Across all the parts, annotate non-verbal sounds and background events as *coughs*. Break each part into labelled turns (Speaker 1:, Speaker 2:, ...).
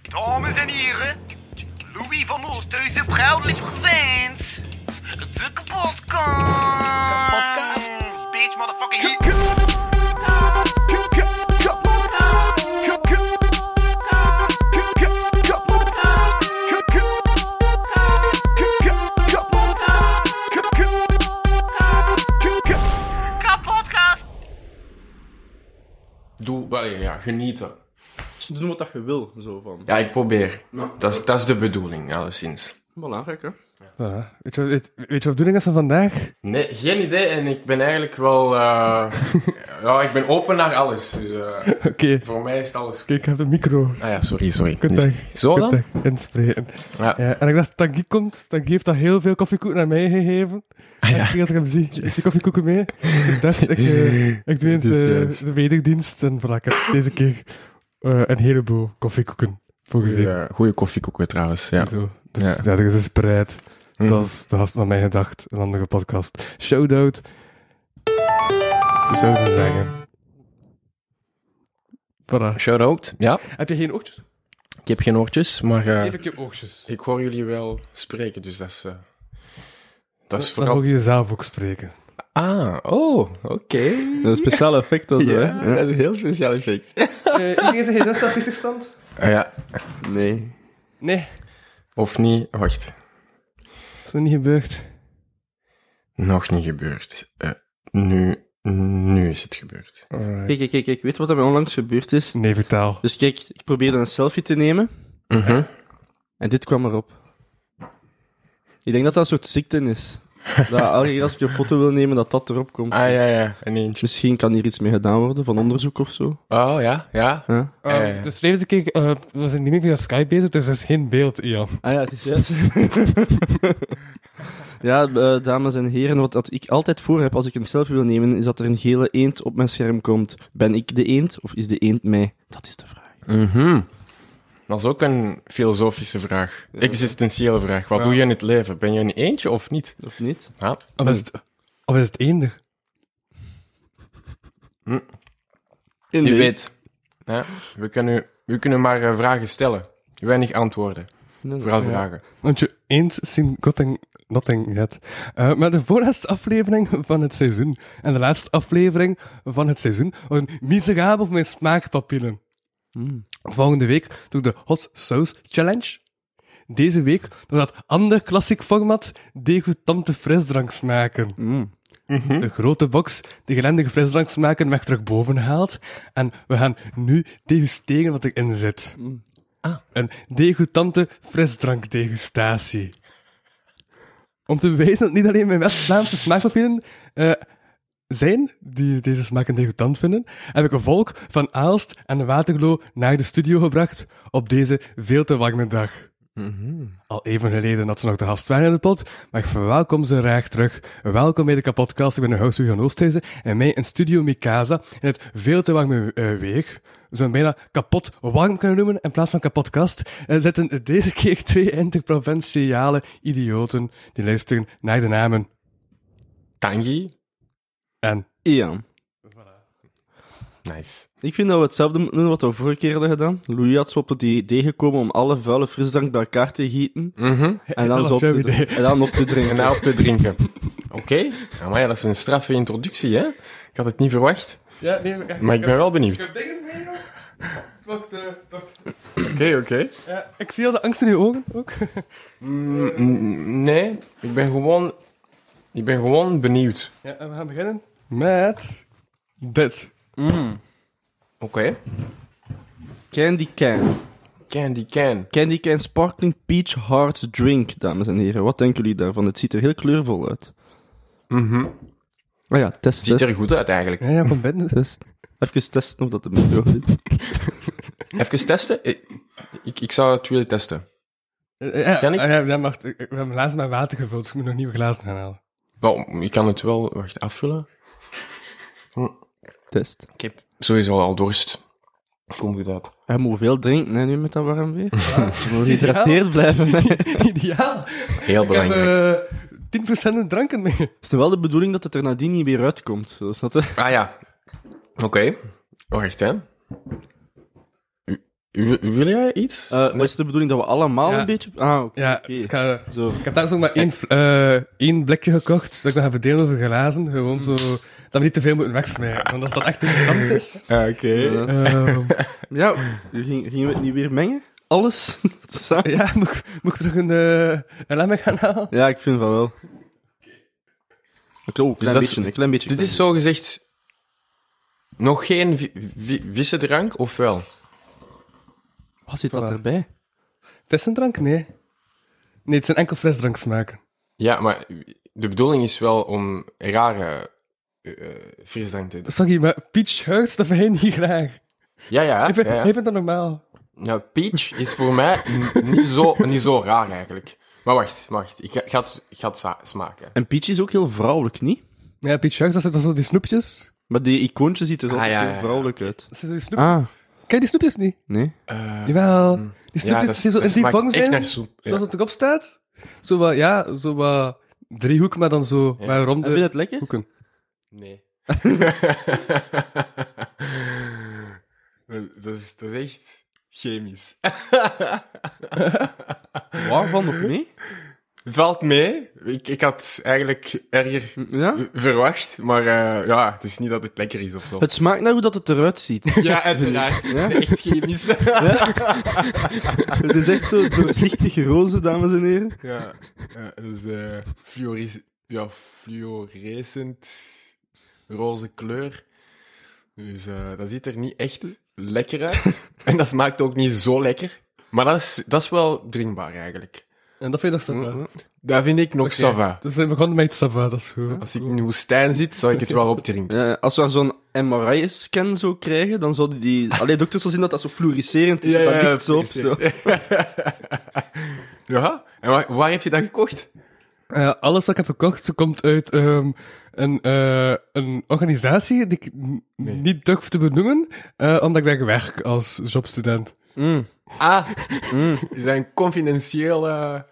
Speaker 1: Dames en heren, Louis van Oosthuizen, proudly presents de kapotkast.
Speaker 2: Kapotkast.
Speaker 1: Bitch, motherfucking heat. Kapotkast.
Speaker 3: Doe, wel ja, genieten.
Speaker 4: Doen wat dat je wil, zo van.
Speaker 3: Ja, ik probeer. Dat is, dat is de bedoeling, alleszins.
Speaker 4: Belangrijk, hè?
Speaker 5: Voilà. Weet, je, wat- weet, weet je wat de bedoeling is van vandaag? *laughs*
Speaker 3: Nee, geen idee. En ik ben eigenlijk wel... eh, *laughs* ja, ik ben open naar alles. Dus eh,
Speaker 5: Oké,
Speaker 3: voor mij is het alles...
Speaker 5: kijk, ik heb de micro.
Speaker 3: Ah ja, sorry, sorry.
Speaker 5: Goedendag.
Speaker 3: Dus- zo dan?
Speaker 5: Goedendag. Inspreken.
Speaker 3: Ja.
Speaker 5: Ja, en ik dacht dat Tanguy komt. Tanguy heeft al heel veel koffiekoeken aan mij
Speaker 3: *laughs*
Speaker 5: gegeven. En ik zie dat ik hem zie. Ik zie koffiekoeken mee. Ik dacht,
Speaker 3: *laughs*
Speaker 5: ik, eh, ik doe eens
Speaker 3: Dit is
Speaker 5: eh,
Speaker 3: juist.
Speaker 5: de wedigdienst. En voilà, ik heb deze keer eh, een heleboel koffiekoeken voorgezien.
Speaker 3: Ja, Eh, goeie koffiekoeken trouwens, ja.
Speaker 5: Zo. Dus
Speaker 3: Ja.
Speaker 5: ja. dat is een spreid.
Speaker 3: Mhm.
Speaker 5: Zoals de gast van mij gedacht. Een andere podcast. Shoutout. Zo te zeggen. Voilà.
Speaker 3: Shout-out. Ja,
Speaker 5: Heb je geen oogjes?
Speaker 3: ik heb geen oortjes, maar eh,
Speaker 5: Geef ik je oogjes.
Speaker 3: ik hoor jullie wel spreken, dus dat is... eh, dat is
Speaker 5: Dan
Speaker 3: vooral...
Speaker 5: mag je jezelf ook spreken.
Speaker 3: Ah, oh, oké.
Speaker 4: Een speciaal effect, dat zo, hè?
Speaker 3: dat is een heel speciaal effect.
Speaker 5: iedereen zegt, dat staat stand?
Speaker 3: Ah, ja, nee.
Speaker 5: Nee.
Speaker 3: Of niet, wacht.
Speaker 5: Dat is nog niet gebeurd.
Speaker 3: Nog niet gebeurd. Eh, nu, nu is het gebeurd.
Speaker 5: Alright.
Speaker 4: Kijk, kijk, kijk, kijk. Weet je wat er mij onlangs gebeurd is?
Speaker 5: Nee, vertaal.
Speaker 4: Dus kijk, ik probeerde een selfie te nemen
Speaker 3: Mhm.
Speaker 4: en dit kwam erop. Ik denk dat dat een soort ziekte
Speaker 3: *laughs*
Speaker 4: is. Dat elke keer als ik een foto wil nemen, dat dat erop komt. Dus
Speaker 3: Ah ja, ja, een eentje.
Speaker 4: Misschien kan hier iets mee gedaan worden, van onderzoek of zo.
Speaker 3: Oh ja, ja.
Speaker 4: hè?
Speaker 3: Eh.
Speaker 5: dus verleden keer eh, we zijn niet meer via Skype bezig, dus dat is geen beeld, Ian.
Speaker 4: Ah ja, het is juist. *laughs* ja, eh, dames en heren, wat dat ik altijd voor heb als ik een selfie wil nemen, is dat er een gele eend op mijn scherm komt. Ben ik de eend of is de eend mij? Dat is de vraag.
Speaker 3: Mhm. Dat is ook een filosofische vraag. Existentiële vraag. Wat doe je in het leven? Ben je een eentje of niet?
Speaker 4: Of niet?
Speaker 3: Ah,
Speaker 5: Of is het, of is het eender?
Speaker 3: u weet. Ja, we, kunnen, u- we kunnen maar eh, vragen stellen. Weinig antwoorden. Vooral vragen.
Speaker 5: Want je eens zien Gotting, Notting yet. Eh, maar de voorlaatste aflevering van het seizoen en de laatste aflevering van het seizoen waren miserabel voor mijn smaakpapillen.
Speaker 4: Mm.
Speaker 5: Volgende week doe ik de Hot Sauce Challenge. Deze week doe ik dat ander klassiek format degoutante frisdrank smaken. Mhm.
Speaker 4: Mm.
Speaker 5: De grote box die gelendige frisdrank smaken weg terug boven haalt. En we gaan nu degusteren wat erin zit. Een degoutante frisdrankdegustatie. Om te bewijzen dat niet alleen mijn West-Vlaamse smaakpapieren eh, zijn die deze smaken degoutant vinden, heb ik een volk van Aalst en Waterloo naar de studio gebracht op deze veel te warme dag. Al even geleden dat ze nog de gast waren in de pot, maar ik verwelkom ze graag terug. Welkom bij de kapotkast, ik ben de host Hugo Oosthuizen en mij in Studio Mikasa in het veel te warme eh, weeg, we zouden bijna kapot warm kunnen noemen in plaats van kapotkast, eh, zitten deze keer *laughs* twee interprovinciale idioten die luisteren naar de namen
Speaker 3: Tangi.
Speaker 5: en
Speaker 4: Ian.
Speaker 3: Nice.
Speaker 4: Ik vind dat we hetzelfde moeten doen wat we vorige keer hadden gedaan. Louis had zo op het idee gekomen om alle vuile frisdrank bij elkaar te gieten.
Speaker 3: Mhm.
Speaker 4: En dan,
Speaker 5: Dat
Speaker 4: zo op,
Speaker 5: was jouw
Speaker 4: te
Speaker 5: idee.
Speaker 4: en dan op te drinken.
Speaker 3: En nou- daarop te *laughs* drinken. Oké. Maar ja, dat is een straffe introductie, hè? Ik had het niet verwacht.
Speaker 5: Ja, nee, maar,
Speaker 3: Maar ik ben wel benieuwd.
Speaker 5: dingen eh, mee,
Speaker 3: Oké, oké.
Speaker 5: Ik zie al de angst in je ogen ook. *laughs*
Speaker 3: Mm, Nee, ik ben gewoon, ik ben gewoon benieuwd.
Speaker 5: Ja, en we gaan beginnen met dit.
Speaker 3: Oké.
Speaker 4: Candy Can.
Speaker 3: Candy can.
Speaker 4: Candy Can Sparkling Peach Hearts Drink, dames en heren. Wat denken jullie daarvan? Het ziet er heel kleurvol uit.
Speaker 3: Mhm.
Speaker 4: Oh ja, test,
Speaker 3: Ziet
Speaker 4: test,
Speaker 3: er goed uit eigenlijk.
Speaker 5: Ja, ja, van binnen.
Speaker 4: test. Even testen of dat de micro zit.
Speaker 3: Even testen. Ik, ik, ik zou het willen testen.
Speaker 5: Eh, Ja,
Speaker 3: Kan ik?
Speaker 5: ah, ja, ja, wacht, ik- ik- we hebben laatst mijn water gevuld, dus ik moet nog nieuwe glazen gaan *laughs* halen.
Speaker 3: Wel, ik kan het wel wacht, afvullen.
Speaker 4: Test.
Speaker 3: Ik heb sowieso al dorst. Kom goed uit.
Speaker 4: Hij moet veel drinken, hè, nu met dat warm *laughs* weer. Ah, Je moet gehydrateerd blijven. *laughs* hè.
Speaker 5: Ideaal!
Speaker 3: Heel
Speaker 5: Ik heb
Speaker 3: belangrijk.
Speaker 5: eh 10% dranken mee.
Speaker 4: Het is wel de bedoeling dat het er nadien niet weer uitkomt. Zo, snap je?
Speaker 3: Ah ja. Oké. Wacht, hè. U- Wil, wil jij iets?
Speaker 4: Eh, maar *laughs* is de bedoeling dat we allemaal
Speaker 5: Ja.
Speaker 4: een beetje... Ah, oké.
Speaker 5: Ja,
Speaker 4: oké.
Speaker 5: dus ik, ga-
Speaker 4: Zo.
Speaker 5: ik heb daar ook maar één, fl- eh, één blikje gekocht, dat ik nog heb verdelen over glazen. Gewoon zo, dat we niet te veel moeten wegsmijten. Want als dat echt een brand is...
Speaker 3: Ah, Oké.
Speaker 4: Ja.
Speaker 5: ehm,
Speaker 4: Ja, ging- gingen we het niet weer mengen? Alles? *laughs* Samen?
Speaker 5: ja, moet, ik- moet ik terug een, eh een lemmer gaan halen?
Speaker 4: Ja, ik vind van wel. Oké, oh, een klein
Speaker 3: dat is-
Speaker 4: beetje, een klein beetje.
Speaker 3: Dit is zogezegd nog geen vi vi visse drank, of wel?
Speaker 4: Wat zit
Speaker 5: Voilà.
Speaker 4: dat erbij?
Speaker 5: Vissendrank? Nee. Nee, het zijn enkel frisdranksmaken.
Speaker 3: Ja, maar de bedoeling is wel om rare eh, eh, frisdrank te doen.
Speaker 5: Sorry, maar peach huis, dat vind je niet graag.
Speaker 3: Ja, ja.
Speaker 5: Ik vind,
Speaker 3: ja, ja.
Speaker 5: ik vind dat normaal.
Speaker 3: Nou, peach is voor mij n- niet zo, niet zo raar eigenlijk. Maar wacht, wacht. Ik ga, ga, het, ik ga het sa- smaken.
Speaker 4: En Peach is ook heel vrouwelijk, niet?
Speaker 5: Ja, peach huis, dat zijn toch zo die snoepjes?
Speaker 4: Maar die icoontje ziet er
Speaker 3: Ah,
Speaker 4: altijd
Speaker 3: ja, ja,
Speaker 4: heel
Speaker 3: ja.
Speaker 4: vrouwelijk uit.
Speaker 5: Dat zijn zo die snoepjes.
Speaker 4: Ah,
Speaker 5: Ken je die snoepjes niet?
Speaker 4: nee.
Speaker 3: Eh,
Speaker 5: Jawel. Die snoepjes
Speaker 3: dat-
Speaker 5: die zo
Speaker 3: dat
Speaker 5: in die
Speaker 3: smaakt
Speaker 5: vorm
Speaker 3: echt
Speaker 5: zijn,
Speaker 3: naar soep. Ja.
Speaker 5: zoals het erop staat. Zo wat, ja, zo wat driehoek, maar dan zo
Speaker 3: Ja.
Speaker 5: met
Speaker 4: En vind je
Speaker 5: ronde
Speaker 4: dat lekker?
Speaker 5: hoeken.
Speaker 3: Nee. *laughs* dat, dat is, dat is echt chemisch. *laughs*
Speaker 4: Waarvan nog mee?
Speaker 3: Valt mee. Ik, ik had eigenlijk erger
Speaker 4: Ja?
Speaker 3: verwacht. Maar eh, ja, het is niet dat het lekker is of zo.
Speaker 4: Het smaakt naar hoe dat het eruit ziet.
Speaker 3: Ja, uiteraard.
Speaker 4: Ja?
Speaker 3: Het is *laughs* echt chemisch.
Speaker 4: *laughs*
Speaker 3: *laughs*
Speaker 4: het is echt zo doorzichtige rozen, dames en heren.
Speaker 3: Ja, ja dat is eh fluoris- ja, fluorescent roze kleur. Dus eh, dat ziet er niet echt lekker *laughs* uit. en dat smaakt ook niet zo lekker. Maar dat is, dat is wel drinkbaar eigenlijk.
Speaker 5: En dat vind ik nog zo wel.
Speaker 3: Dat vind ik nog
Speaker 5: Oké,
Speaker 3: sava.
Speaker 5: Dus we begonnen met Sava, dat is goed.
Speaker 3: Als ik in de woestijn zit, zou ik het wel *laughs* opdrinken.
Speaker 4: Eh, als we daar zo'n MRI-scan zo krijgen, dan zouden die... Allee, dokters zo zien dat dat zo fluoriserend is. dat ligt zo op. Zo.
Speaker 3: *laughs* ja? En waar, waar heb je dat gekocht?
Speaker 5: Eh, alles wat ik heb gekocht komt uit ehm, een, eh, een organisatie die ik n- niet durf te benoemen, eh, omdat ik daar werk als jobstudent.
Speaker 4: Mm.
Speaker 3: Ah, is dat een confidentiële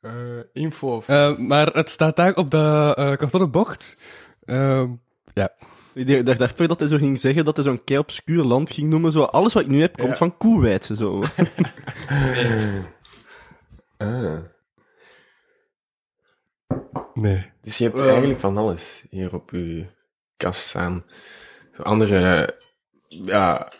Speaker 3: eh, info?
Speaker 5: Eh, maar het staat daar op de eh kartonnen bocht. Ehm,
Speaker 4: Ik dacht daarvoor dat hij zo ging zeggen dat hij zo'n kei obscuur land ging noemen. Zo, alles wat ik nu heb komt
Speaker 3: Ja.
Speaker 4: van Koeweit. Zo.
Speaker 3: Ah.
Speaker 5: nee.
Speaker 3: Dus je hebt
Speaker 4: Ja.
Speaker 3: eigenlijk van alles hier op je kast staan. Zo andere, ja...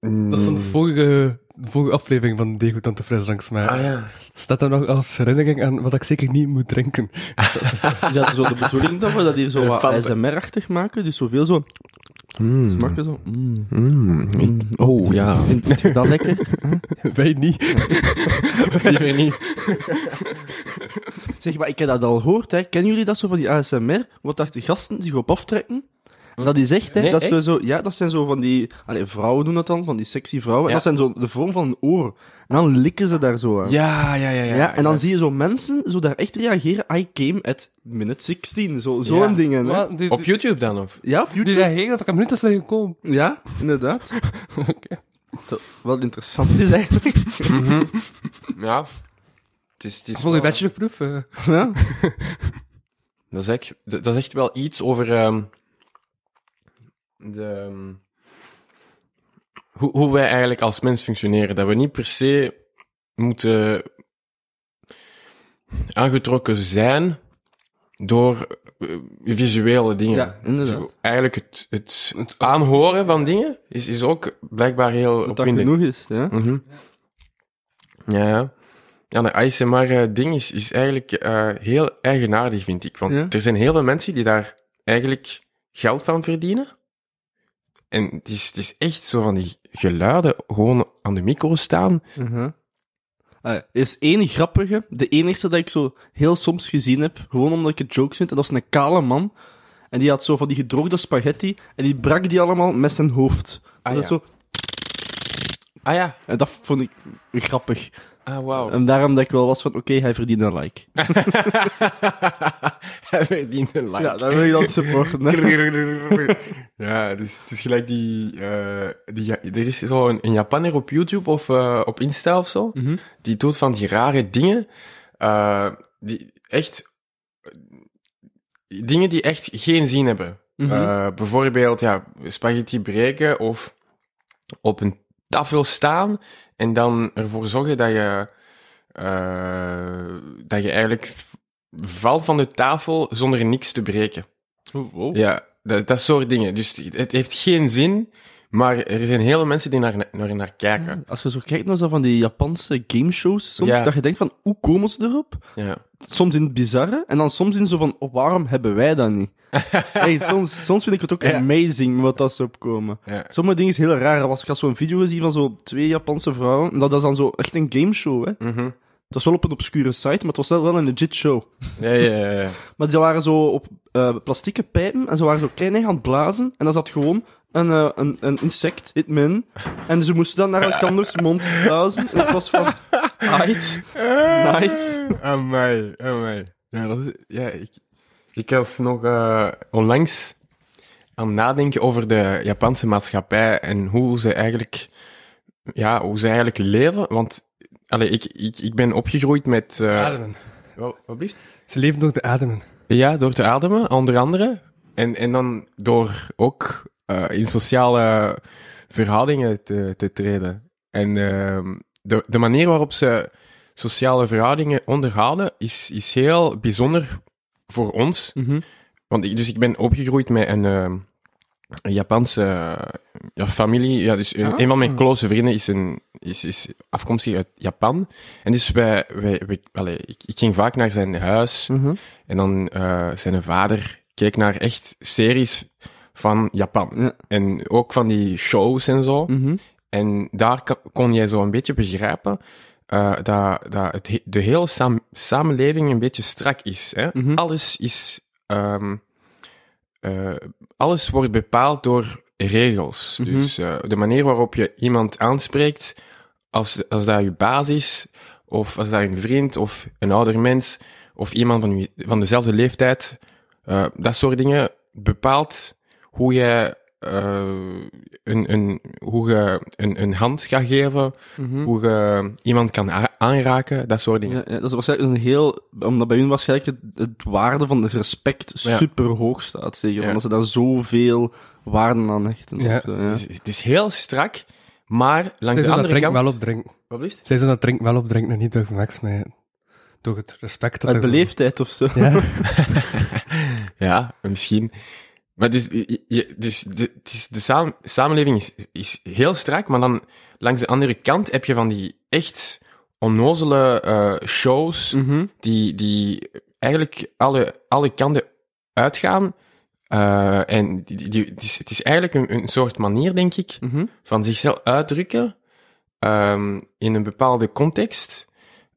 Speaker 5: Dat is van de
Speaker 3: Mm.
Speaker 5: vorige, de vorige aflevering van Degotante Frisdranks. Maar
Speaker 3: Ah ja.
Speaker 5: staat daar nog als herinnering aan wat ik zeker niet moet drinken. *laughs*
Speaker 4: Is dat zo de bedoeling dat we dat hier zo wat
Speaker 3: Elefanten.
Speaker 4: ASMR-achtig maken? Dus zoveel zo smakken zo. Mm.
Speaker 3: Oh,
Speaker 4: *laughs*
Speaker 3: ja.
Speaker 4: Vind vind je dat lekker?
Speaker 5: Wij niet.
Speaker 3: Liever niet.
Speaker 4: Zeg maar, ik heb dat al gehoord. Hè. Kennen jullie dat zo van die ASMR? Wat daar de gasten zich op aftrekken? En dat is echt, hè.
Speaker 3: Mm. Nee,
Speaker 4: dat, is
Speaker 3: echt?
Speaker 4: Zo, ja, dat zijn zo van die... Allee, vrouwen doen dat dan, van die sexy vrouwen. En
Speaker 3: Ja.
Speaker 4: dat zijn zo de vorm van een oor. En dan likken ze daar zo aan.
Speaker 3: Ja, ja, ja.
Speaker 4: Ja, en dan zie je zo mensen zo daar echt reageren. I came at minute 16. Zo- Zo'n
Speaker 3: Ja.
Speaker 4: dingen. Hè?
Speaker 5: Maar die,
Speaker 3: Op YouTube dan, of?
Speaker 4: Ja, of
Speaker 5: die
Speaker 4: YouTube?
Speaker 5: reageren dat ik een minuut is gekomen.
Speaker 4: Ja,
Speaker 3: *laughs*
Speaker 4: inderdaad. Zo, Wat interessant is eigenlijk.
Speaker 3: Ja. Het is, het is
Speaker 5: Voor je
Speaker 3: wel-
Speaker 5: bachelorproef. eh.
Speaker 4: Ja.
Speaker 3: dat, is echt, dat dat is echt wel iets over... ehm, de, ehm, hoe, hoe wij eigenlijk als mens functioneren. Dat we niet per se moeten aangetrokken zijn door eh, visuele dingen.
Speaker 4: Ja, inderdaad.
Speaker 3: Zo, eigenlijk het, het aanhoren van dingen is, is ook blijkbaar heel
Speaker 4: Dat dat genoeg is. Ja.
Speaker 3: Mhm. Ja, ja. Ja, de ASMR-ding eh, is, is eigenlijk eh, heel eigenaardig, vind ik. Want
Speaker 4: Ja.
Speaker 3: er zijn heel veel mensen die daar eigenlijk geld van verdienen. En het is, het is echt zo van die geluiden gewoon aan de micro staan.
Speaker 4: Uh-huh. Ah, er is één grappige. De enigste dat ik zo heel soms gezien heb. Gewoon omdat ik het jokes vind. En dat was een kale man. En die had zo van die gedroogde spaghetti. En die brak die allemaal met zijn hoofd.
Speaker 3: Ah,
Speaker 4: Dus
Speaker 3: ja.
Speaker 4: dat zo,
Speaker 3: Ah ja,
Speaker 4: en dat vond ik grappig.
Speaker 3: ah wauw.
Speaker 4: En daarom dat ik wel was van, oké, hij verdient een like.
Speaker 3: *laughs* Ah, Hij verdient een like.
Speaker 4: Ja, dan wil je dat
Speaker 3: *laughs*
Speaker 4: supporten. *laughs* hè.
Speaker 3: ja, het is, het is gelijk die, eh, die... Ja- Er is zo een, een Japanner op YouTube of eh, op Insta of zo.
Speaker 4: Mhm.
Speaker 3: Die doet van die rare dingen. eh, die echt... Dingen die echt geen zin hebben.
Speaker 4: Mhm.
Speaker 3: Eh, bijvoorbeeld, ja, spaghetti breken of op een tafel staan en dan ervoor zorgen dat je, eh, dat je eigenlijk v- valt van de tafel zonder niks te breken.
Speaker 4: Wow.
Speaker 3: Ja, dat, dat soort dingen. Dus het heeft geen zin, maar er zijn hele mensen die naar, naar, naar kijken.
Speaker 4: Als je zo kijkt naar zo van die Japanse gameshows soms,
Speaker 3: Ja.
Speaker 4: dat je denkt van, hoe komen ze erop?
Speaker 3: Ja.
Speaker 4: Soms in het bizarre, en dan soms in zo van, oh, waarom hebben wij dat
Speaker 3: *laughs*
Speaker 4: niet? Echt, soms, soms vind ik het ook
Speaker 3: Ja.
Speaker 4: amazing wat dat ze opkomen.
Speaker 3: Ja.
Speaker 4: Sommige dingen is heel raar. Als ik had zo'n video gezien van zo twee Japanse vrouwen, en dat is dan zo echt een gameshow, hè.
Speaker 3: Mhm.
Speaker 4: Het was wel op een obscure site, maar het was wel wel een legit show.
Speaker 3: Ja, ja, ja, ja.
Speaker 4: Maar die waren zo op eh plastieke pijpen en ze waren zo klein aan het blazen. En dan zat gewoon een, eh, een, een insect, Hitman. En ze moesten dan naar elkanders
Speaker 3: *laughs*
Speaker 4: mond blazen. En ik was van... Aight. Nice.
Speaker 3: *laughs* Amai, amai. Ja, dat is, ja ik, ik was nog eh, onlangs aan het nadenken over de Japanse maatschappij en hoe ze eigenlijk, ja, hoe ze eigenlijk leven. Want allee, ik, ik, ik ben opgegroeid met. eh,
Speaker 5: Ademen.
Speaker 3: wel, wat blieft?
Speaker 5: Ze leven door te ademen.
Speaker 3: Ja, door te ademen, onder andere. En, en dan door ook eh, in sociale verhoudingen te, te treden. En ehm, de, de manier waarop ze sociale verhoudingen onderhouden is, is heel bijzonder voor ons. Want ik, dus ik ben opgegroeid met een, ehm, een Japanse eh, ja, familie. Ja, dus een, een van mijn close vrienden is, een, is, is afkomstig uit Japan. En dus wij, wij, wij- allee, ik, ik ging vaak naar zijn huis.
Speaker 4: Mhm.
Speaker 3: En dan eh, zijn vader keek naar echt series van Japan.
Speaker 4: Ja.
Speaker 3: En ook van die shows en zo.
Speaker 4: Mhm.
Speaker 3: En daar ka- kon jij zo een beetje begrijpen eh, dat, dat het, he- de hele saam- samenleving een beetje strak is. Hè?
Speaker 4: Mhm.
Speaker 3: Alles is... ehm, eh, alles wordt bepaald door regels.
Speaker 4: Mhm.
Speaker 3: Dus eh, de manier waarop je iemand aanspreekt, als, als dat je baas is, of als dat een vriend of een ouder mens, of iemand van, je- van dezelfde leeftijd, eh, dat soort dingen bepaalt hoe je, eh, een, een, hoe je een, een hand gaat geven,
Speaker 4: Mhm.
Speaker 3: hoe je iemand kan a- aanraken, dat soort dingen.
Speaker 4: Ja, ja, dat is waarschijnlijk een heel... Omdat bij hun waarschijnlijk het, het waarde van respect
Speaker 3: Ja.
Speaker 4: super hoog staat. Zeker,
Speaker 3: Ja.
Speaker 4: omdat ze daar zoveel waarden aan hechten.
Speaker 5: Ja.
Speaker 4: Of zo, ja.
Speaker 3: Het, is, het is heel strak, maar langs de
Speaker 5: Zij zullen dat
Speaker 3: andere
Speaker 5: drinken
Speaker 3: kant...
Speaker 5: wel opdrinken.
Speaker 3: Wat blieft?
Speaker 5: Zij zullen dat drinken wel opdrinken en niet door Max, maar door het respect dat
Speaker 4: Uit
Speaker 5: er-
Speaker 4: beleefdheid of zo.
Speaker 5: Ja.
Speaker 3: Ja, misschien. Maar dus, je- je- dus de, het is- de saam- samenleving is, is heel strak, maar dan langs de andere kant heb je van die echt onnozele eh, shows
Speaker 4: *laughs* Mhm.
Speaker 3: die, die eigenlijk alle, alle kanten uitgaan. Eh, en die, die, die- het, is, het is eigenlijk een, een soort manier, denk ik,
Speaker 4: Mhm.
Speaker 3: van zichzelf uitdrukken ehm, in een bepaalde context,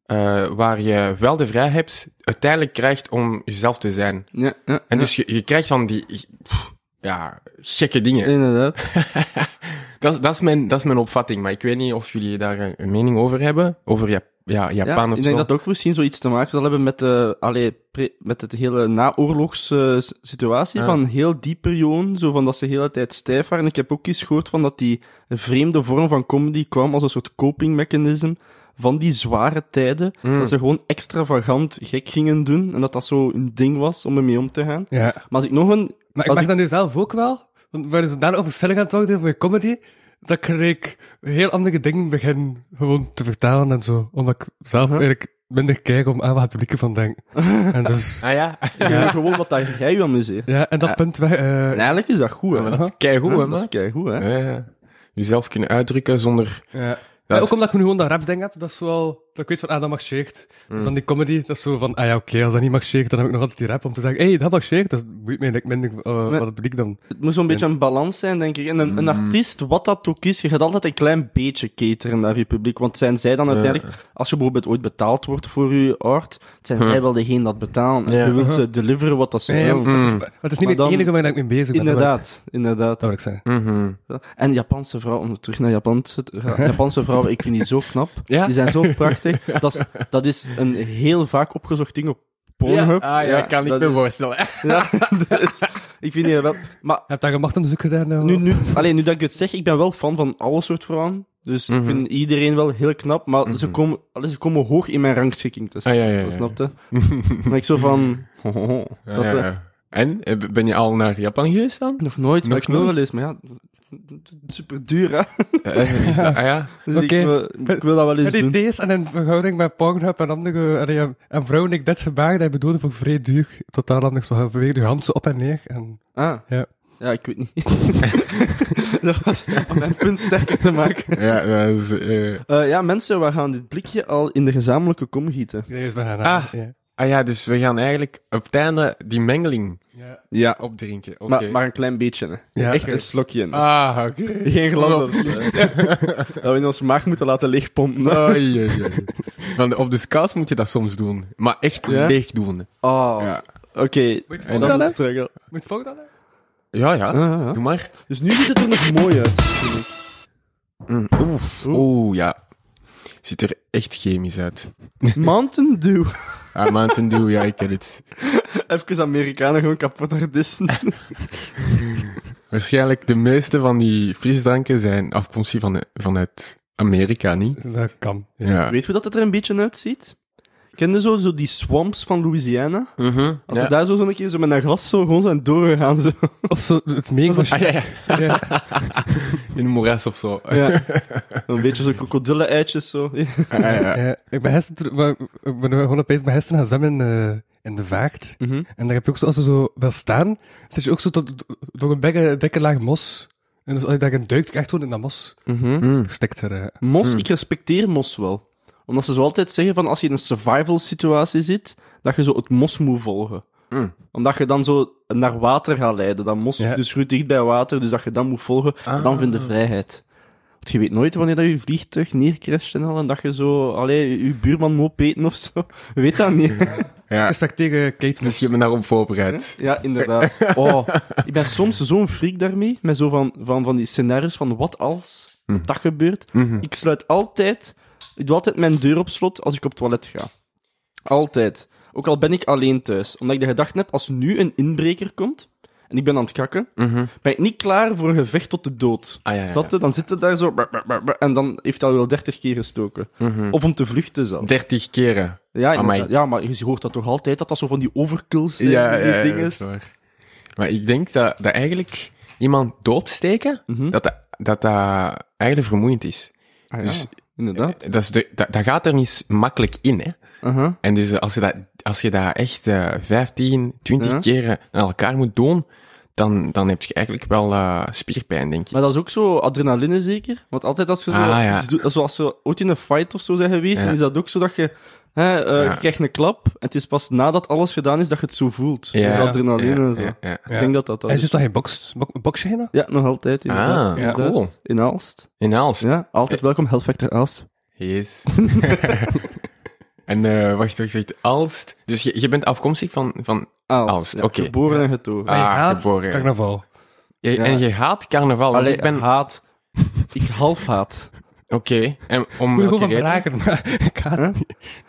Speaker 3: eh, waar je wel de vrijheid hebt, uiteindelijk krijgt om jezelf te zijn.
Speaker 4: Ja, ja.
Speaker 3: En dus je, je krijgt dan die pff, ja, gekke dingen.
Speaker 4: Inderdaad.
Speaker 3: Dat, is- dat, is mijn, dat is mijn opvatting, maar ik weet niet of jullie daar een, een mening over hebben. Over Jap- ja, Japan
Speaker 4: ja,
Speaker 3: of
Speaker 4: ik
Speaker 3: zo.
Speaker 4: denk dat dat ook misschien zoiets te maken zal hebben met, de allee, pre- met het hele naoorlogssituatie situatie
Speaker 3: Ja.
Speaker 4: van heel die periode, zo van dat ze de hele tijd stijf waren. Ik heb ook eens gehoord van dat die vreemde vorm van comedy kwam als een soort coping mechanism van die zware tijden,
Speaker 3: Mm.
Speaker 4: dat ze gewoon extravagant gek gingen doen en dat dat zo een ding was om ermee om te gaan.
Speaker 5: Ja.
Speaker 4: Maar als ik nog een...
Speaker 5: Maar ik
Speaker 4: Als
Speaker 5: mag
Speaker 4: ik-
Speaker 5: dat nu zelf ook wel. Want we waren zodanig overstelling aan het worden voor je comedy, dat ik eigenlijk heel andere dingen begin gewoon te vertalen en zo. Omdat ik zelf eigenlijk minder kijk om aan wat het publiek ervan denkt. en dus,
Speaker 3: Ah *laughs* ja,
Speaker 4: Ik wil *laughs* gewoon wat dat jij je amuseert.
Speaker 5: ja, en dat
Speaker 4: Ja.
Speaker 5: punt weg. eh,
Speaker 4: En eigenlijk is dat goed, hè?
Speaker 3: dat is keigoed, hè,
Speaker 4: dat is
Speaker 3: man.
Speaker 4: keigoed, hè?
Speaker 3: Ja, ja. Jezelf kunnen uitdrukken zonder...
Speaker 5: ja.
Speaker 3: Dat
Speaker 5: Ja,
Speaker 3: is-
Speaker 5: ook omdat ik nu gewoon dat rap ding heb, dat is wel, dat ik weet van, ah, dat marcheert. Dus dan die comedy, dat is zo van, ah ja, oké, als dat niet marcheert, dan heb ik nog altijd die rap om te zeggen, hé, hey, dat marcheert, dat boeit mij eigenlijk minder eh, wat het publiek dan...
Speaker 4: Het moet zo'n beetje een balans zijn, denk ik. En een, een
Speaker 3: Mm.
Speaker 4: artiest, wat dat ook is, je gaat altijd een klein beetje cateren naar je publiek. Want zijn zij dan uiteindelijk, als je bijvoorbeeld ooit betaald wordt voor je art, zijn zij wel degene dat betaalt. En
Speaker 3: Ja.
Speaker 4: je wilt ze deliveren wat dat ze
Speaker 5: Ja, ja,
Speaker 4: willen.
Speaker 3: Mm.
Speaker 5: maar het is- maar het is niet
Speaker 4: Maar
Speaker 5: meer
Speaker 4: dan-
Speaker 5: het enige waar ik mee bezig ben. dat wil ik-
Speaker 4: Inderdaad, inderdaad.
Speaker 5: Dat wil ik zeggen.
Speaker 3: Mhm.
Speaker 4: En Japanse vrouwen, om terug naar Japan
Speaker 5: *laughs*
Speaker 4: te gaan. Japanse vrouwen, ik vind die zo knap.
Speaker 3: Ja?
Speaker 4: Die zijn zo
Speaker 3: *laughs*
Speaker 4: prachtig. Dat is, dat is een heel vaak opgezocht ding op Pornhub.
Speaker 3: Ah ja, kan ik
Speaker 4: dat
Speaker 3: me
Speaker 4: is-
Speaker 3: *laughs* voorstellen.
Speaker 4: *laughs*
Speaker 3: Ah,
Speaker 4: ja, dat is- Ik vind die wel... Maar
Speaker 5: Heb je daar een machtonderzoek gedaan? Nou?
Speaker 4: Nu, nu, alleen nu dat ik het zeg, ik ben wel fan van alle soort vrouwen. Dus
Speaker 3: Mhm.
Speaker 4: ik vind iedereen wel heel knap, maar ze, komen, allee, ze komen hoog in mijn rangschikking. Dus,
Speaker 3: Ah, ja, ja, ja. *laughs*
Speaker 4: Snap je? Maar ik zo van... oh, oh, oh.
Speaker 3: Ja,
Speaker 4: Dat, eh,
Speaker 3: ja. En, eh, ben je al naar Japan geweest dan?
Speaker 4: Nog nooit,
Speaker 3: Nog
Speaker 4: maar ik wil
Speaker 3: nooit?
Speaker 4: wel eens. Maar ja, super duur, hè?
Speaker 3: *laughs* Ja, eh, is dat- ah ja.
Speaker 4: *laughs* Dus
Speaker 5: Oké.
Speaker 4: ik, wil, ik wil dat wel eens
Speaker 5: En die
Speaker 4: doen.
Speaker 5: deze en in verhouding met Pornhub en andere en, ja, en vrouwen, ik dit gebaar, dat bedoelde voor vrij duur. Totaal anders, we gaan weer je hand zo op en neer. En,
Speaker 4: Ah,
Speaker 5: ja.
Speaker 4: ja, ik
Speaker 3: *laughs*
Speaker 4: weet niet. *laughs* dat was om mijn punt sterker te maken.
Speaker 3: Ja, dat is, eh,
Speaker 4: Eh, ja, mensen, we gaan dit blikje al in de gezamenlijke kom gieten.
Speaker 5: Ja, is bijna
Speaker 3: Ah.
Speaker 5: Ja.
Speaker 3: ah ja, dus we gaan eigenlijk op het einde die mengeling
Speaker 5: Ja.
Speaker 4: Ja,
Speaker 3: opdrinken. Oké.
Speaker 4: maar, maar een klein beetje. Hè.
Speaker 5: Ja.
Speaker 4: Echt een slokje. hè.
Speaker 3: Ah, oké.
Speaker 4: Geen geloof dat, *laughs* dat we in onze maag moeten laten leegpompen. hè.
Speaker 3: Oei, oei, oei. Want op de schaals moet je dat soms doen. Maar echt
Speaker 4: Ja?
Speaker 3: leeg doen.
Speaker 4: Oh,
Speaker 3: Ja.
Speaker 4: oké.
Speaker 5: Moet je
Speaker 3: En
Speaker 4: Dat
Speaker 5: het dan,
Speaker 4: is
Speaker 5: hè?
Speaker 4: een struggle.
Speaker 5: Moet je het dan, hè?
Speaker 3: Ja, ja.
Speaker 4: Ja, Ah, ja.
Speaker 3: Doe maar.
Speaker 4: Dus nu ziet het er nog mooi uit, vind ik.
Speaker 3: Mm, Oef. Oeh, ja. Ziet er echt chemisch uit.
Speaker 4: *laughs* Mountain Dew.
Speaker 3: Ah, Mountain Dew, ja, ik ken het.
Speaker 4: *laughs* Even Amerikanen gewoon kapot artiesten.
Speaker 3: Waarschijnlijk de meeste van die frisdranken zijn afkomstig van, vanuit Amerika, niet?
Speaker 5: Dat kan.
Speaker 3: Ja.
Speaker 4: *laughs* Weet je hoe dat er een beetje uitziet? Ken je zo, zo die swamps van Louisiana?
Speaker 3: Mhm.
Speaker 4: Als we
Speaker 3: Ja.
Speaker 4: daar zo zo'n keer zo met een glas zo gewoon zijn doorgegaan. Zo.
Speaker 5: Of zo, het mega
Speaker 3: Ah, ja, ja. In een moeras of zo.
Speaker 4: Ja. *laughs* Een beetje zo krokodillen-eitjes zo.
Speaker 3: Ah, ja, ja.
Speaker 5: Ja, Eh, ik ben gisteren, maar, ik ben gewoon opeens bij gisteren gaan zwemmen in, eh, in de vaart.
Speaker 4: Mhm.
Speaker 5: En daar heb je ook zo, als je zo wil staan, zit je ook zo tot, door een dikke, dikke laag mos. En dus als je daarin duikt, krijg je gewoon in dat mos
Speaker 3: Mm.
Speaker 5: gestikt. Er, eh.
Speaker 4: Mos, ik respecteer mos wel. Omdat ze zo altijd zeggen van als je in een survival situatie zit, dat je zo het mos moet volgen.
Speaker 3: Mm.
Speaker 4: Omdat je dan zo naar water gaat leiden. Dat mos
Speaker 5: Ja.
Speaker 4: dus groeit dicht bij water, dus dat je dan moet volgen. En dan vind je vrijheid. Want je weet nooit wanneer dat je vliegtuig neercrasht en al, en dat je zo, allee, je je buurman moet opeten of zo. *laughs* Je weet dat niet.
Speaker 5: Ik
Speaker 3: ja.
Speaker 5: Respecteer eh, Kate
Speaker 3: Dus je bent daarop voorbereid. *laughs*
Speaker 4: Ja, inderdaad. Oh, ik ben soms zo'n freak daarmee, met zo van, van, van die scenario's van wat als
Speaker 3: Hm.
Speaker 4: dat gebeurt.
Speaker 3: Mhm.
Speaker 4: Ik sluit altijd, ik doe altijd mijn deur op slot als ik op het toilet ga. Altijd. Ook al ben ik alleen thuis. Omdat ik de gedachte heb, als nu een inbreker komt, en ik ben aan het kakken, ben ik niet klaar voor een gevecht tot de dood.
Speaker 3: Mhm. Ah, ja, ja, ja.
Speaker 4: Snap je? Dan zit het daar zo, brr, brr, brr, brr, en dan heeft hij wel dertig keer gestoken. Of om te vluchten zelf.
Speaker 3: 30 keren.
Speaker 4: Ja,
Speaker 3: Mhm. Amai.
Speaker 4: inderdaad. ja, maar je hoort dat toch altijd, dat dat zo van die overkills zijn, die dingen.
Speaker 3: dat is waar. Maar ik denk dat, dat eigenlijk iemand doodsteken, dat, dat, dat dat eigenlijk vermoeiend is.
Speaker 4: Mhm. Ah, ja,
Speaker 3: Dus-
Speaker 4: inderdaad. Uh-huh.
Speaker 3: Dat, is de, dat, dat gaat er niet s- makkelijk in, hè.
Speaker 4: Aha.
Speaker 3: En dus eh, als je dat, als je dat echt eh 15, 20
Speaker 4: Ja.
Speaker 3: keren aan eh, elkaar moet doen, dan, dan heb je eigenlijk wel eh, spierpijn, denk ik.
Speaker 4: Maar dat is ook zo adrenaline zeker. Want altijd als je zo,
Speaker 3: Ah, ja.
Speaker 4: iets doet- zoals je ooit in een fight of zo zijn geweest,
Speaker 3: Ja.
Speaker 4: dan is dat ook zo dat je, hè, eh,
Speaker 3: Ja.
Speaker 4: je krijgt een klap en het is pas nadat alles gedaan is dat je het zo voelt. Ja, adrenaline
Speaker 3: ja,
Speaker 4: en zo.
Speaker 3: ja, ja.
Speaker 4: Ik denk dat dat dat
Speaker 5: En
Speaker 4: is.
Speaker 5: is dat je bokst, bok, boksen je nou?
Speaker 4: Ja, nog altijd. inderdaad.
Speaker 3: Ah,
Speaker 4: Inderdaad.
Speaker 3: cool.
Speaker 4: In Aalst.
Speaker 3: In Aalst.
Speaker 4: Ja, altijd welkom, Health Factor Aalst.
Speaker 3: Yes. *laughs* en eh wacht, wacht, wacht. Aalst. Dus je, je bent afkomstig van... van
Speaker 4: Aalst.
Speaker 3: Aalst,
Speaker 4: ja,
Speaker 3: oké.
Speaker 4: Geboren en getogen.
Speaker 3: Ah,
Speaker 5: je haat
Speaker 3: geboren.
Speaker 5: Carnaval.
Speaker 3: je-
Speaker 4: Ja.
Speaker 3: En je haat carnaval. want
Speaker 4: Allee,
Speaker 3: ik ben...
Speaker 4: haat. Ik half haat.
Speaker 3: Oké, en om
Speaker 5: Moet je
Speaker 3: welke
Speaker 5: gewoon van
Speaker 3: reden?
Speaker 5: raken, maar *laughs* ik haat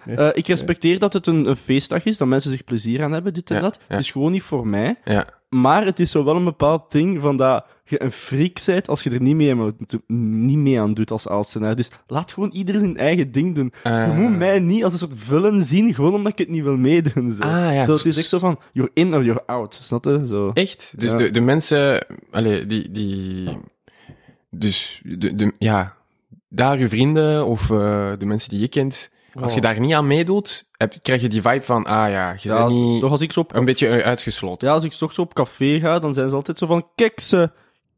Speaker 4: Huh? Eh, ik respecteer dat het een, een feestdag is, dat mensen zich plezier aan hebben, dit en
Speaker 3: Ja,
Speaker 4: dat.
Speaker 3: ja.
Speaker 4: Het is gewoon niet voor mij.
Speaker 3: Ja.
Speaker 4: Maar het is zo wel een bepaald ding van dat je een freak bent als je er niet mee aan, moet- niet mee aan doet als Aalstenaar. Dus laat gewoon ieder zijn eigen ding doen. Je
Speaker 3: Eh.
Speaker 4: moet mij niet als een soort villain zien, gewoon omdat ik het niet wil meedoen. Zo.
Speaker 3: Ah, ja.
Speaker 4: zo, het is echt zo van, you're in or you're out. Snap je? Zo.
Speaker 3: Echt? Dus
Speaker 4: Ja.
Speaker 3: de, de mensen, allee, die, die, dus, de, de, ja, daar je vrienden of eh, de mensen die je kent, als je daar niet aan meedoet, heb, krijg je die vibe van, ah ja, je
Speaker 4: Ja,
Speaker 3: bent niet
Speaker 4: toch als ik zo op
Speaker 3: een beetje eh, uitgesloten.
Speaker 4: Ja, als ik straks op café ga, dan zijn ze altijd zo van, kijk ze,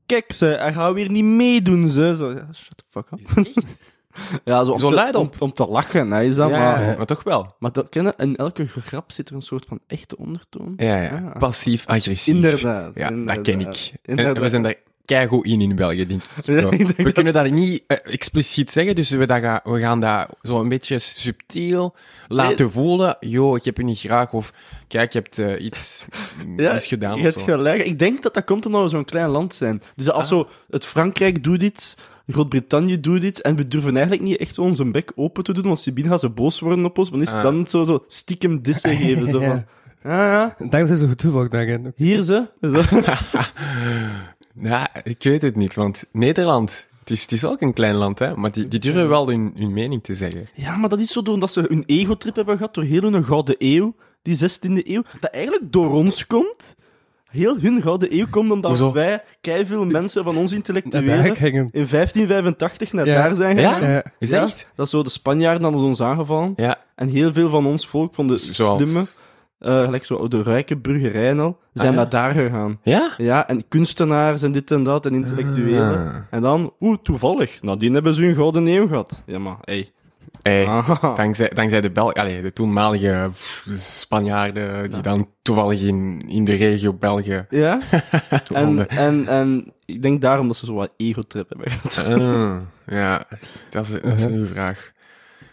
Speaker 4: kijk ze, hij gaat weer niet meedoen, ze. Zo, ja, shut the fuck up. *laughs* ja, zo, om
Speaker 3: Zo
Speaker 4: te-
Speaker 3: luid
Speaker 4: om,
Speaker 3: op.
Speaker 4: om te lachen, hè, is dat
Speaker 3: Ja,
Speaker 4: maar...
Speaker 3: maar toch wel.
Speaker 4: Maar dat, ken je, in elke grap zit er een soort van echte ondertoon.
Speaker 3: Ja, ja.
Speaker 4: Ah.
Speaker 3: Passief-agressief.
Speaker 4: Inderdaad.
Speaker 3: Ja,
Speaker 4: inderdaad.
Speaker 3: dat ken ik. En
Speaker 4: Inderdaad.
Speaker 3: we zijn daar keigoed in in België, denk ik. Zo.
Speaker 4: *laughs* ik denk
Speaker 3: we
Speaker 4: dat-
Speaker 3: kunnen dat niet eh, expliciet zeggen, dus we, dat ga- we gaan dat zo een beetje subtiel
Speaker 4: Eh.
Speaker 3: laten voelen. Yo, ik heb je niet graag, of kijk, je hebt eh, iets
Speaker 4: *laughs* Ja,
Speaker 3: misgedaan.
Speaker 4: je
Speaker 3: of
Speaker 4: hebt
Speaker 3: zo. Ah.
Speaker 4: gelijk. Ik denk dat dat komt omdat we zo'n klein land zijn. Dus als zo het Frankrijk doet iets, Groot-Brittannië doet iets, en we durven eigenlijk niet echt onze bek open te doen, want Sibine gaan ze boos worden op ons, maar is
Speaker 3: Ah.
Speaker 4: dan zo, zo stiekem dissen
Speaker 3: *laughs*
Speaker 4: geven. Zo van, ja, ja,
Speaker 5: Daarom zijn ze goed toevallig daarin.
Speaker 4: hier ze. *laughs* Zo.
Speaker 3: Ja, ik weet het niet, want Nederland, het is, het is ook een klein land, hè, maar die, die durven wel hun, hun mening te zeggen.
Speaker 4: Ja, maar dat is zo door dat ze een egotrip hebben gehad door heel hun gouden eeuw, die 16e eeuw, dat eigenlijk door ons komt. heel hun gouden eeuw komt omdat
Speaker 3: Hoezo?
Speaker 4: wij veel mensen van ons
Speaker 5: En daar
Speaker 4: intellectuelen
Speaker 5: hangen.
Speaker 4: in 1585 naar
Speaker 5: Ja.
Speaker 4: daar zijn gegaan.
Speaker 3: Ja?
Speaker 5: Ja.
Speaker 3: Is
Speaker 4: Ja,
Speaker 3: dat echt?
Speaker 4: dat is zo, de Spanjaarden hadden ons aangevallen.
Speaker 3: Ja.
Speaker 4: En heel veel van ons volk, van de
Speaker 3: Zoals- Ah,
Speaker 4: slimme, eh, gelijk zo, de rijke burgerijen al, zijn
Speaker 3: ja.
Speaker 4: naar daar gegaan.
Speaker 3: Ja?
Speaker 4: Ja, en kunstenaars en dit en dat, en intellectuelen.
Speaker 3: Ah.
Speaker 4: En dan, oeh, toevallig, nou, die hebben ze hun gouden eeuw gehad. Ja, maar, hey.
Speaker 3: Hey,
Speaker 4: Ah,
Speaker 3: Dankzij, dankzij de Belgen, allee, de toenmalige pff, Spanjaarden, die dan toevallig in, in de regio België
Speaker 4: Ja? En, *laughs*
Speaker 3: woonden.
Speaker 4: en, en ik denk daarom dat ze zo wat ego-trip hebben gehad.
Speaker 3: Ah, ja, dat is, dat is een goede vraag.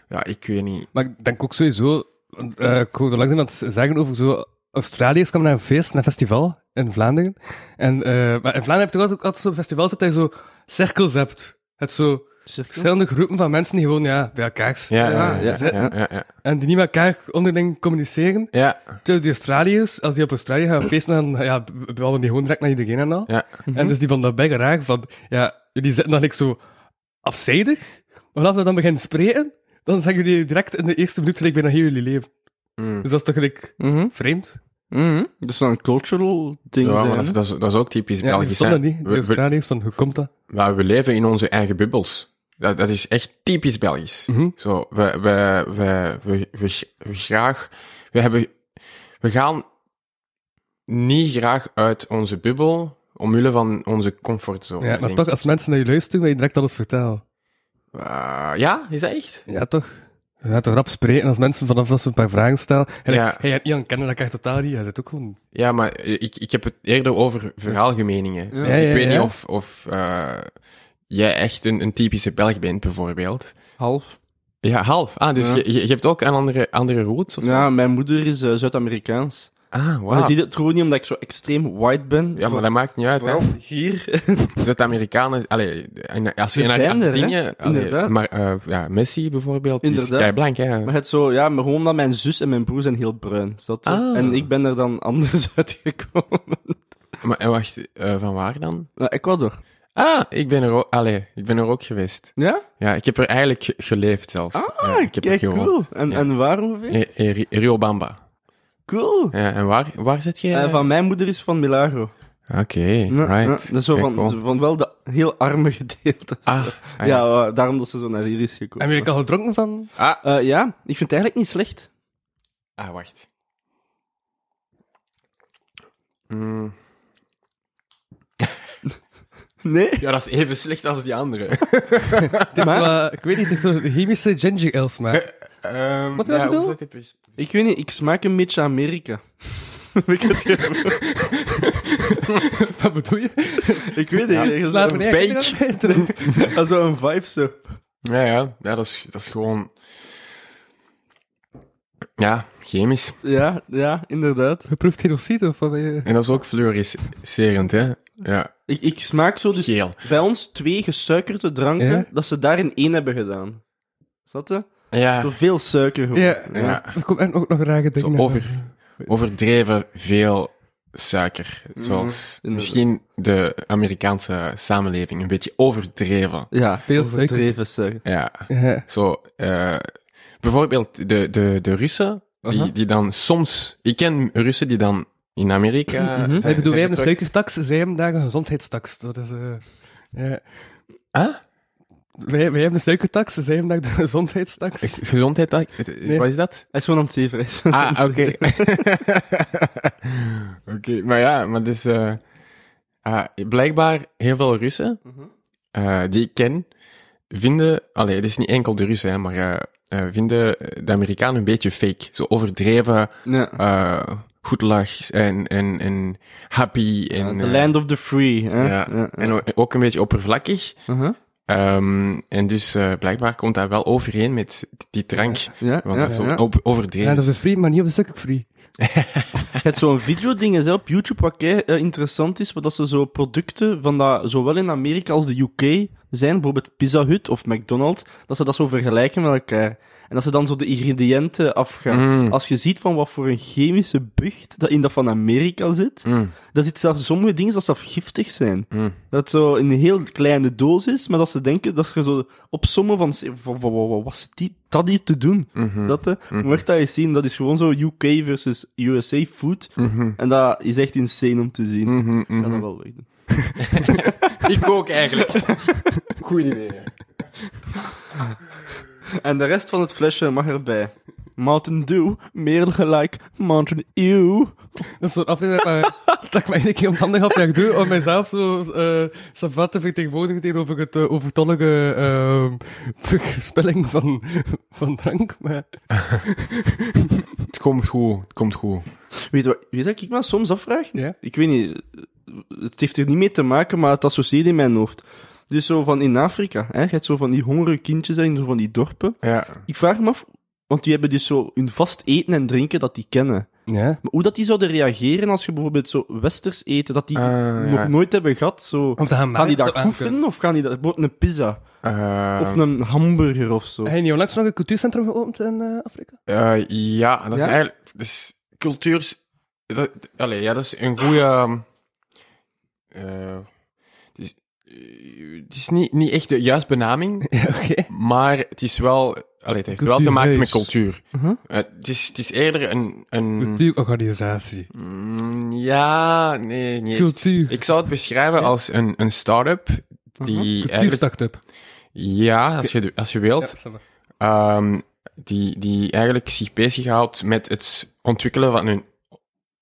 Speaker 3: Ja, ik weet niet.
Speaker 5: Maar ik denk ook sowieso, want, eh, ik hoorde langs iemand zeggen over zo, Australiërs kwamen naar een feest, naar een festival in Vlaanderen. En, eh, maar in Vlaanderen heb je toch altijd, ook altijd zo'n festival dat je zo cirkels hebt. Het zo verschillende groepen van mensen die gewoon ja, bij elkaar zijn.
Speaker 3: Ja, ja,
Speaker 4: ja,
Speaker 3: ja.
Speaker 4: ja.
Speaker 3: ja, ja, ja.
Speaker 5: En die niet met elkaar onderling communiceren.
Speaker 3: ja.
Speaker 5: Terwijl die Australiërs, als die op Australië gaan feesten, dan ja, b- b- babbelen die gewoon direct naar iedereen en al.
Speaker 3: Ja.
Speaker 5: En dus die van daarbij geraakt van, ja, jullie zitten dan like, zo afzijdig. Maar vanaf dat dan begint spreken, dan zeggen jullie direct in de eerste minuut gelijk bijna heel jullie leven.
Speaker 3: Mm.
Speaker 5: Dus dat is toch gelijk
Speaker 4: Mhm.
Speaker 5: vreemd?
Speaker 4: Mhm. Dus dan een cultural ding.
Speaker 3: Ja, maar dat,
Speaker 4: zijn, hè?
Speaker 3: is- dat, is, dat is ook typisch
Speaker 5: Ja, ik
Speaker 3: Belgisch.
Speaker 5: stond
Speaker 3: hè.
Speaker 5: dat niet. dus- De
Speaker 3: We, we,
Speaker 5: Australiërs van, hoe komt dat?
Speaker 3: maar we leven in onze eigen bubbels. Dat, dat is echt typisch Belgisch.
Speaker 5: Mhm.
Speaker 3: Zo, we, we, we, we, we, g- we graag, we hebben, we gaan niet graag uit onze bubbel omwille van onze comfortzone.
Speaker 5: Ja,
Speaker 3: denk
Speaker 5: maar
Speaker 3: Oh, ik.
Speaker 5: toch, als mensen naar je luisteren, wil je direct alles vertellen.
Speaker 3: Eh, ja, is dat echt?
Speaker 5: Ja, toch? Je gaat toch rap spreken als mensen vanaf dat ze een paar vragen stellen. En
Speaker 3: Ja.
Speaker 5: hey, Jan kennen elkaar totaal niet. Hij zit ook gewoon...
Speaker 3: Ja, maar ik, ik heb het eerder over verhaalgemeningen. Dus
Speaker 5: Ja,
Speaker 3: ik
Speaker 5: ja,
Speaker 3: weet
Speaker 5: ja.
Speaker 3: niet of, of eh, jij echt een, een typische Belg bent, bijvoorbeeld.
Speaker 4: Half.
Speaker 3: Ja, half. Ah, dus
Speaker 4: Ja.
Speaker 3: Je, je, je hebt ook een andere, andere route? Of zo?
Speaker 4: Ja, mijn moeder is eh, Zuid-Amerikaans.
Speaker 3: Ah,
Speaker 4: Maar je
Speaker 3: wauw.
Speaker 4: ziet het gewoon niet omdat ik zo extreem white ben.
Speaker 3: Ja, maar dat maakt niet uit. hè.
Speaker 4: Vooral hier. *laughs*
Speaker 3: Zuid-Amerikanen, allee, en als je
Speaker 4: Er
Speaker 3: naar
Speaker 4: zijn er, hè?
Speaker 3: Argentinië, allee,
Speaker 4: Inderdaad.
Speaker 3: maar eh, ja, Messi bijvoorbeeld, die is
Speaker 4: Inderdaad.
Speaker 3: keiblank, hè.
Speaker 4: Maar het zo, ja, maar gewoon omdat mijn zus en mijn broer zijn heel bruin. Is dat, eh?
Speaker 3: Ah.
Speaker 4: En ik ben er dan anders *laughs* uitgekomen.
Speaker 3: Maar en wacht, eh, van waar dan?
Speaker 4: Nou, Ecuador.
Speaker 3: Ah, ik ben er ook, allee, ik ben er ook geweest.
Speaker 4: Ja?
Speaker 3: Ja, ik heb er eigenlijk ge- geleefd zelfs. ja, ik heb
Speaker 4: Ah, Kijk,
Speaker 3: er gewoond.
Speaker 4: cool. En,
Speaker 3: Ja.
Speaker 4: en waar ongeveer?
Speaker 3: Eh, eh, Ri- Rio Bamba.
Speaker 4: Cool.
Speaker 3: Ja, en waar, waar zit je?
Speaker 4: Eh, van mijn moeder is van Milagro.
Speaker 3: Oké,
Speaker 4: Ja, ja.
Speaker 3: right.
Speaker 4: Dat is zo
Speaker 3: Ja,
Speaker 4: van,
Speaker 3: cool.
Speaker 4: zo van wel de heel arme *laughs* gedeelte.
Speaker 3: Ah,
Speaker 4: ja,
Speaker 3: ah, ja.
Speaker 4: eh, daarom dat ze zo naar hier is gekomen.
Speaker 5: Heb je al gedronken van?
Speaker 4: Eh, ja, ik vind het eigenlijk niet slecht.
Speaker 3: Ah, wacht. Mm.
Speaker 4: Nee?
Speaker 3: Ja, dat is even slecht als die andere. *laughs*
Speaker 5: Het is
Speaker 4: Maar-
Speaker 5: wel, eh, ik weet niet, het is zo'n chemische ginger
Speaker 4: *laughs*
Speaker 5: ale smaak.
Speaker 3: Ehm,
Speaker 5: Snap je wat ik
Speaker 3: ja,
Speaker 5: bedoel?
Speaker 3: hoe zou het precies-
Speaker 4: Ik weet niet, ik smaak een beetje Amerika. *laughs* Weet ik het?
Speaker 5: Wat bedoel je?
Speaker 4: Ik weet het niet.
Speaker 5: Slaat
Speaker 4: Dat
Speaker 5: me
Speaker 4: is
Speaker 5: neer,
Speaker 3: fake.
Speaker 5: kijk je dat?
Speaker 3: *laughs*
Speaker 4: zo- dat is zo een vibe zo.
Speaker 3: Ja, ja. ja dat, is, dat is gewoon... Ja, chemisch.
Speaker 4: Ja, ja, inderdaad.
Speaker 5: Geproefd genocide of wat? eh,
Speaker 3: En dat is ook fluoriserend, hè? Ja,
Speaker 4: Ik, ik smaak zo dus
Speaker 3: geel.
Speaker 4: bij ons twee gesuikerde dranken,
Speaker 5: Ja?
Speaker 4: dat ze daarin één hebben gedaan. Snap je? Door
Speaker 3: Ja,
Speaker 4: veel suiker gewoon.
Speaker 5: Ja,
Speaker 3: Ah. Ja.
Speaker 5: er komt echt ook nog rare
Speaker 3: zo
Speaker 5: dingen.
Speaker 3: over, overdreven veel suiker. Zoals
Speaker 4: Mhm, inderdaad.
Speaker 3: misschien de Amerikaanse samenleving. Een beetje overdreven.
Speaker 4: Ja,
Speaker 5: Veel
Speaker 4: overdreven suiker.
Speaker 3: Ja,
Speaker 5: Ja.
Speaker 3: zo... eh, bijvoorbeeld de, de, de Russen, die,
Speaker 4: Aha.
Speaker 3: die dan soms... Ik ken Russen die dan in Amerika...
Speaker 4: Mhm.
Speaker 3: zijn-
Speaker 5: Ik bedoel, wij
Speaker 3: zijn
Speaker 5: hebben een
Speaker 3: getrokken.
Speaker 5: suikertax, zij hebben daar een gezondheidstax. Dat is, eh, ja.
Speaker 3: Huh?
Speaker 5: Wij, wij hebben een suikertax, zij hebben daar de *laughs* gezondheidstax.
Speaker 3: Gezondheid, wat is dat?
Speaker 4: Hij is gewoon aan het zeven.
Speaker 3: Ah, *laughs* oké. oké, maar ja, maar dus... eh, ah, blijkbaar heel veel Russen,
Speaker 4: Mhm.
Speaker 3: eh, die ik ken, vinden... Allee, het is niet enkel de Russen, hè, maar... eh, eh, vinden de Amerikanen een beetje fake. Zo overdreven,
Speaker 4: *laughs* Ja.
Speaker 3: eh goed lach en, en, en happy. En,
Speaker 4: The
Speaker 3: eh,
Speaker 4: land of the free. Hè? Uh-huh.
Speaker 3: ja, en o- ook een beetje oppervlakkig.
Speaker 4: Aha.
Speaker 3: Ehm, en dus eh, blijkbaar komt dat wel overeen met die drank.
Speaker 4: Ja,
Speaker 3: Want
Speaker 4: ja,
Speaker 3: dat is zo
Speaker 4: ja.
Speaker 3: op- overdreven.
Speaker 5: Ja, dat is een free, maar niet op een suikerfree.
Speaker 4: Je hebt zo'n videoding eens, hè, op YouTube wat kei eh, interessant is, waar dat ze zo producten van dat zowel in Amerika als de UK zijn, bijvoorbeeld Pizza Hut of McDonald's, dat ze dat zo vergelijken met elkaar. En dat ze dan zo de ingrediënten afgaan.
Speaker 3: Mm,
Speaker 4: Als je ziet van wat voor een chemische bucht dat in dat van Amerika zit,
Speaker 3: mm,
Speaker 4: dat zit zelfs sommige dingen dat zelfs giftig zijn.
Speaker 3: mm.
Speaker 4: Dat het zo in een heel kleine doos is, maar dat ze denken dat ze zo op sommen van, van, van- van- wat was dit? dat hier te doen.
Speaker 3: Mhm.
Speaker 4: Dat, eh, Mocht dat eens zien, dat is gewoon zo UK versus USA food.
Speaker 3: Mhm.
Speaker 4: En dat is echt insane om te zien. Ik ga dat wel wegdoen.
Speaker 3: Ik ook eigenlijk. Goed idee. hè.
Speaker 4: En de rest van het flesje mag erbij. Mountain Dew, meer gelijk Mountain Ew.
Speaker 5: Dat is zo'n aflevering *laughs* waar- dat ik mij een keer om handen ga ik doe om mijzelf zo eh savat te vertegenwoordigen tegenover het eh, overtollige eh, *laughs* spelling van, van drank. Maar
Speaker 3: Het komt goed, het komt goed.
Speaker 4: Weet je wat, weet je wat ik me soms afvraag?
Speaker 5: Ja.
Speaker 4: Ik weet niet, het heeft er niet mee te maken, maar het associeert in mijn hoofd. Dus zo van in Afrika, hè, je hebt zo van die hongerige kindjes en zo van die dorpen.
Speaker 3: Ja.
Speaker 4: Ik vraag me af, want die hebben dus zo hun vast eten en drinken dat die kennen.
Speaker 5: ja.
Speaker 4: Maar hoe dat die zouden reageren als je bijvoorbeeld zo westers eten, dat die
Speaker 3: Ah,
Speaker 4: nog
Speaker 3: ja.
Speaker 4: nooit hebben gehad, zo...
Speaker 5: Of dat
Speaker 4: Gaan die dat proeven of gaan die dat... Bijvoorbeeld een pizza
Speaker 3: Eh,
Speaker 4: of een hamburger of zo.
Speaker 5: Heb je niet onlangs nog een cultuurcentrum geopend in eh, Afrika?
Speaker 3: eh, ja, dat
Speaker 4: Ja?
Speaker 3: is eigenlijk... Dat is cultuurs... Dat, allee, ja, dat is een goede... ehm, eh, het is, eh, het is niet, niet echt de juiste benaming,
Speaker 5: Ja, oké.
Speaker 3: maar het is wel... Allee, het heeft wel te maken met cultuur.
Speaker 4: Uh-huh.
Speaker 3: Eh, het, is, het is eerder een... een
Speaker 5: Cultuurorganisatie.
Speaker 3: Mm, ja, nee, nee.
Speaker 5: Cultuur.
Speaker 3: Ik zou het beschrijven als een, een start-up die eigenlijk...
Speaker 5: Cultuurstart-up.
Speaker 3: Ja, als je, als je wilt. Ehm, die, die eigenlijk zich bezighoudt met het ontwikkelen van een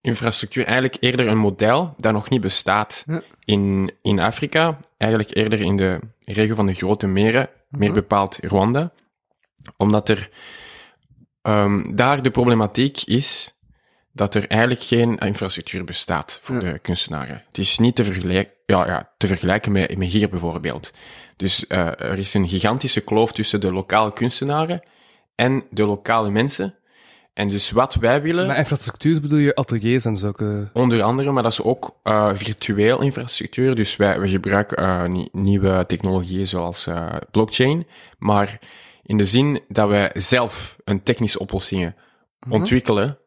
Speaker 3: infrastructuur. Eigenlijk eerder een model dat nog niet bestaat
Speaker 4: Ja.
Speaker 3: in, in Afrika. Eigenlijk eerder in de regio van de grote meren, meer
Speaker 4: Mhm.
Speaker 3: bepaald Rwanda. Omdat er ehm, daar de problematiek is dat er eigenlijk geen infrastructuur bestaat voor
Speaker 4: Ja.
Speaker 3: de kunstenaren. Het is niet te, vergelijk, ja, ja, te vergelijken met, met hier bijvoorbeeld. Dus eh, er is een gigantische kloof tussen de lokale kunstenaren en de lokale mensen. En dus wat wij willen,
Speaker 5: Maar infrastructuur bedoel je ateliers en eh. zulke...
Speaker 3: onder andere, maar dat is ook eh, virtueel infrastructuur. Dus wij, wij gebruiken eh, nie- nieuwe technologieën zoals eh, blockchain. Maar in de zin dat wij zelf een technische oplossingen ontwikkelen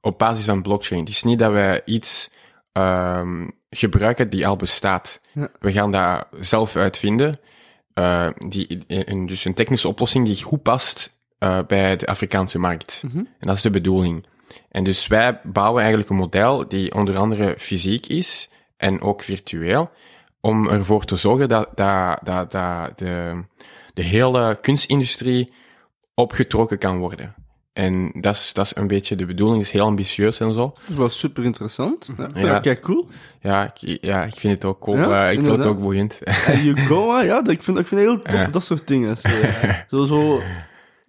Speaker 3: op basis van blockchain. Het is niet dat wij iets ehm, gebruiken die al bestaat.
Speaker 4: Ja.
Speaker 3: We gaan dat zelf uitvinden. Eh, die, en dus een technische oplossing die goed past eh, bij de Afrikaanse markt. En dat is de bedoeling. En dus wij bouwen eigenlijk een model die onder andere fysiek is en ook virtueel, om ervoor te zorgen dat, dat, dat, dat de, de hele kunstindustrie opgetrokken kan worden. En dat is, dat is een beetje de bedoeling, is heel ambitieus en zo.
Speaker 4: Dat is wel super interessant. Ja,
Speaker 3: Ja.
Speaker 4: kijk, cool.
Speaker 3: Ja, ik, ja, ik vind het ook cool.
Speaker 4: Ja,
Speaker 3: eh, ik vind het
Speaker 4: inderdaad.
Speaker 3: ook boeiend. *laughs*
Speaker 4: En Yugoa, ja, dat, ik, vind, ik vind het heel tof,
Speaker 3: Ja.
Speaker 4: dat soort dingen. Zo,
Speaker 3: *laughs*
Speaker 4: zo, zo,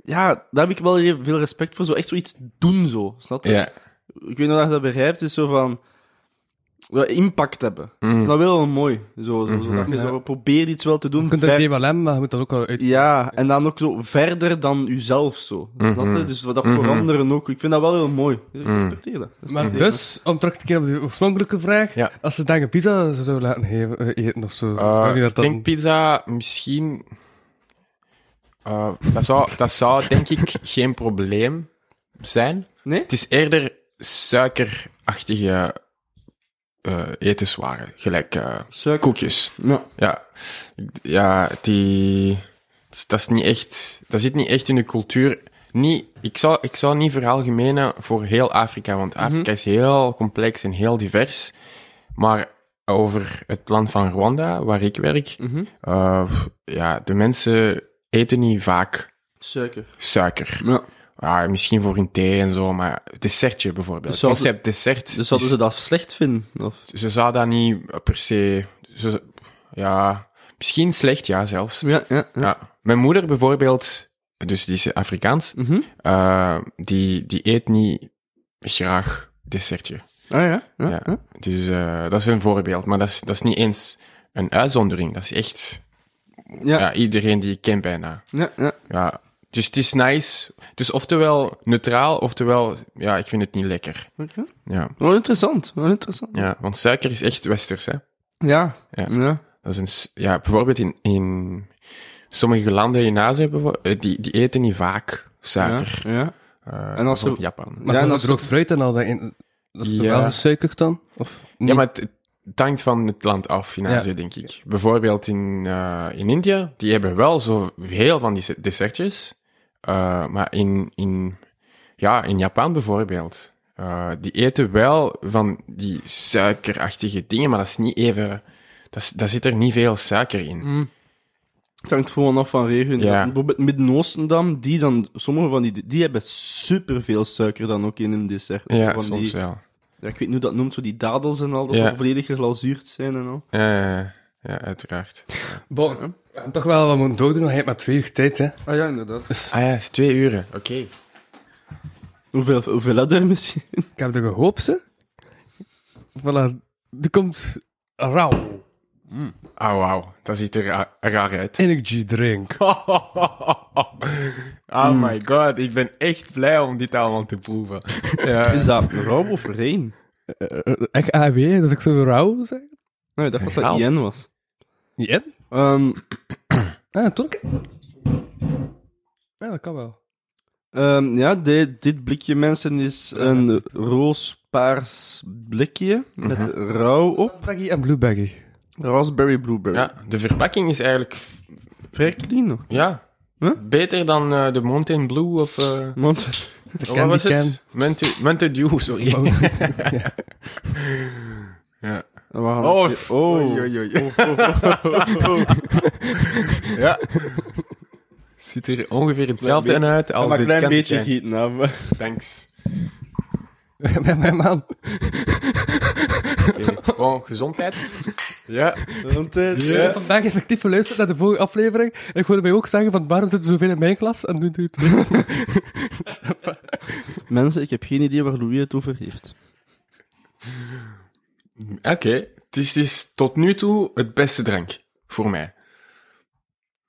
Speaker 4: ja, daar heb ik wel heel veel respect voor. Zo echt zoiets doen, zo. Snap je?
Speaker 3: ja.
Speaker 4: Ik weet niet of je dat begrijpt, is zo van... ja, impact hebben.
Speaker 3: Mm. Mhm.
Speaker 4: Dat is wel mooi. Zo, zo, zo, dat je
Speaker 5: Ja.
Speaker 4: zo probeert iets wel te doen.
Speaker 5: Je kunt
Speaker 4: ver-
Speaker 5: dat DLM, maar je moet dat ook al uit...
Speaker 4: Ja, en dan ook zo verder dan uzelf zo. Snap
Speaker 3: Mhm.
Speaker 4: je? Dus dat veranderen ook. Ik vind dat wel heel mooi. Ik Respecteer dat.
Speaker 5: Maar
Speaker 4: Respecteer dat.
Speaker 5: dus, om terug te keren op de oorspronkelijke vraag,
Speaker 3: Ja.
Speaker 5: als ze dan een pizza ze zouden laten geven, eh, eten of zo,
Speaker 3: Eh,
Speaker 5: zou je dat
Speaker 3: ik
Speaker 5: dan...
Speaker 3: denk pizza misschien. eh, dat, zou, dat zou denk ik geen probleem zijn.
Speaker 4: Nee?
Speaker 3: Het is eerder suikerachtige eh, etenswaren, gelijk eh,
Speaker 4: Suiker.
Speaker 3: koekjes.
Speaker 4: Ja.
Speaker 3: Ja, ja die, dat, is niet echt, dat zit niet echt in de cultuur. Niet, ik, zou, ik zou niet veralgemenen voor heel Afrika, want Afrika is heel complex en heel divers. Maar over het land van Rwanda, waar ik werk,
Speaker 4: Mhm.
Speaker 3: eh, ja, de mensen eten niet vaak
Speaker 4: Suiker.
Speaker 3: suiker.
Speaker 4: Ja.
Speaker 3: Ja, Ah, misschien voor hun thee en zo, maar dessertje bijvoorbeeld. Het
Speaker 4: Dus zouden-
Speaker 3: concept dessert.
Speaker 4: Dus hadden
Speaker 3: is-
Speaker 4: ze dat slecht vinden? Of?
Speaker 3: ze zou dat niet per se. ze- ja, misschien slecht, ja, zelfs. Ja.
Speaker 4: Ja, ja, ja.
Speaker 3: Mijn moeder bijvoorbeeld, dus die is Afrikaans,
Speaker 4: Mhm.
Speaker 3: eh, die, die eet niet graag dessertje.
Speaker 4: Ah ja, ja,
Speaker 3: Ja.
Speaker 4: ja.
Speaker 3: Dus eh, dat is een voorbeeld, maar dat is, dat is niet eens een uitzondering. Dat is echt
Speaker 4: Ja.
Speaker 3: ja. iedereen die ik ken bijna.
Speaker 4: Ja, ja.
Speaker 3: Ja. Dus het is nice. Dus oftewel neutraal, oftewel, ja, ik vind het niet lekker.
Speaker 4: Oké.
Speaker 3: Ja,
Speaker 4: Wel interessant, wel interessant.
Speaker 3: ja want suiker is echt westers, hè.
Speaker 4: Ja.
Speaker 3: Ja.
Speaker 4: ja.
Speaker 3: Dat is een, s- ja, bijvoorbeeld in, in sommige landen in Azië, bijvo- eh, die, die eten niet vaak suiker.
Speaker 4: Ja, ja.
Speaker 3: Eh,
Speaker 4: als
Speaker 3: bijvoorbeeld
Speaker 4: ze-
Speaker 3: Japan.
Speaker 5: Maar
Speaker 4: Ja,
Speaker 5: ja,
Speaker 4: en
Speaker 5: dat
Speaker 4: als-
Speaker 5: is droogd fruit en al dat... in- dat is toch
Speaker 3: Ja.
Speaker 5: wel suikerd dan? Of niet?
Speaker 3: Ja, maar het, het hangt van het land af in
Speaker 5: Ja.
Speaker 3: Azië, denk ik. Bijvoorbeeld in, eh, in India, die hebben wel zo heel van die se- dessertjes. Eh, maar in, in, ja, in Japan bijvoorbeeld, eh, die eten wel van die suikerachtige dingen, maar dat is niet even... Dat is- daar zit er niet veel suiker in.
Speaker 4: Het hangt gewoon af van regio.
Speaker 3: Ja.
Speaker 4: Bijvoorbeeld Midden-Oosten dan, die dan, sommige van die, die hebben superveel suiker dan ook in hun dessert.
Speaker 3: Ja,
Speaker 4: van
Speaker 3: soms
Speaker 4: die,
Speaker 3: wel.
Speaker 4: ja, ik weet niet hoe dat noemt, zo die dadels en al, dat
Speaker 3: Ja.
Speaker 4: ze volledig geglazuurd zijn en al.
Speaker 3: Eh, ja, uiteraard.
Speaker 5: Bon, we gaan toch wel wat moeten doordoen, want je hebt maar twee uur tijd, hè.
Speaker 4: Ah ja, inderdaad.
Speaker 3: Ah ja, het is twee uren. Oké.
Speaker 4: Hoeveel, hoeveel had er misschien?
Speaker 5: Ik heb er gehoopt, hè. Voilà, er komt rauw
Speaker 3: Ah, wauw. Dat ziet er ra- raar uit. *laughs*
Speaker 5: energy drink.
Speaker 3: Oh my god, ik ben echt blij om dit allemaal te proeven. Ja.
Speaker 4: Is dat rauw of rein?
Speaker 3: Eh,
Speaker 5: Echt AW, dus ik zou rauw zijn.
Speaker 4: Nee, Nou, ik dacht dat dat
Speaker 3: Rauw.
Speaker 4: IN was.
Speaker 5: Ja?
Speaker 4: Ehm,
Speaker 5: Ah, toen. Ja, dat kan wel.
Speaker 4: ehm, ja, de- dit blikje, mensen, is een roospaars blikje met
Speaker 3: Mhm.
Speaker 4: rauw op.
Speaker 5: Baggy en blueberry.
Speaker 4: Raspberry blueberry.
Speaker 3: ja, de verpakking is eigenlijk f-
Speaker 4: Vrij clean nog.
Speaker 3: ja,
Speaker 4: Huh?
Speaker 3: beter dan eh, de Mountain Blue of... eh,
Speaker 4: Want...
Speaker 3: wat was
Speaker 5: Candy
Speaker 3: het? Mountain, Mountain Dew, *laughs* sorry.
Speaker 5: Oh.
Speaker 3: ja.
Speaker 4: We gaan-
Speaker 3: Oh,
Speaker 4: oh,
Speaker 3: oei, oei, oei.
Speaker 4: Oh, oh, *laughs* oh, oh, oh.
Speaker 3: ja. Ziet er ongeveer hetzelfde
Speaker 4: Klein
Speaker 3: uit als
Speaker 4: maar
Speaker 3: de
Speaker 4: een klein
Speaker 3: Candy
Speaker 4: beetje
Speaker 3: Can.
Speaker 4: gieten *laughs* af.
Speaker 3: Thanks.
Speaker 5: Met *laughs* mijn man.
Speaker 3: Oké, Bon, gezondheid. *laughs* Ja.
Speaker 4: eh,
Speaker 5: Ik heb vandaag effectief geluisterd naar de vorige aflevering. En ik wilde mij ook zeggen van waarom zitten zoveel in mijn klas en nu doe je
Speaker 3: *laughs*
Speaker 5: het weer.
Speaker 4: Mensen, ik heb geen idee waar Louis het over heeft.
Speaker 3: Oké, het, is, het is tot nu toe het beste drank voor mij.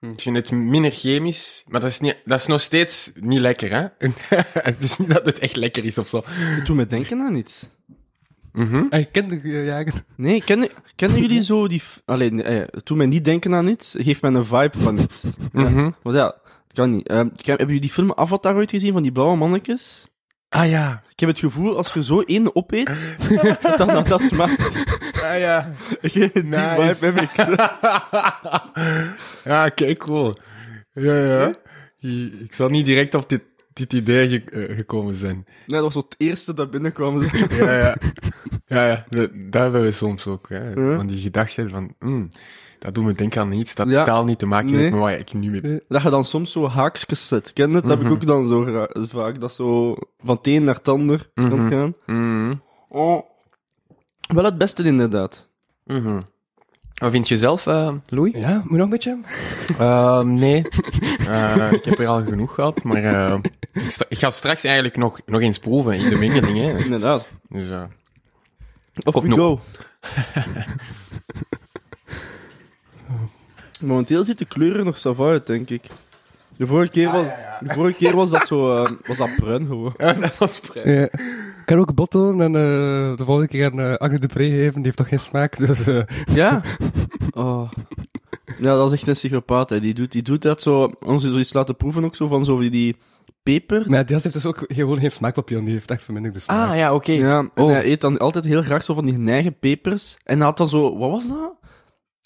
Speaker 3: Ik vind het minder chemisch, maar dat is, niet, dat is nog steeds niet lekker, hè? *laughs* het is niet dat het echt lekker is of zo.
Speaker 4: Het doet me denken aan iets.
Speaker 3: Mhm.
Speaker 5: En je kinderjager.
Speaker 4: Nee, kennen, kennen jullie zo die... f- Allee, nee, eh, het doet mij niet denken aan iets, geeft mij een vibe van iets. Ja.
Speaker 3: Mhm.
Speaker 4: Maar ja, het kan niet. Ehm, ken- hebben jullie die film Avatar ooit gezien, van die blauwe mannetjes?
Speaker 3: Ah ja.
Speaker 4: Ik heb het gevoel, als je zo één opeet, *laughs* dat dat, dat smaakt.
Speaker 3: Ah ja.
Speaker 4: Ik weet het, Die
Speaker 3: Nice.
Speaker 4: vibe heb ik.
Speaker 3: ja, oké, cool. Ja, ja. I- Ik zal niet direct op dit, dit idee ge- eh, gekomen zijn.
Speaker 4: Nee, dat was zo het eerste dat binnenkwam.
Speaker 3: Ja, ja. Ja, ja. we- daar hebben we soms ook, hè.
Speaker 4: Ja.
Speaker 3: Van die gedachte van, mm, dat doet me denken aan iets dat
Speaker 4: Ja.
Speaker 3: totaal niet te maken
Speaker 4: Nee.
Speaker 3: heeft met waar ik nu mee
Speaker 4: *laughs* Dat je dan soms zo haakjes zet. Ken je dat? Dat heb ik ook dan zo gra- vaak. Dat zo van het een naar het ander kan
Speaker 3: Mhm.
Speaker 4: gaan.
Speaker 3: Mhm.
Speaker 4: Oh. Wel het beste inderdaad.
Speaker 3: Mhm. Wat vind je zelf, eh, Louis?
Speaker 5: Ja, moet nog een beetje?
Speaker 3: Eh, *laughs* nee. Eh, ik heb er al genoeg gehad, maar eh, ik, sta- ik ga straks eigenlijk nog, nog eens proeven in de mengeling. Hè.
Speaker 4: Inderdaad.
Speaker 3: Dus, eh,
Speaker 4: Of we
Speaker 3: nog.
Speaker 4: go. *laughs* Momenteel ziet de kleuren nog zo uit, denk ik. De vorige keer was, De vorige keer was dat zo... eh, was dat bruin gewoon. *laughs*
Speaker 3: dat was prettig.
Speaker 5: Ja. Ik kan ook bottelen en eh, de volgende keer aan eh, Agnes de Pre geven. Die heeft toch geen smaak, dus... eh, *laughs*
Speaker 4: Ja? *laughs* Oh. Ja, dat is echt een psychopaat. Hè. Die, doet, die doet dat zo... Ons zoiets laten proeven ook zo van zo die- die peper.
Speaker 5: Maar die gast heeft dus ook gewoon geen smaakpapillon. Die heeft echt verminderde smaak.
Speaker 3: Ah, ja, oké.
Speaker 4: Ja, en hij eet dan altijd heel graag zo van die neigen pepers. En hij had dan zo, wat was dat?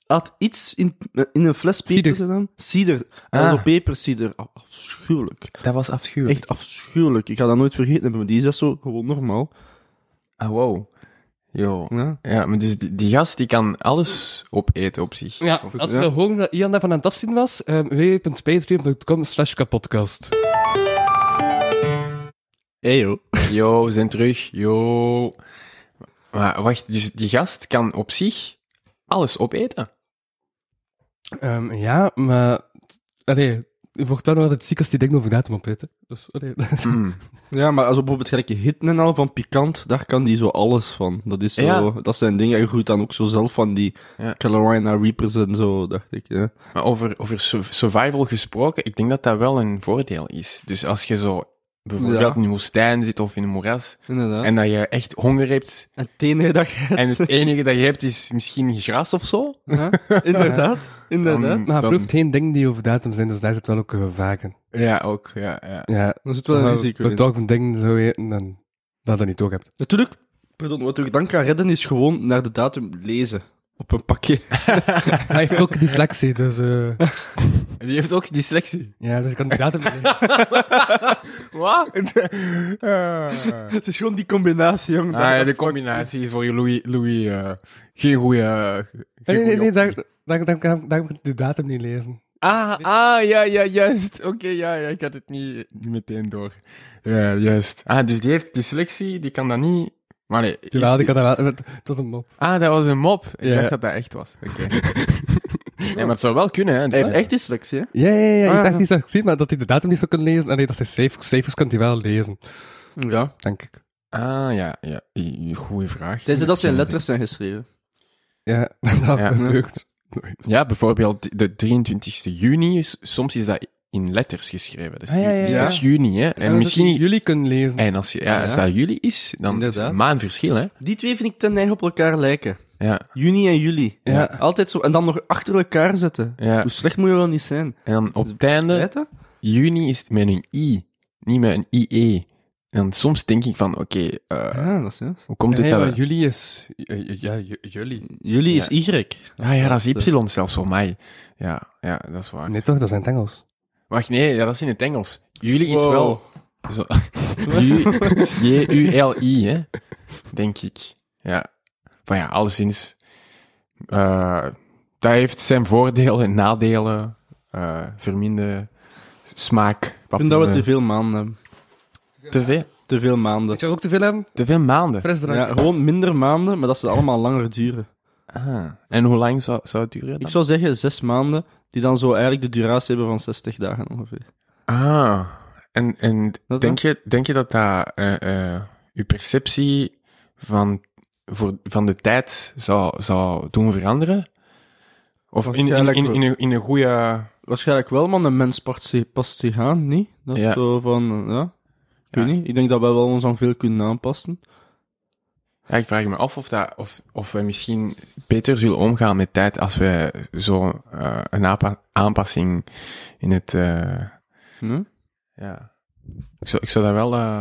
Speaker 4: Hij had iets in, in een fles
Speaker 5: Cider.
Speaker 4: pepers gedaan. Cider. Hij had
Speaker 3: Ah.
Speaker 4: zo pepercider. Ah, Afschuwelijk.
Speaker 5: Ah,
Speaker 3: Dat was afschuwelijk.
Speaker 4: Echt afschuwelijk. Ik ga dat nooit vergeten hebben, maar die is dat zo gewoon normaal.
Speaker 3: Ah, wow. Jo.
Speaker 4: Ja.
Speaker 3: Ja, maar dus die, die gast die kan alles opeten op zich. *laughs*
Speaker 5: Ja, als we horen dat Ian daarvan aan het afzien was, um, www.patreon.com slash kapodcast.
Speaker 4: Hey, joh.
Speaker 3: Jo, we zijn terug. Jo. Maar wacht, dus die gast kan op zich alles *laughs* opeten?
Speaker 5: Ehm, ja, maar... Allee, je wordt wel nog altijd ziek als die denkt over datum opeten. Dus, allee, *laughs*
Speaker 3: Mm.
Speaker 4: Ja, maar als op bijvoorbeeld gelijk hitten en al van pikant, daar kan die zo alles van. Dat is zo,
Speaker 3: Ja.
Speaker 4: dat zijn dingen, je groeit dan ook zo zelf van die
Speaker 3: Ja.
Speaker 4: Carolina Reapers en zo, dacht ik. Ja.
Speaker 3: Maar over, over su- survival gesproken, ik denk dat dat wel een voordeel is. Dus als je zo bijvoorbeeld
Speaker 4: Ja.
Speaker 3: in een woestijn zit of in een moeras,
Speaker 4: Inderdaad. En,
Speaker 3: en dat je echt honger
Speaker 5: *laughs*
Speaker 3: hebt,
Speaker 4: en het enige dat je-
Speaker 3: en het enige dat je hebt is misschien gras of zo,
Speaker 4: Ja, inderdaad,
Speaker 3: dan...
Speaker 4: inderdaad.
Speaker 5: maar
Speaker 3: dan-
Speaker 5: proeft geen dingen die over datum zijn, dus daar zit wel ook eh, vaak in.
Speaker 3: Ja, ook, ja, ja.
Speaker 5: Ja,
Speaker 4: Er zit wel een
Speaker 5: maar
Speaker 4: risico in.
Speaker 5: We toch van dingen zo eten en dat je niet ook *laughs* hebt.
Speaker 4: Natuurlijk, pardon, wat ik dan kan redden is gewoon naar de
Speaker 3: *laughs*
Speaker 4: datum lezen. Op een pakje.
Speaker 5: Ah, Hij heeft ook dyslexie, dus... eh,
Speaker 3: En die heeft ook dyslexie.
Speaker 5: *laughs* Ja, dus ik kan die datum niet.
Speaker 3: Wat? *laughs*
Speaker 5: *laughs*
Speaker 4: Het is gewoon die combinatie, jongen.
Speaker 3: Ah, ja, de combinatie is voor je Louis, Louis eh, geen goede.
Speaker 5: *laughs* Nee, nee, nee, nee daar, daar, daar, daar, daar moet ik de datum niet lezen.
Speaker 3: Ah, ah, ja, ja, juist. Oké, ja, ja, ik had het niet, niet meteen door. Ja, juist. Ah, dus die heeft dyslexie, die kan dat niet. Maar nee.
Speaker 5: Ja, ik kan dat wel. Het was een mop.
Speaker 3: Ah, dat was een mop. Ik
Speaker 5: Ja.
Speaker 3: dacht dat dat echt was. Oké. nee, maar het zou wel kunnen, hè.
Speaker 4: Hij heeft echt dyslexie, hè?
Speaker 5: Ja, ja, ja.
Speaker 4: Ah,
Speaker 5: Ik dacht
Speaker 4: ja.
Speaker 5: niet dat ik zie, maar dat hij de datum niet zou kunnen lezen. En nee, dat zijn cijfers. Cijfers kan hij wel lezen,
Speaker 4: Ja.
Speaker 5: denk ik.
Speaker 3: Ah, ja, ja. I- i- Goeie vraag.
Speaker 4: Tenzij dat zijn letters zijn geschreven.
Speaker 5: Ja, maar *laughs* dat
Speaker 3: Ja.
Speaker 5: deugt nooit.
Speaker 3: Ja, bijvoorbeeld de 23e juni, is- soms is dat in letters geschreven. Dus
Speaker 5: Ah, ja, ja, ja.
Speaker 3: Dat is juni, hè. En
Speaker 5: dat
Speaker 3: misschien...
Speaker 5: jullie kunnen lezen.
Speaker 3: En als, je, ja,
Speaker 4: Ja.
Speaker 3: als dat juli is, dan is het
Speaker 4: Inderdaad.
Speaker 3: een maandverschil, hè.
Speaker 4: Die twee vind ik ten neig op elkaar lijken.
Speaker 3: Ja.
Speaker 4: Juni en juli.
Speaker 5: Ja.
Speaker 4: Altijd zo. En dan nog achter elkaar zetten.
Speaker 3: ja.
Speaker 4: Hoe slecht moet je wel niet zijn?
Speaker 3: En dan Eh. op het einde...
Speaker 4: Spijt, hè?
Speaker 3: juni is het met een i, niet met een ie. En soms denk ik van, oké, eh,
Speaker 4: Ja, Ah, dat is juist.
Speaker 3: hoe komt
Speaker 5: Ja,
Speaker 3: het
Speaker 5: ja,
Speaker 3: dat...
Speaker 5: maar
Speaker 3: we-
Speaker 5: jullie is... Ja, ja, ja, jullie.
Speaker 4: Juli
Speaker 3: Ja.
Speaker 4: is Y.
Speaker 3: Ah ja, dat is y zelfs voor mij. Ja, ja, dat is waar.
Speaker 5: Ah. Nee, toch? Dat zijn het Engels.
Speaker 3: Wacht, nee, ja, dat is in het Engels. Juli is
Speaker 4: Wow.
Speaker 3: wel... Zo, *laughs*
Speaker 4: *laughs*
Speaker 3: Ju- J-U-L-I, hè. Denk ik. Ja. Van ja, alleszins... eh, dat heeft zijn voordelen en nadelen. eh verminderen smaak.
Speaker 4: Ik vind dat we te veel maanden hebben.
Speaker 3: te veel.
Speaker 4: Te veel maanden.
Speaker 5: Weet je wat ook te veel hebben?
Speaker 3: Te veel maanden.
Speaker 5: Frisdrank.
Speaker 4: Ja, gewoon minder maanden, maar dat ze allemaal langer duren.
Speaker 3: Ah. En hoe lang zou, zou het duren?
Speaker 4: Ik
Speaker 3: dan?
Speaker 4: zou zeggen zes maanden, die dan zo eigenlijk de duratie hebben van 60 dagen ongeveer.
Speaker 3: Ah, en, en
Speaker 4: dan?
Speaker 3: denk, je, denk je dat dat eh, eh, je perceptie van, voor, van de tijd zou, zou doen veranderen? Of in, in, in,
Speaker 4: Waarschijnlijk
Speaker 3: in,
Speaker 4: wel.
Speaker 3: een, in een goede.
Speaker 4: Waarschijnlijk wel, man. Een mens past zich, past zich aan, niet? Dat
Speaker 3: Ja.
Speaker 4: zo van, eh, ja. Ik weet
Speaker 3: Ja.
Speaker 4: niet. Ik denk dat wij wel ons aan veel kunnen aanpassen.
Speaker 3: Ja, ik vraag me af of, dat, of, of we misschien beter zullen omgaan met tijd als we zo'n eh een aanpa- aanpassing in het. eh,
Speaker 4: Hm?
Speaker 3: ja. Ik zou, ik zou dat wel. eh,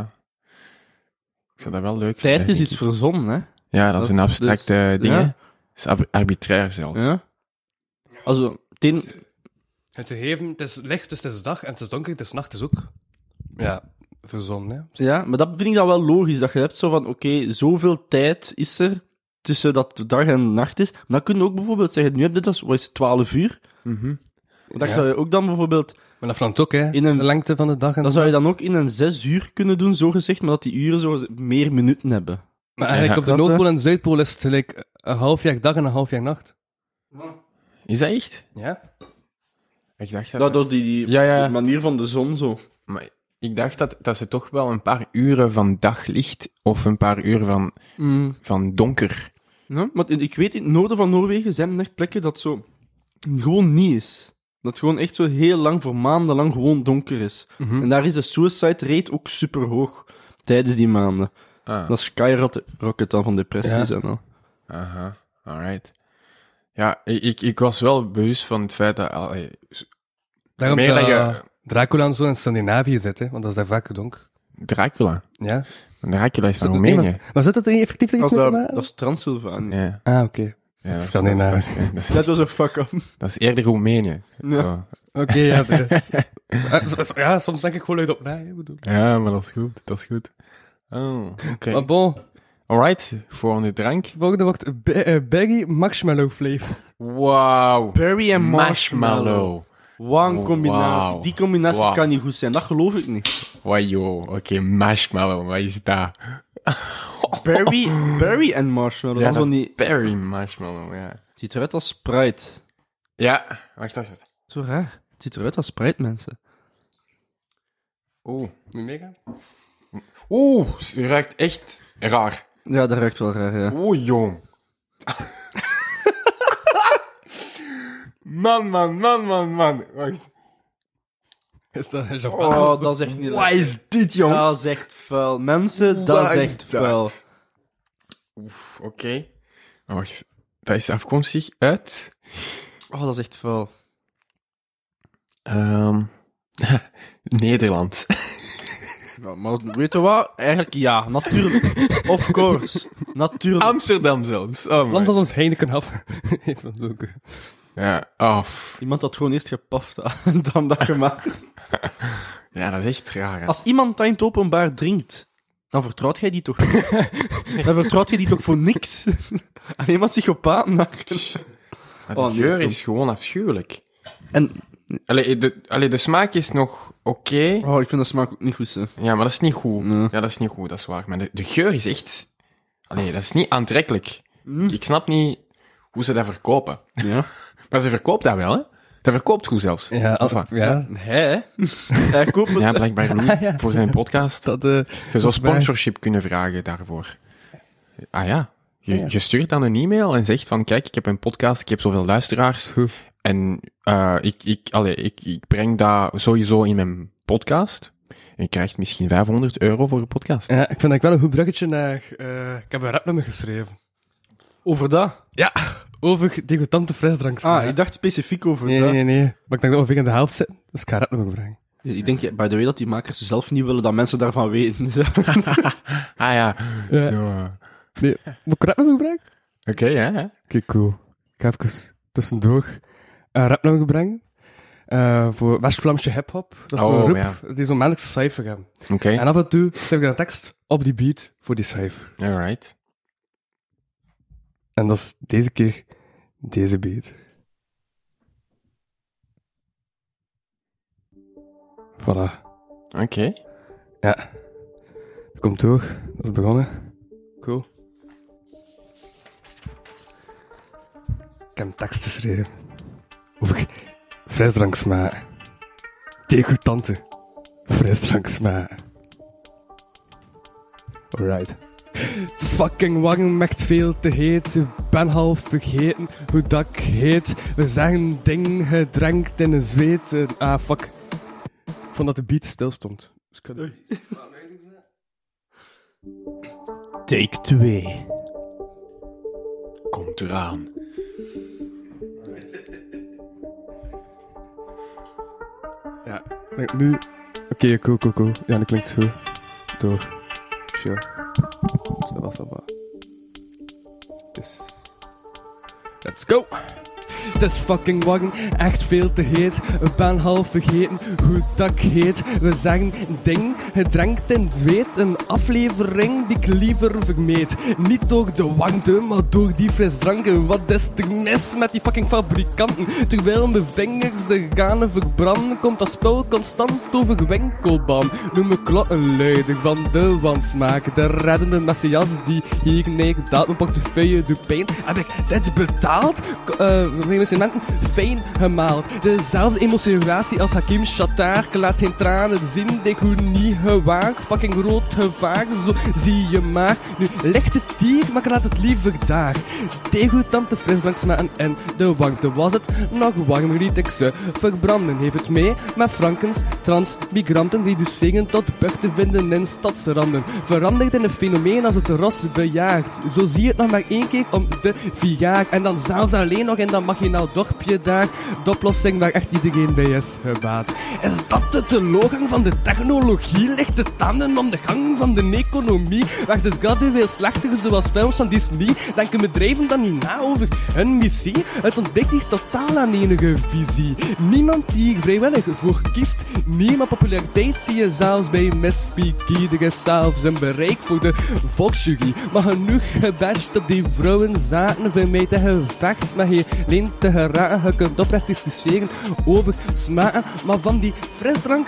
Speaker 3: ik zou dat wel leuk
Speaker 4: Tijd
Speaker 3: vinden,
Speaker 4: is
Speaker 3: denk
Speaker 4: iets
Speaker 3: ik.
Speaker 4: verzonnen, hè?
Speaker 3: Ja, dat is een
Speaker 4: dat- dus-
Speaker 3: abstract eh, ding.
Speaker 4: ja.
Speaker 3: hè. Het is ab- arbitrair zelf.
Speaker 4: Ja? Also, ten,
Speaker 5: Het gegeven, het is licht, dus het is dag. En het is donker, het is nacht, dus ook... Ja, verzonnen, hè.
Speaker 4: ja, maar dat vind ik dan wel logisch. Dat je hebt zo van, oké, zoveel tijd is er tussen dat dag en nacht is. Maar dan kun je ook bijvoorbeeld zeggen, nu heb je dat, wat is het, 12 uur?
Speaker 3: Mhm.
Speaker 4: Maar dan
Speaker 5: Ja.
Speaker 4: zou je ook dan bijvoorbeeld
Speaker 5: Maar dat verandert ook, hè.
Speaker 4: In een-
Speaker 5: De lengte van de dag en
Speaker 4: Dan zou je dan ook in een zes uur kunnen doen, zogezegd, maar dat die uren zo meer minuten hebben.
Speaker 5: Maar eigenlijk
Speaker 3: Ja.
Speaker 5: op de
Speaker 4: Dat,
Speaker 5: Noordpool en de Zuidpool is het gelijk een half jaar dag en een half jaar nacht.
Speaker 3: Is dat echt?
Speaker 5: Ja?
Speaker 3: Ik dacht dat...
Speaker 4: Dat door die, die
Speaker 3: Ja, ja.
Speaker 4: die manier van de zon zo.
Speaker 3: Maar ik dacht dat, dat ze toch wel een paar uren van daglicht of een paar uren van, van donker...
Speaker 4: Ja, maar in- ik weet, in het noorden van Noorwegen zijn er echt plekken dat zo gewoon niet is. Dat het gewoon echt zo heel lang, voor maanden lang, gewoon donker is. En daar is de suicide rate ook super hoog tijdens die maanden.
Speaker 3: Ah,
Speaker 4: Dat skyrocket dan van depressies
Speaker 5: Ja.
Speaker 4: en al.
Speaker 3: aha. Alright. Ja, ik, ik, ik was wel bewust van het feit dat... allee,
Speaker 5: Daarom
Speaker 3: Meer
Speaker 5: dat
Speaker 3: dat je-
Speaker 5: eh, Dracula en zo in Scandinavië zit, hè. Want dat is daar vaak donker.
Speaker 3: Dracula.
Speaker 5: Ja?
Speaker 3: Dracula is van
Speaker 5: Nee, maar-
Speaker 3: Roemenië.
Speaker 5: Maar zit dat er effectief iets
Speaker 4: Dat,
Speaker 5: mee
Speaker 4: dat,
Speaker 5: te maken?
Speaker 4: dat is eh, Transylvanië.
Speaker 3: Ja,
Speaker 5: Ah, oké.
Speaker 3: ja dat, is, dat, is,
Speaker 5: Scandinavië.
Speaker 3: dat, is, dat is-
Speaker 4: Dat was een fuck-up.
Speaker 3: dat is eerder Roemenië.
Speaker 4: Ja.
Speaker 3: Oh.
Speaker 5: Oké, ja. de- *laughs* Ah, so- so- Ja, soms denk ik gewoon luid op na, hè, bedoel.
Speaker 3: Ja, maar dat is goed. Dat is goed. Oh, oké.
Speaker 5: Maar bon,
Speaker 3: Alright, volgende drank.
Speaker 5: volgende wordt Be- eh, Berry Marshmallow Flavor.
Speaker 3: Wauw.
Speaker 4: Berry en marshmallow. Oh,
Speaker 3: Marshmallow.
Speaker 4: Wauw, combinatie.
Speaker 3: Wauw.
Speaker 4: Die combinatie
Speaker 3: Wauw.
Speaker 4: kan niet goed zijn, dat geloof ik niet.
Speaker 3: Wajo, oké, marshmallow, wat is dat?
Speaker 4: Berry, berry en marshmallow. Oh. dat is wel niet...
Speaker 3: berry marshmallow, ja.
Speaker 4: Het ziet eruit als Sprite.
Speaker 3: Ja, wacht, wacht, wacht.
Speaker 4: Zo raar. Het ziet eruit als Sprite, mensen.
Speaker 3: Oeh,
Speaker 5: Moet je meegaan?
Speaker 3: oeh, ze ruikt echt raar.
Speaker 4: Ja, dat ruikt wel raar, ja.
Speaker 3: Oeh, jong. *laughs* man, man, man, man, man. Wacht.
Speaker 5: Is dat een Japan?
Speaker 4: Oh, dat is echt niet
Speaker 3: Wat
Speaker 4: lekker.
Speaker 3: is dit, jong?
Speaker 4: Dat is echt vuil. Mensen, dat
Speaker 3: Wat
Speaker 4: is echt
Speaker 3: dat?
Speaker 4: vuil.
Speaker 3: Oef, oké. Maar Wacht, dat is afkomstig uit...
Speaker 4: Oh, dat is echt vuil.
Speaker 3: ehm, *laughs* Nederland.
Speaker 4: maar weet je wat? Eigenlijk ja, natuurlijk. *laughs* Of course. Natuurlijk.
Speaker 3: Amsterdam zelfs. Oh,
Speaker 5: Het land
Speaker 3: my.
Speaker 5: dat ons Heineken af heeft ons ook, eh,
Speaker 3: Ja, Oh, af.
Speaker 4: Iemand had gewoon eerst gepaft *laughs* en dan dat gemaakt.
Speaker 3: Ja, dat is echt raar. hè.
Speaker 4: Als iemand dat in het openbaar drinkt, dan vertrouwt jij die toch *laughs* niet? Dan vertrouwt jij die toch voor *laughs* niks? Alleen maar psychopaat maken.
Speaker 3: Maar
Speaker 4: Oh,
Speaker 3: de
Speaker 4: nee,
Speaker 3: geur
Speaker 4: dat-
Speaker 3: is gewoon afschuwelijk.
Speaker 4: En,
Speaker 3: Allee, de, allee, de smaak is nog oké.
Speaker 4: oh, ik vind dat smaak ook niet goed, hè.
Speaker 3: Ja, maar dat is niet goed.
Speaker 4: Nee.
Speaker 3: Ja, dat is niet goed, dat is waar. Maar de, de geur is echt... Allee, dat is niet aantrekkelijk. Ik snap niet hoe ze dat verkopen.
Speaker 4: Ja.
Speaker 3: Maar ze verkoopt dat wel, hè? Dat verkoopt goed zelfs.
Speaker 5: Ja,
Speaker 3: Of wat?
Speaker 5: ja.
Speaker 4: *laughs* Hé? Hij koopt het.
Speaker 3: Ja,
Speaker 5: *laughs*
Speaker 3: blijkbaar Louis, voor zijn podcast.
Speaker 5: Dat, eh,
Speaker 3: Je zou
Speaker 5: volgens mij-
Speaker 3: sponsorship kunnen vragen daarvoor. Ah ja. Je, je stuurt dan een e-mail en zegt van, kijk, ik heb een podcast, ik heb zoveel luisteraars. En eh, ik, ik, allee, ik, ik breng dat sowieso in mijn podcast. En je krijgt misschien 500 euro voor een podcast.
Speaker 5: Ja, ik vind dat ik wel een goed bruggetje naar... eh, ik heb een rap met me geschreven.
Speaker 4: Over dat?
Speaker 5: Ja, over degutante frisdranks.
Speaker 4: Ah, ik dacht specifiek over
Speaker 5: Nee,
Speaker 4: dat.
Speaker 5: nee, nee, nee. Maar ik dacht dat we in de helft zitten, dus ik ga rap met me brengen.
Speaker 4: Ik denk, ja, by the way, dat die makers zelf niet willen dat mensen daarvan weten. *laughs*
Speaker 3: Ah ja.
Speaker 5: Ja.
Speaker 3: Zo, eh,
Speaker 5: Nee, moet ik rap met me brengen?
Speaker 3: Oké, hè? hè.
Speaker 5: Oké, cool. Ik ga even tussendoor een rap naar me brengen. Eh, voor West-Vlaamse hip-hop. Dat is
Speaker 3: Oh,
Speaker 5: een roep
Speaker 3: ja.
Speaker 5: die zo'n maandelijkse cijfer hebben.
Speaker 3: Oké,
Speaker 5: En af en toe schrijf ik dan een tekst op die beat voor die cijfer.
Speaker 3: alright.
Speaker 5: En dat is deze keer deze beat. Voilà.
Speaker 3: Oké.
Speaker 5: Ja. Dat komt door. Dat is begonnen. Cool. Ik heb een tekst geschreven. Over frisdranksmaak. Degutante. Frisdranksmaak. Alright. Het is fucking warm, echt veel te heet. Ik ben half vergeten hoe dat ik heet. We zeggen ding gedrenkt in een zweet. Eh, Ah, fuck. Ik vond dat de beat stil stond. Dus ik had-
Speaker 4: Take 2.
Speaker 3: Komt eraan.
Speaker 5: Ja, denk nu. Oké, cool, cool, cool. Ja, dat klinkt goed. Door. Chill. Dus dat was dat wel. Dus. Let's go! Het is fucking warm, echt veel te heet. Ik ben half vergeten hoe dat ik heet. We zeggen ding, gedrenkt in het zweet. Een aflevering die ik liever vermeed. Niet door de warmte, maar door die frisdranken. Wat is er mis met die fucking fabrikanten? Terwijl mijn vingers de ganen verbranden, komt dat spul constant over winkelbaan. Noem me klokkenluider van de wansmaak. De reddende messias die hier neerdaalt. Mijn portefeuille doet pijn. Heb ik dit betaald? K- eh, Remerciementen fijn gemaald. Dezelfde emotionatie als Hakim Shatar. Ik laat geen tranen zien, ik hoe niet gewaagd. Fucking groot gevaar, zo zie je maar. Nu ligt het hier, maar ik laat het liever daar. Degutante frisdranks maken en de warmte was het nog warm, liet ik ze verbranden. Heeft het mee met Frankens, trans, migranten, reduceren tot bug te vinden in stadsranden. Verandert in een fenomeen als het ros bejaagt. Zo zie je het nog maar één keer om de vier jaar. En dan zelfs alleen nog in dat marginaal dorpje daar. De oplossing waar echt iedereen bij is gebaat. Is dat de teleurgang van de technologie? Ligt de tanden om de gang van de economie? Werd het gradueel slechter zoals films van Disney? Denken bedrijven dan niet na over hun missie? Het ontbreekt hier totaal aan enige visie. Niemand die hier vrijwillig voor kiest. Niemand populariteit zie je zelfs bij Mispiek. Ieder is zelfs een bereik voor de volksjury. Maar genoeg gebashed op die vrouwen zaten. Vermijd een gevecht met je leen te geraken. Je kunt oprecht discussiëren over smaken. Maar van die frisdrank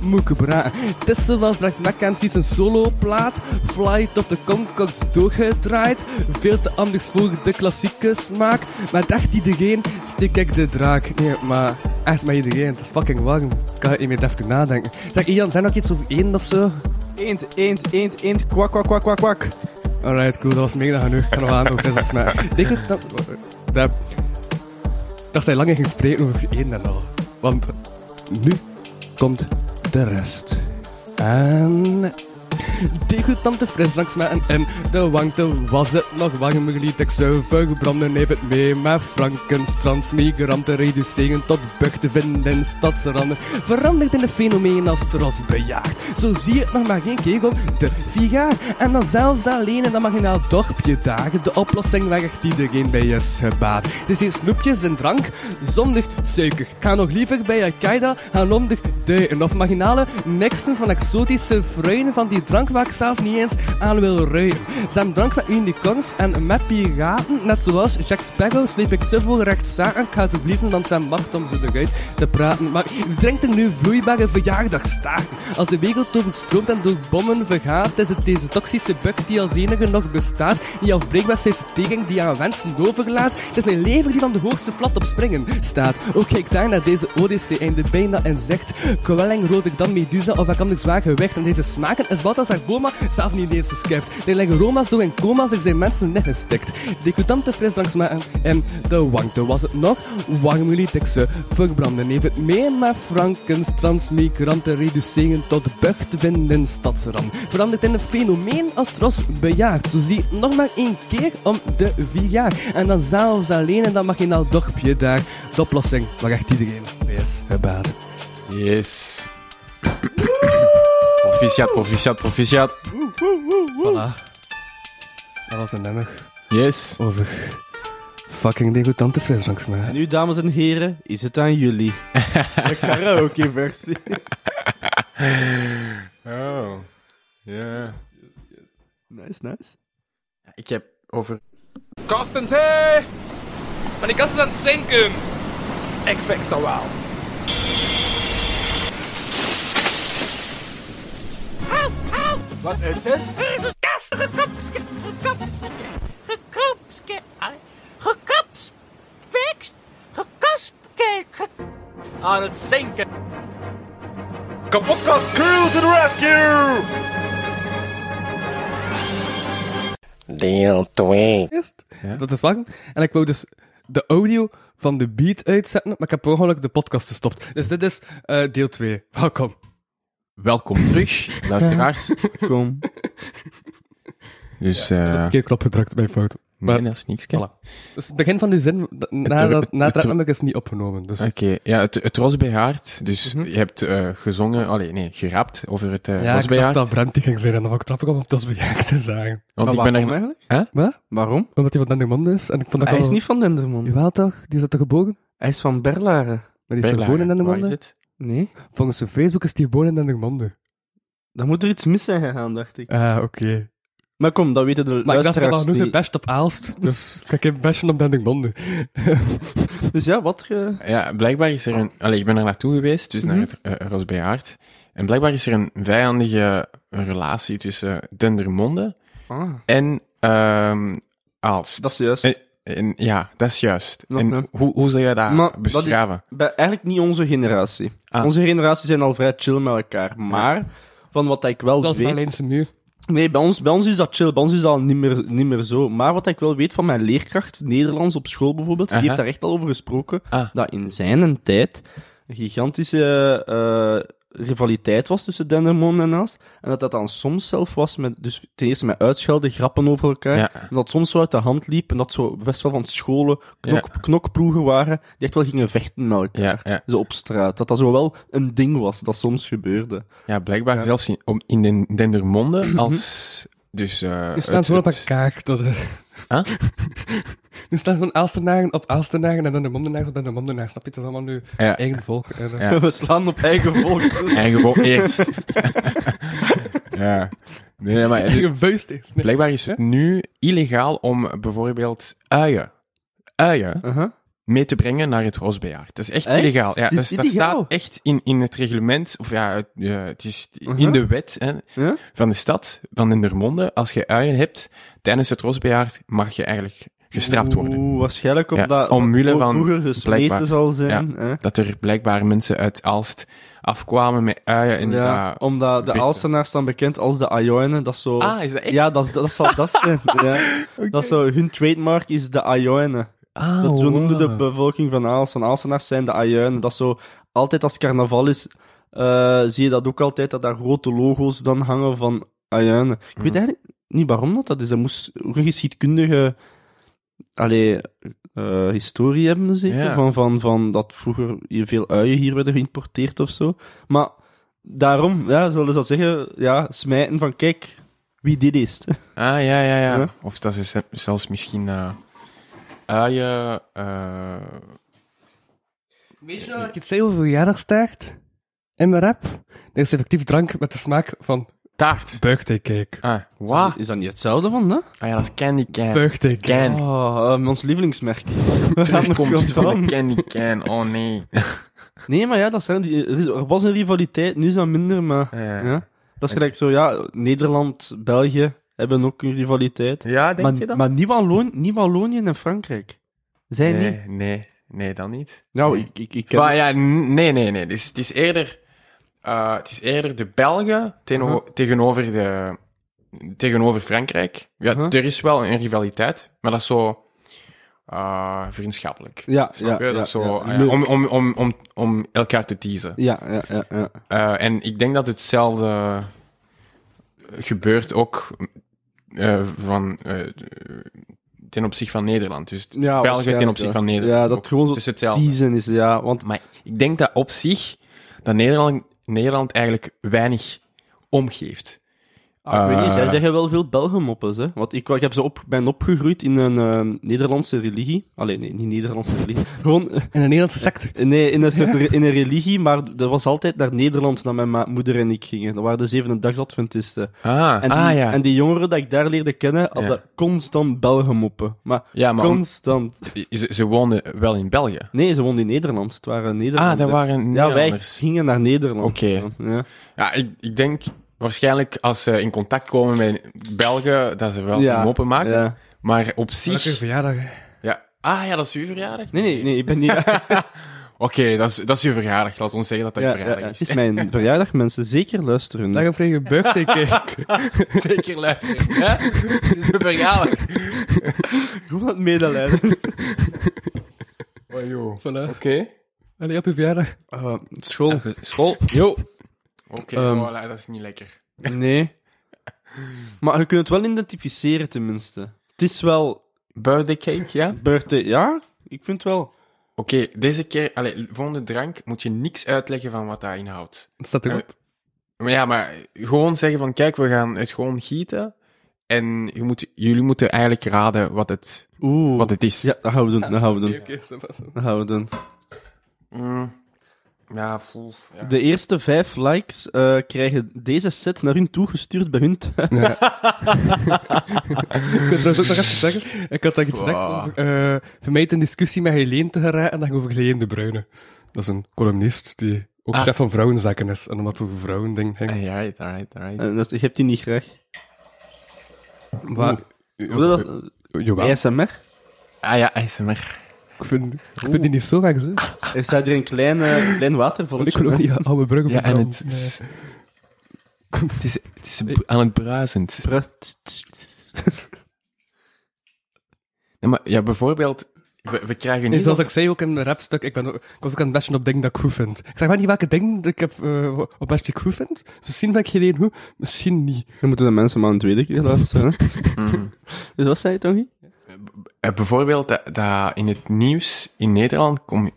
Speaker 5: moet ik praten. Het is zoals Brax McKenzie's een soloplaat. Flight of the Concords doorgedraaid. Veel te anders voor de klassieke smaak. Met echt iedereen steek ik de draak. Nee, maar echt met iedereen. Het is fucking warm. Ik kan het niet meer deftig nadenken. Zeg, Ian, zijn er nog iets over één of zo?
Speaker 4: Eend, eend, eend, eend, kwak, kwak, kwak, kwak, kwak.
Speaker 5: Alright, cool. Dat was meer dan genoeg. Ik ga nog aan over frisdranks maken. *laughs* Denk het dat... dat... Ik dacht dat hij langer ging spreken over één en al. Want nu komt de rest. En... Degutante frisdranksmaken en de wangte was het nog warmgelied. Ik zou vuilgebranden heeft het mee, maar Frankenstrans migranten reduceren tot bug te vinden in stadsranden. Verandert in een fenomeen als trosbejaagd. Zo zie je het nog maar geen kegel, de vigaar. En dan zelfs alleen in dat marginaal dorpje dagen. De oplossing waar echt iedereen bij is gebaat. Het is geen snoepjes en drank, zonder suiker. Ga nog liever bij Al-Qaeda gaan onder duiken. Of marginale mixen van exotische fruinen van die drank waar ik zelf niet eens aan wil ruiken. Ze hebben drank met unicorns en met piraten. Net zoals Jack Sparrow sleep ik zoveel rechtszaken. Ik ga ze verliezen van zijn macht om ze eruit te praten. Maar ik drink er nu vloeibare verjaardagstaken. Als de wereld overstroomt en door bommen vergaat, is het deze toxische bug die als enige nog bestaat. Die afbreekbaar is tegen teking die aan wensen overlaat. Het is een lever die van de hoogste flat op springen staat. Ook kijk daar naar deze odyssee en de bijna en zegt Kwelling roder dan Medusa of ik anders zwaar gewicht. En deze smaken is Balthazar Boma zelf niet eens geschuift. Er liggen Roma's door in coma's, er zijn mensen neggestikt. Decutante frisdranksmaken en de wangte was het nog. Warmulietikse verbranden heeft het mee, maar Frankens transmigranten reduceren tot bucht in stadsram. Verandert in een fenomeen als tros bejaagd. Zo zie je nog maar één keer om de vier jaar. En dan zelfs alleen en dan mag je nou dorpje daar. De oplossing waar echt iedereen bij is gebaat.
Speaker 3: Yes. proficiat, proficiat, proficiat.
Speaker 5: Voilà. Dat was een nummer
Speaker 3: Yes.
Speaker 5: over fucking degutante frisdranksmaak.
Speaker 4: Nu, dames en heren, is het aan jullie. *laughs* De *laughs* karaoke-versie.
Speaker 3: Oh. Ja.
Speaker 4: Nice, nice.
Speaker 3: Ik heb over
Speaker 2: Maar die kast is aan het zinken. Ik fix dat wel. Wat is het?
Speaker 6: Er is een kast gekopske, gekopske, gekopske, gekopspekst, gekopske, gekopske.
Speaker 2: Aan het zinken.
Speaker 1: Kapotkast crew to the rescue!
Speaker 7: Deel 2.
Speaker 5: Eerst, dat is lang. En ik wou dus de audio van de beat uitzetten, maar ik heb per ongeluk de podcast gestopt. Dus dit is eh, deel 2. Welkom.
Speaker 3: welkom terug, luisteraars.
Speaker 4: Kom.
Speaker 3: Dus, eh
Speaker 5: Een keer knop gedrukt bij foto.
Speaker 3: nee, dat is niks, hè.
Speaker 5: Voilà. Dus het begin van uw zin da- na,
Speaker 3: het-
Speaker 5: dat, na
Speaker 3: het-
Speaker 5: het rapnummer is niet opgenomen. Dus
Speaker 3: Oké, ja, het, het rosbehaard. Dus je hebt eh, gezongen, allee, nee, gerapt over het eh
Speaker 5: ja, ik dacht
Speaker 3: rosbehaard.
Speaker 5: dat Brent die ging zijn en dan ook trappig om op tosbejaagd te zagen.
Speaker 3: Want ik
Speaker 4: Maar
Speaker 3: ben
Speaker 4: Ah, waarom
Speaker 3: er...
Speaker 4: eigenlijk?
Speaker 5: Wat?
Speaker 4: Waarom?
Speaker 5: Omdat hij van Dendermond is. En ik vond dat
Speaker 4: Hij
Speaker 5: wel-
Speaker 4: is niet van Dendermonde.
Speaker 5: Jawel toch? Die is dat toch geboren?
Speaker 4: Hij is van Berlaren.
Speaker 5: Maar die is toch geboren in
Speaker 3: Berlaren, waar is
Speaker 5: Dendermonde?
Speaker 3: het?
Speaker 4: Nee?
Speaker 5: Volgens zijn Facebook is die geboren in Dendermonde.
Speaker 4: Dan moet er iets mis zijn gegaan, dacht ik.
Speaker 5: Ah, oké.
Speaker 4: Maar kom, dat weten de
Speaker 5: Maar ik dacht dat
Speaker 4: luisteraars
Speaker 5: nog
Speaker 4: die-
Speaker 5: een best op Aalst, *laughs* dus ik heb best op Dendermonde.
Speaker 4: Dus ja, wat... ge-
Speaker 3: Ja, blijkbaar is er een... Allee, ik ben er naartoe geweest, dus naar het eh, rosbehaard. En blijkbaar is er een vijandige relatie tussen eh, Dendermonde
Speaker 4: Ah,
Speaker 3: en ehm Aalst.
Speaker 4: dat is juist.
Speaker 3: En- en- ja, dat is juist.
Speaker 4: Ja,
Speaker 3: en
Speaker 4: ja.
Speaker 3: Hoe, hoe zou jij dat
Speaker 4: Maar dat is-
Speaker 3: beschrijven?
Speaker 4: Bij, eigenlijk niet onze generatie.
Speaker 3: Ah.
Speaker 4: Onze generatie zijn al vrij chill met elkaar. Maar, van wat ik wel
Speaker 5: Dat is
Speaker 4: weet...
Speaker 5: alleen zijn muur.
Speaker 4: Nee, bij ons, bij ons is dat chill. Bij ons is dat al niet meer, niet meer zo. Maar wat ik wel weet van mijn leerkracht, Nederlands op school bijvoorbeeld,
Speaker 3: Aha.
Speaker 4: die heeft daar echt al over gesproken,
Speaker 3: Ah.
Speaker 4: dat in zijn tijd een gigantische eh, rivaliteit was tussen Dendermonde en Naast. En dat dat dan soms zelf was, met, dus ten eerste met uitschelden, grappen over elkaar.
Speaker 3: Ja.
Speaker 4: En dat soms zo uit de hand liep en dat zo best wel van scholen knok,
Speaker 3: Ja.
Speaker 4: knokploegen waren, die echt wel gingen vechten met elkaar.
Speaker 3: Ja, ja.
Speaker 4: Zo op straat. Dat dat zo wel een ding was, dat soms gebeurde.
Speaker 3: Ja, blijkbaar zelfs in, om, in den, Dendermonde als... Dus, eh
Speaker 5: Nu staan
Speaker 3: het-
Speaker 5: ze gewoon op
Speaker 3: het-
Speaker 5: elkaar. Dat, *laughs*
Speaker 3: Huh?
Speaker 5: nu staan gewoon Aalstenagen op Aalstenagen en Dendermondenaars op Dendermondenaars. Snap je? Dat is allemaal nu
Speaker 3: Ja.
Speaker 5: eigen volk. En, *laughs* eh,
Speaker 3: Ja.
Speaker 4: *laughs* We slaan op eigen
Speaker 3: *laughs*
Speaker 4: volk.
Speaker 3: En gewoon eerst. ja. Nee, nee, maar eh,
Speaker 5: Eigen vuist is. Nee.
Speaker 3: blijkbaar is het nu illegaal om bijvoorbeeld uien, uien
Speaker 4: Aha.
Speaker 3: mee te brengen naar het Rosbejaard. Dat is echt,
Speaker 4: Echt?
Speaker 3: illegaal. Ja,
Speaker 4: Het is
Speaker 3: dat, is- dat
Speaker 4: illegaal?
Speaker 3: staat echt in, in het reglement, of ja, het, eh, het is
Speaker 4: Uh-huh.
Speaker 3: in de wet hè,
Speaker 4: Ja?
Speaker 3: van de stad, van Dendermonde. Als je uien hebt tijdens het Rosbejaard, mag je eigenlijk gestraft worden.
Speaker 4: Oeh, waarschijnlijk omdat
Speaker 3: Ja,
Speaker 4: dat
Speaker 3: omwille
Speaker 4: ook
Speaker 3: van-
Speaker 4: vroeger gesmeten
Speaker 3: blijkbaar.
Speaker 4: zal zijn. hè?
Speaker 3: Dat er blijkbaar mensen uit Aalst afkwamen met uien en
Speaker 4: Ja, Oh.
Speaker 3: dat-
Speaker 4: omdat de
Speaker 3: weet-
Speaker 4: Alstenaars staan bekend als de Ajoinen. Dat is zo...
Speaker 3: Ah, is dat echt?
Speaker 4: ja, dat, is- dat zal dat zijn.
Speaker 3: *laughs*
Speaker 4: ja. dat is zo, hun trademark is de Ajoinen.
Speaker 5: Ah,
Speaker 4: dat zo noemde de
Speaker 5: wow.
Speaker 4: bevolking van Aalsten. Aalstenaars zijn de Ajoinen. Dat is zo, altijd als het carnaval is, eh, zie je dat ook altijd, dat daar grote logo's dan hangen van Ayane. Ik weet eigenlijk niet waarom dat, dat is. Dat moest ook een geschiedkundige allee, eh, historie hebben, zeker.
Speaker 3: Ja.
Speaker 4: Van, van, van dat vroeger hier veel uien hier werden geïmporteerd of zo. Maar daarom ja, zullen ze dat zeggen, ja, smijten van kijk, wie dit is.
Speaker 3: Ah, ja, ja, ja.
Speaker 4: Ja.
Speaker 3: Of dat ze ze- zelfs misschien... eh uien... eh,
Speaker 5: Weet je nou dat ik iets zei over verjaardagstaart in mijn rap? Er is effectief drank met de smaak van
Speaker 3: taart.
Speaker 5: birthdaycake.
Speaker 3: Ah, wat?
Speaker 4: Is dat niet hetzelfde van, hè?
Speaker 3: Ah ja, dat is candy can.
Speaker 5: Birthdaycake.
Speaker 3: *laughs* Can.
Speaker 4: Oh, eh, ons lievelingsmerk. We gaan
Speaker 3: *laughs*
Speaker 4: er
Speaker 3: Terugkomst
Speaker 4: kant
Speaker 3: van
Speaker 4: aan.
Speaker 3: de candy can. Oh, nee.
Speaker 4: Nee, maar ja, dat zijn die, er, is- er was een rivaliteit, nu is dat minder, maar...
Speaker 3: Ja.
Speaker 4: Ja. Dat is gelijk zo, ja, Nederland, België hebben ook een rivaliteit.
Speaker 3: Ja, denk
Speaker 4: maar
Speaker 3: je dat?
Speaker 4: maar niet Wallon- niet Wallonië en Frankrijk. Zij
Speaker 3: nee,
Speaker 4: niet.
Speaker 3: nee, nee, dan niet.
Speaker 4: Nou,
Speaker 3: nee.
Speaker 4: ik, ik, ik
Speaker 3: Maar ja, n- nee, nee, nee. Het is, het is, eerder, eh, het is eerder de Belgen teno-
Speaker 4: Uh-huh.
Speaker 3: tegenover, de, tegenover Frankrijk. Ja,
Speaker 4: Uh-huh.
Speaker 3: er is wel een rivaliteit, maar dat is zo eh, vriendschappelijk.
Speaker 4: Ja,
Speaker 3: Snap je?
Speaker 4: ja,
Speaker 3: dat is
Speaker 4: ja,
Speaker 3: zo,
Speaker 4: ja.
Speaker 3: eh,
Speaker 4: Leuk.
Speaker 3: om, om, om, om, om elkaar te teasen.
Speaker 4: Ja, ja, ja, ja.
Speaker 3: Eh, en ik denk dat hetzelfde gebeurt ook eh, van, eh, ten opzichte van Nederland. Dus
Speaker 4: ja
Speaker 3: België ten
Speaker 4: waarschijnlijk,
Speaker 3: opzichte
Speaker 4: ja.
Speaker 3: van Nederland.
Speaker 4: Ja, dat
Speaker 3: ook.
Speaker 4: gewoon zo
Speaker 3: Het is hetzelfde.
Speaker 4: die zin is, ja. Want
Speaker 3: Maar ik denk dat op zich dat Nederland, Nederland eigenlijk weinig omgeeft.
Speaker 4: Ah, ik weet niet,
Speaker 3: Eh,
Speaker 4: zij zeggen wel veel Belgenmoppes, hè. Want ik, ik heb ze op, ben opgegroeid in een eh, Nederlandse religie. Allee, nee, niet Nederlandse religie. *laughs* Gewoon, eh,
Speaker 5: In een Nederlandse secte.
Speaker 4: nee, in een, soort re- in een religie, maar er was altijd naar Nederland, dat mijn ma- moeder en ik gingen. Dat waren de zevendedagsadventisten.
Speaker 3: Ah,
Speaker 4: En die,
Speaker 3: ah ja.
Speaker 4: en die jongeren dat ik daar leerde kennen, hadden
Speaker 3: Ja.
Speaker 4: constant Belgenmoppen. Maar,
Speaker 3: ja, maar om-
Speaker 4: constant.
Speaker 3: ze, ze woonden wel in België.
Speaker 4: Nee, ze woonden in Nederland. Het waren Nederlanders.
Speaker 3: Ah, dat waren
Speaker 4: Ja, wij
Speaker 3: Nederlanders.
Speaker 4: gingen naar Nederland.
Speaker 3: Oké.
Speaker 4: Ja.
Speaker 3: Ja, ik, ik denk waarschijnlijk als ze in contact komen met Belgen, dat ze wel
Speaker 4: Ja,
Speaker 3: moppen maken.
Speaker 4: ja.
Speaker 3: Maar op
Speaker 5: Gelukkige
Speaker 3: zich...
Speaker 5: verjaardag. hè.
Speaker 3: Ja. Ah ja, dat is uw verjaardag?
Speaker 4: Nee, nee, nee, ik
Speaker 3: *laughs*
Speaker 4: ben niet...
Speaker 3: Oké, dat, is, dat is uw verjaardag. Laat ons zeggen dat dat uw verjaardag
Speaker 4: Het is mijn verjaardag, mensen. Zeker luisteren.
Speaker 5: Dag en vrede birthdaycake.
Speaker 3: is. *laughs* Zeker luisteren. hè? Het is uw verjaardag.
Speaker 4: Hoe wat medelijden.
Speaker 3: *laughs* Oh, joh. Oké.
Speaker 5: *laughs* voilà. Allee, op je verjaardag.
Speaker 4: school.
Speaker 3: School.
Speaker 4: Yo.
Speaker 3: Oké,
Speaker 4: Ehm.
Speaker 3: voilà, dat is niet lekker.
Speaker 4: Nee. Maar je kunt het wel identificeren, tenminste. Het is wel...
Speaker 3: Birthday cake, ja?
Speaker 4: Birthday. Ja, ik vind het wel.
Speaker 3: Oké, deze keer, allee, volgende drank moet je niks uitleggen van wat dat inhoudt.
Speaker 5: Dat staat erop.
Speaker 3: Maar ja, maar gewoon zeggen van, kijk, we gaan het gewoon gieten. En je moet, jullie moeten eigenlijk raden wat het,
Speaker 4: Oeh.
Speaker 3: wat het is.
Speaker 4: Ja, dat gaan we doen. Dat gaan we doen.
Speaker 5: Oké, zo was het.
Speaker 4: Dat gaan we doen.
Speaker 3: Mm. Ja, voel. Ja.
Speaker 4: De eerste vijf likes eh, krijgen deze set naar hun toegestuurd bij hun thuis.
Speaker 5: Ik *laughs* wil trouwens ook nog even zeggen, ik had daar iets gezegd
Speaker 3: Wow.
Speaker 5: over, eh, vermijd een discussie met Helene te geraken en dan over Helene de Bruyne. Dat is een columnist die ook
Speaker 3: Ah.
Speaker 5: chef van vrouwenzaken is en omdat we over vrouwen ding ging.
Speaker 3: Alright, alright, alright.
Speaker 4: En *laughs* dat, je hebt die niet graag.
Speaker 5: Maar,
Speaker 4: Wil je dat?
Speaker 5: eh, jawel,
Speaker 4: ASMR?
Speaker 3: Ah ja, ASMR.
Speaker 5: ik vind, ik vind die niet zo vaak zo.
Speaker 3: Ah,
Speaker 4: Er staat hier een klein, eh, klein
Speaker 5: Want ik
Speaker 4: watervolletje.
Speaker 5: wil ook niet aan oude bruggen
Speaker 3: Ja, en
Speaker 5: verbranden.
Speaker 3: het is... Het is, het is br- aan het bruisend. Nee, maar, ja, bijvoorbeeld, we, we krijgen
Speaker 5: Nee,
Speaker 3: niet...
Speaker 5: zoals ik zei ook in mijn rapstuk, ik, ben, ook- ik was ook aan het bashen op dingen dat ik goed vind. Ik zeg maar niet welke dingen dat ik heb, eh, op bash die ik goed vind. Misschien ben ik Helene goed, misschien niet.
Speaker 4: Dan moeten de mensen maar een tweede keer luisteren. hè.
Speaker 3: Mhm.
Speaker 4: Dus wat zei je, Tony?
Speaker 3: Eh, bijvoorbeeld dat, dat in het nieuws in Nederland kom-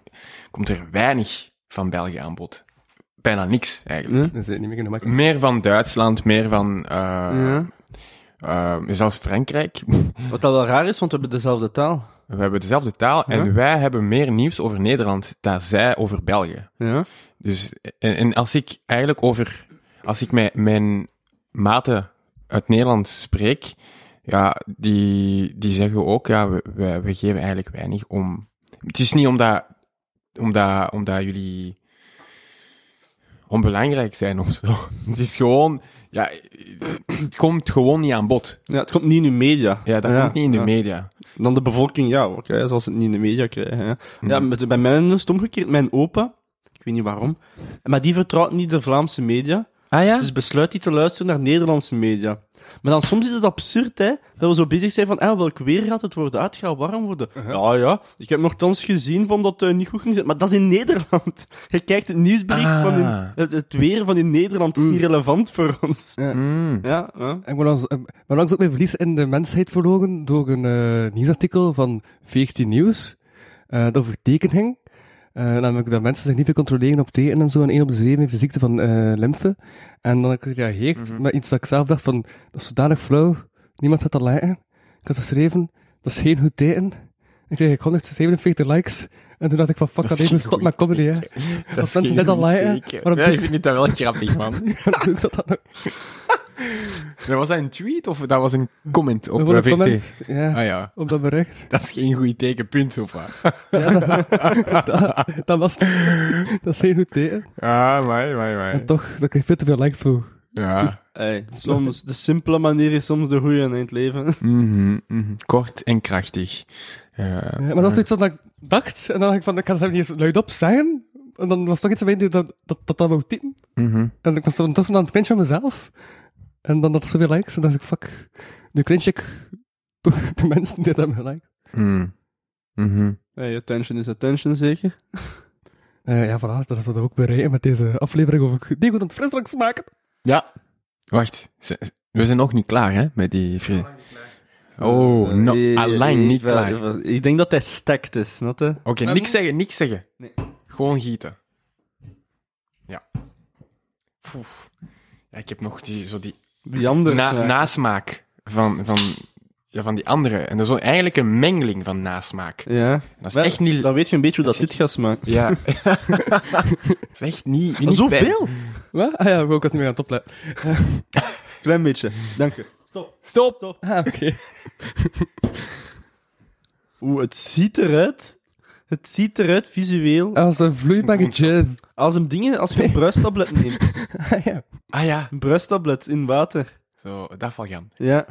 Speaker 3: komt er weinig van België aan bod. Bijna niks, eigenlijk.
Speaker 4: Ja.
Speaker 5: Dat is niet meer kunnen maken.
Speaker 3: Meer van Duitsland, meer van... eh
Speaker 4: Ja.
Speaker 3: eh, zelfs Frankrijk. *laughs*
Speaker 4: Wat dat wel raar is, want we hebben dezelfde taal.
Speaker 3: We hebben dezelfde taal en wij hebben meer nieuws over Nederland dan zij over België.
Speaker 4: Ja.
Speaker 3: Dus, en, en als ik eigenlijk over... Als ik met mijn maten uit Nederland spreek, ja, die, die zeggen ook, ja, we, we, we geven eigenlijk weinig om... Het is niet omdat, omdat, omdat jullie onbelangrijk zijn of zo. *laughs* Het is gewoon... Ja, het komt gewoon niet aan bod.
Speaker 4: ja, het komt niet in de media.
Speaker 3: Ja, dat komt niet in de
Speaker 4: ja.
Speaker 3: media.
Speaker 4: Dan de bevolking, ja, oké, zoals ze het niet in de media krijgen. hè. Ja, met, bij mij is het omgekeerd. Mijn opa, ik weet niet waarom, maar die vertrouwt niet de Vlaamse media.
Speaker 8: Ah ja?
Speaker 4: Dus besluit die te luisteren naar Nederlandse media. Maar dan soms is het absurd, hè? Dat we zo bezig zijn van, eh, welk weer gaat het worden? Ah, het gaat warm worden.
Speaker 3: Uh-huh.
Speaker 4: Ja, ja. Ik heb nogthans gezien van dat het niet goed ging zijn. Maar dat is in Nederland. *laughs* Je kijkt het nieuwsbericht
Speaker 8: Ah.
Speaker 4: van in- het, het weer van in Nederland.
Speaker 3: Mm.
Speaker 4: is niet relevant voor ons.
Speaker 5: Ja.
Speaker 4: Ja, ja.
Speaker 5: Ik ben langs, ik ben langs ook mijn verlies in de mensheid verloren door een eh, nieuwsartikel van 14 Nieuws. eh dat over tekenhing. Eh, namelijk dat mensen zich niet veel controleren op tekenen en zo. En één op de zeven heeft de ziekte van eh lymfe. En dan heb ik gereageerd met iets dat ik zelf dacht van... Dat is zodanig flauw. Niemand gaat dat liken. Ik had geschreven, dat is geen goed teken. Dan kreeg ik 147 likes. En toen dacht ik van, fuck, dat even stop met comedy, hè.
Speaker 8: Dat
Speaker 5: Als mensen net al liken, waarom
Speaker 8: Ja, ik
Speaker 5: doe *laughs* ik-
Speaker 8: vind het
Speaker 3: *laughs*
Speaker 8: wel grappig, man.
Speaker 5: Dan doe ik dat dan ook.
Speaker 3: Dat was dat een tweet of dat was een comment op
Speaker 5: Dan wordt
Speaker 3: eh,
Speaker 5: een
Speaker 3: VRT?
Speaker 5: comment. Ja,
Speaker 3: *laughs* Ah ja,
Speaker 5: op dat bericht.
Speaker 3: dat is geen goed teken, punt, of *laughs* wat?
Speaker 5: *laughs* dat, dat was het. Dat is heel goed teken.
Speaker 3: Ah, mij, mij, mij.
Speaker 5: En toch, dat kreeg veel te veel likes voor.
Speaker 3: Ja.
Speaker 4: Ey, soms de simpele manier is soms de goede in het
Speaker 3: *laughs*
Speaker 4: leven.
Speaker 3: Mhm, mhm. Kort en krachtig. Ja.
Speaker 5: Ja, maar dat was iets wat ik dacht. En dan dacht ik van, ik kan ze niet eens luidop zeggen. En dan was toch iets aan mij die dat dat, dat, dat wou typen.
Speaker 3: Mhm.
Speaker 5: En ik was ondertussen aan het cringe van mezelf. En dan had ze zoveel likes. En dacht ik, fuck, nu cringe ik toch *laughs* de mensen die dat hebben geliked.
Speaker 3: Mm. Mhm.
Speaker 4: Hey, attention is attention, zeker.
Speaker 5: Eh, ja, voilà, dat hebben we ook bereiken met deze aflevering over Diego aan het frisdranks maken.
Speaker 3: Ja. Wacht, ze- we zijn nog niet klaar, hè, met die vriend. Oh,
Speaker 4: Eh,
Speaker 3: no,
Speaker 4: eh,
Speaker 3: alleen
Speaker 4: eh,
Speaker 3: niet
Speaker 4: wel,
Speaker 3: klaar.
Speaker 4: wel, Ik denk dat hij stacked is, snap je?
Speaker 3: Oké, niks zeggen, niks zeggen.
Speaker 4: Nee.
Speaker 3: Gewoon gieten. Ja. Poef. Ja, ik heb nog die, zo die
Speaker 4: Die andere.
Speaker 3: na-
Speaker 4: snack.
Speaker 3: nasmaak van, van, ja, van die andere. En dat is zo eigenlijk een mengeling van nasmaak.
Speaker 4: Ja.
Speaker 3: Dat is
Speaker 4: Wel,
Speaker 3: echt niet...
Speaker 4: Dan weet je een beetje hoe dat dit gaat smaken.
Speaker 3: Ja. *laughs* dat is echt niet... niet bij-
Speaker 4: Zoveel?
Speaker 5: Wat? Ah ja, ik was niet meer aan het opletten.
Speaker 4: Klein beetje. Dank u. Stop. Stop. Stop.
Speaker 5: Ah, oké.
Speaker 4: Oeh, het ziet eruit. Het ziet eruit visueel.
Speaker 5: Als een vloeibare jazz.
Speaker 4: Als, een ding, als je een bruistablet neemt.
Speaker 5: Ah *laughs* ja.
Speaker 3: Ah ja,
Speaker 4: Een bruistablet in water.
Speaker 3: zo, dat valt gaan.
Speaker 4: Ja.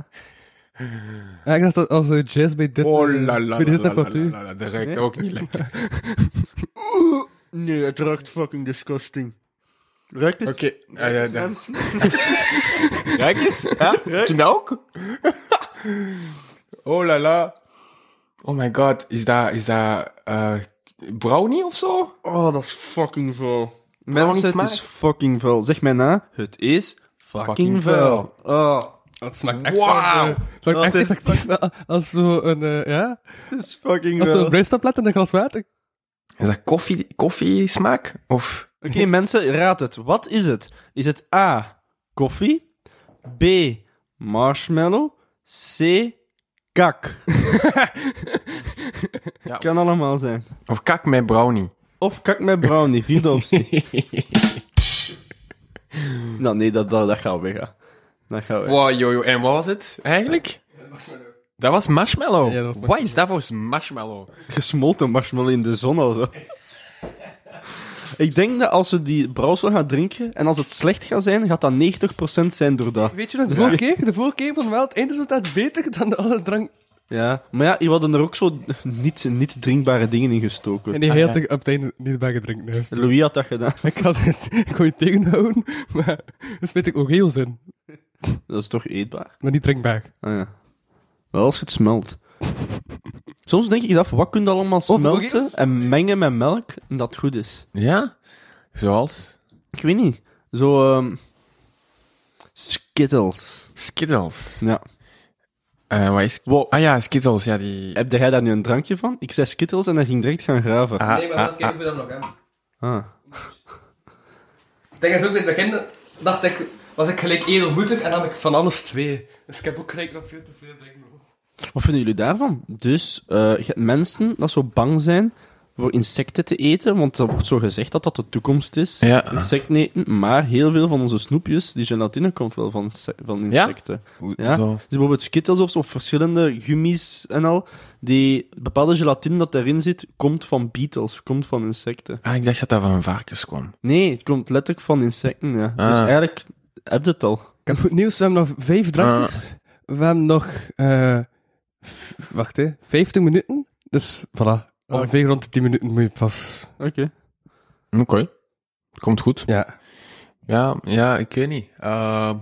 Speaker 5: Ja, ik dacht dat als eh, jazz bij dit...
Speaker 3: Oh
Speaker 5: eh,
Speaker 3: la la la
Speaker 5: bij dit
Speaker 3: la la
Speaker 5: apparatuur.
Speaker 3: la la, dat ruikt ook niet *laughs* lekker.
Speaker 4: Nee, het ruikt fucking disgusting. Ruikt het?
Speaker 3: Oké, ah, ja, dat-
Speaker 4: Mensen?
Speaker 3: Kijk eens. Hè? Vind je dat ook? *laughs* oh la la. Oh my god, is dat, is dat eh, brownie of zo?
Speaker 4: Oh, dat is fucking vuil.
Speaker 3: niet
Speaker 4: Mensen, het is
Speaker 3: smaken.
Speaker 4: fucking vuil. Zeg mij na, het is fucking,
Speaker 3: Fucking
Speaker 4: vuil.
Speaker 3: vuil.
Speaker 4: Oh,
Speaker 5: Het smaakt echt
Speaker 3: Wauw.
Speaker 5: wow. Smaakt
Speaker 4: Dat
Speaker 5: echt
Speaker 4: is-
Speaker 5: exactief wel als zo'n, eh, ja,
Speaker 4: het is fucking
Speaker 5: als zo'n
Speaker 4: vuil. Oké,
Speaker 5: bruistablet en een glas water.
Speaker 3: Is dat koffie, koffiesmaak? Of...
Speaker 4: mensen, raad het. Wat is het? Is het A, koffie? B, marshmallow? C, kak?
Speaker 3: *laughs* Ja.
Speaker 4: Kan allemaal zijn.
Speaker 3: Of kak met brownie.
Speaker 4: Of kak met brownie, vierde
Speaker 3: *laughs*
Speaker 4: optie. nou nee, dat, dat, dat gaat weg. hè. Dat gaat weg.
Speaker 3: Wow, jojo. En wat was het eigenlijk? Dat was marshmallow.
Speaker 5: Ja, dat was
Speaker 3: Wat is dat voor marshmallow?
Speaker 4: gesmolten marshmallow in de zon al zo. Ik denk dat als we die brouwsel gaan drinken en als het slecht gaat zijn, gaat dat 90% zijn door dat.
Speaker 5: Weet je nog, de vorige keer, de vorige keer van wel, het eindresultaat beter dan alles drank.
Speaker 4: Ja, maar ja, hier hadden er ook zo niet, niet drinkbare dingen in gestoken.
Speaker 5: En die heeft er op het einde niet bij gedrinkt. Dus.
Speaker 4: Louis had dat gedaan.
Speaker 5: Ik had het, ik kon je tegenhouden, maar dat smeet ik ook heel zin.
Speaker 4: Dat is toch eetbaar?
Speaker 5: Maar niet drinkbaar.
Speaker 4: Ah, ja. Wel als het smelt. Soms denk ik af, wat kun je allemaal smelten en mengen met melk en dat het goed is?
Speaker 3: Ja? Zoals?
Speaker 4: Ik weet niet. Zo, ehm Skittles.
Speaker 3: Skittles.
Speaker 4: Ja.
Speaker 3: Eh wat is...
Speaker 4: Wow.
Speaker 3: Ah ja, Skittles. Ja, die...
Speaker 4: Heb jij daar nu een drankje van? Ik zei Skittles en hij ging direct gaan graven.
Speaker 3: Ah,
Speaker 8: Nee, maar
Speaker 3: ah,
Speaker 8: dat kijken we dan nog, hè.
Speaker 4: Ah.
Speaker 8: Ik denk eens ook in het begin, dacht ik, was ik gelijk edelmoedig en dan heb ik van alles twee.
Speaker 5: Dus ik heb ook gelijk nog veel te veel drinken.
Speaker 4: Wat vinden jullie daarvan? Dus eh, je hebt mensen dat zo bang zijn voor insecten te eten, want er wordt zo gezegd dat dat de toekomst is.
Speaker 3: Ja.
Speaker 4: Insecten eten, maar heel veel van onze snoepjes, die gelatine komt wel van, se- van
Speaker 3: Ja?
Speaker 4: insecten. Ja?
Speaker 3: Ja? Zo.
Speaker 4: Dus bijvoorbeeld Skittles of zo, of verschillende gummies en al, die bepaalde gelatine dat daarin zit, komt van beetles, komt van insecten.
Speaker 3: Ah, ik dacht dat dat van een varkens kwam.
Speaker 4: Nee, het komt letterlijk van insecten, ja.
Speaker 3: Ah.
Speaker 4: Dus eigenlijk heb je het al.
Speaker 5: Ik heb goed nieuws, we hebben nog vijf
Speaker 3: Ah.
Speaker 5: drankjes. We hebben nog, eh, f- wacht hè, 50 minuten. Dus voilà, ongeveer rond de 10 minuten moet je pas,
Speaker 4: Oké.
Speaker 3: Oké. Komt goed.
Speaker 5: ja.
Speaker 3: Ja, ja, ik weet niet. Ehm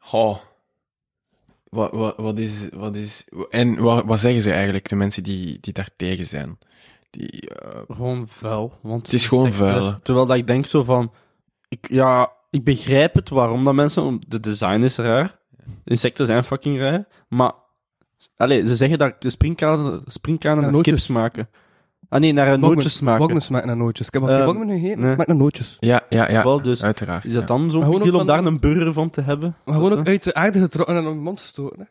Speaker 3: goh. Wat, wat, wat is, wat is, en wat, wat zeggen ze eigenlijk, de mensen die, die daar tegen zijn? Die, eh,
Speaker 4: Gewoon vuil. Want
Speaker 3: Het is gewoon vuil, hè.
Speaker 4: Terwijl dat ik denk zo van... Ik, ja, ik begrijp het waarom dat mensen... om- De design is raar. Insecten zijn fucking raar. Maar... Allee, ze zeggen dat de springkanen, springkanen naar
Speaker 5: nootjes.
Speaker 4: kips maken. Ah nee, naar eh, nootjes maken.
Speaker 5: Wognes smaakt naar nootjes. Ik heb al die
Speaker 4: Ehm,
Speaker 5: wognes nu gegeten,
Speaker 4: nee.
Speaker 5: het smaakt naar nootjes.
Speaker 3: ja, ja, ja.
Speaker 4: Wel, dus
Speaker 3: uiteraard.
Speaker 4: Is
Speaker 3: ja.
Speaker 4: dat dan
Speaker 5: Maar
Speaker 4: zo'n
Speaker 5: gewoon
Speaker 4: deal
Speaker 5: ook
Speaker 4: om
Speaker 5: van-
Speaker 4: daar een burger van te hebben?
Speaker 5: Maar gewoon ook
Speaker 4: Dat-
Speaker 5: uit de aarde getrokken en in mijn mond gestoken. hè.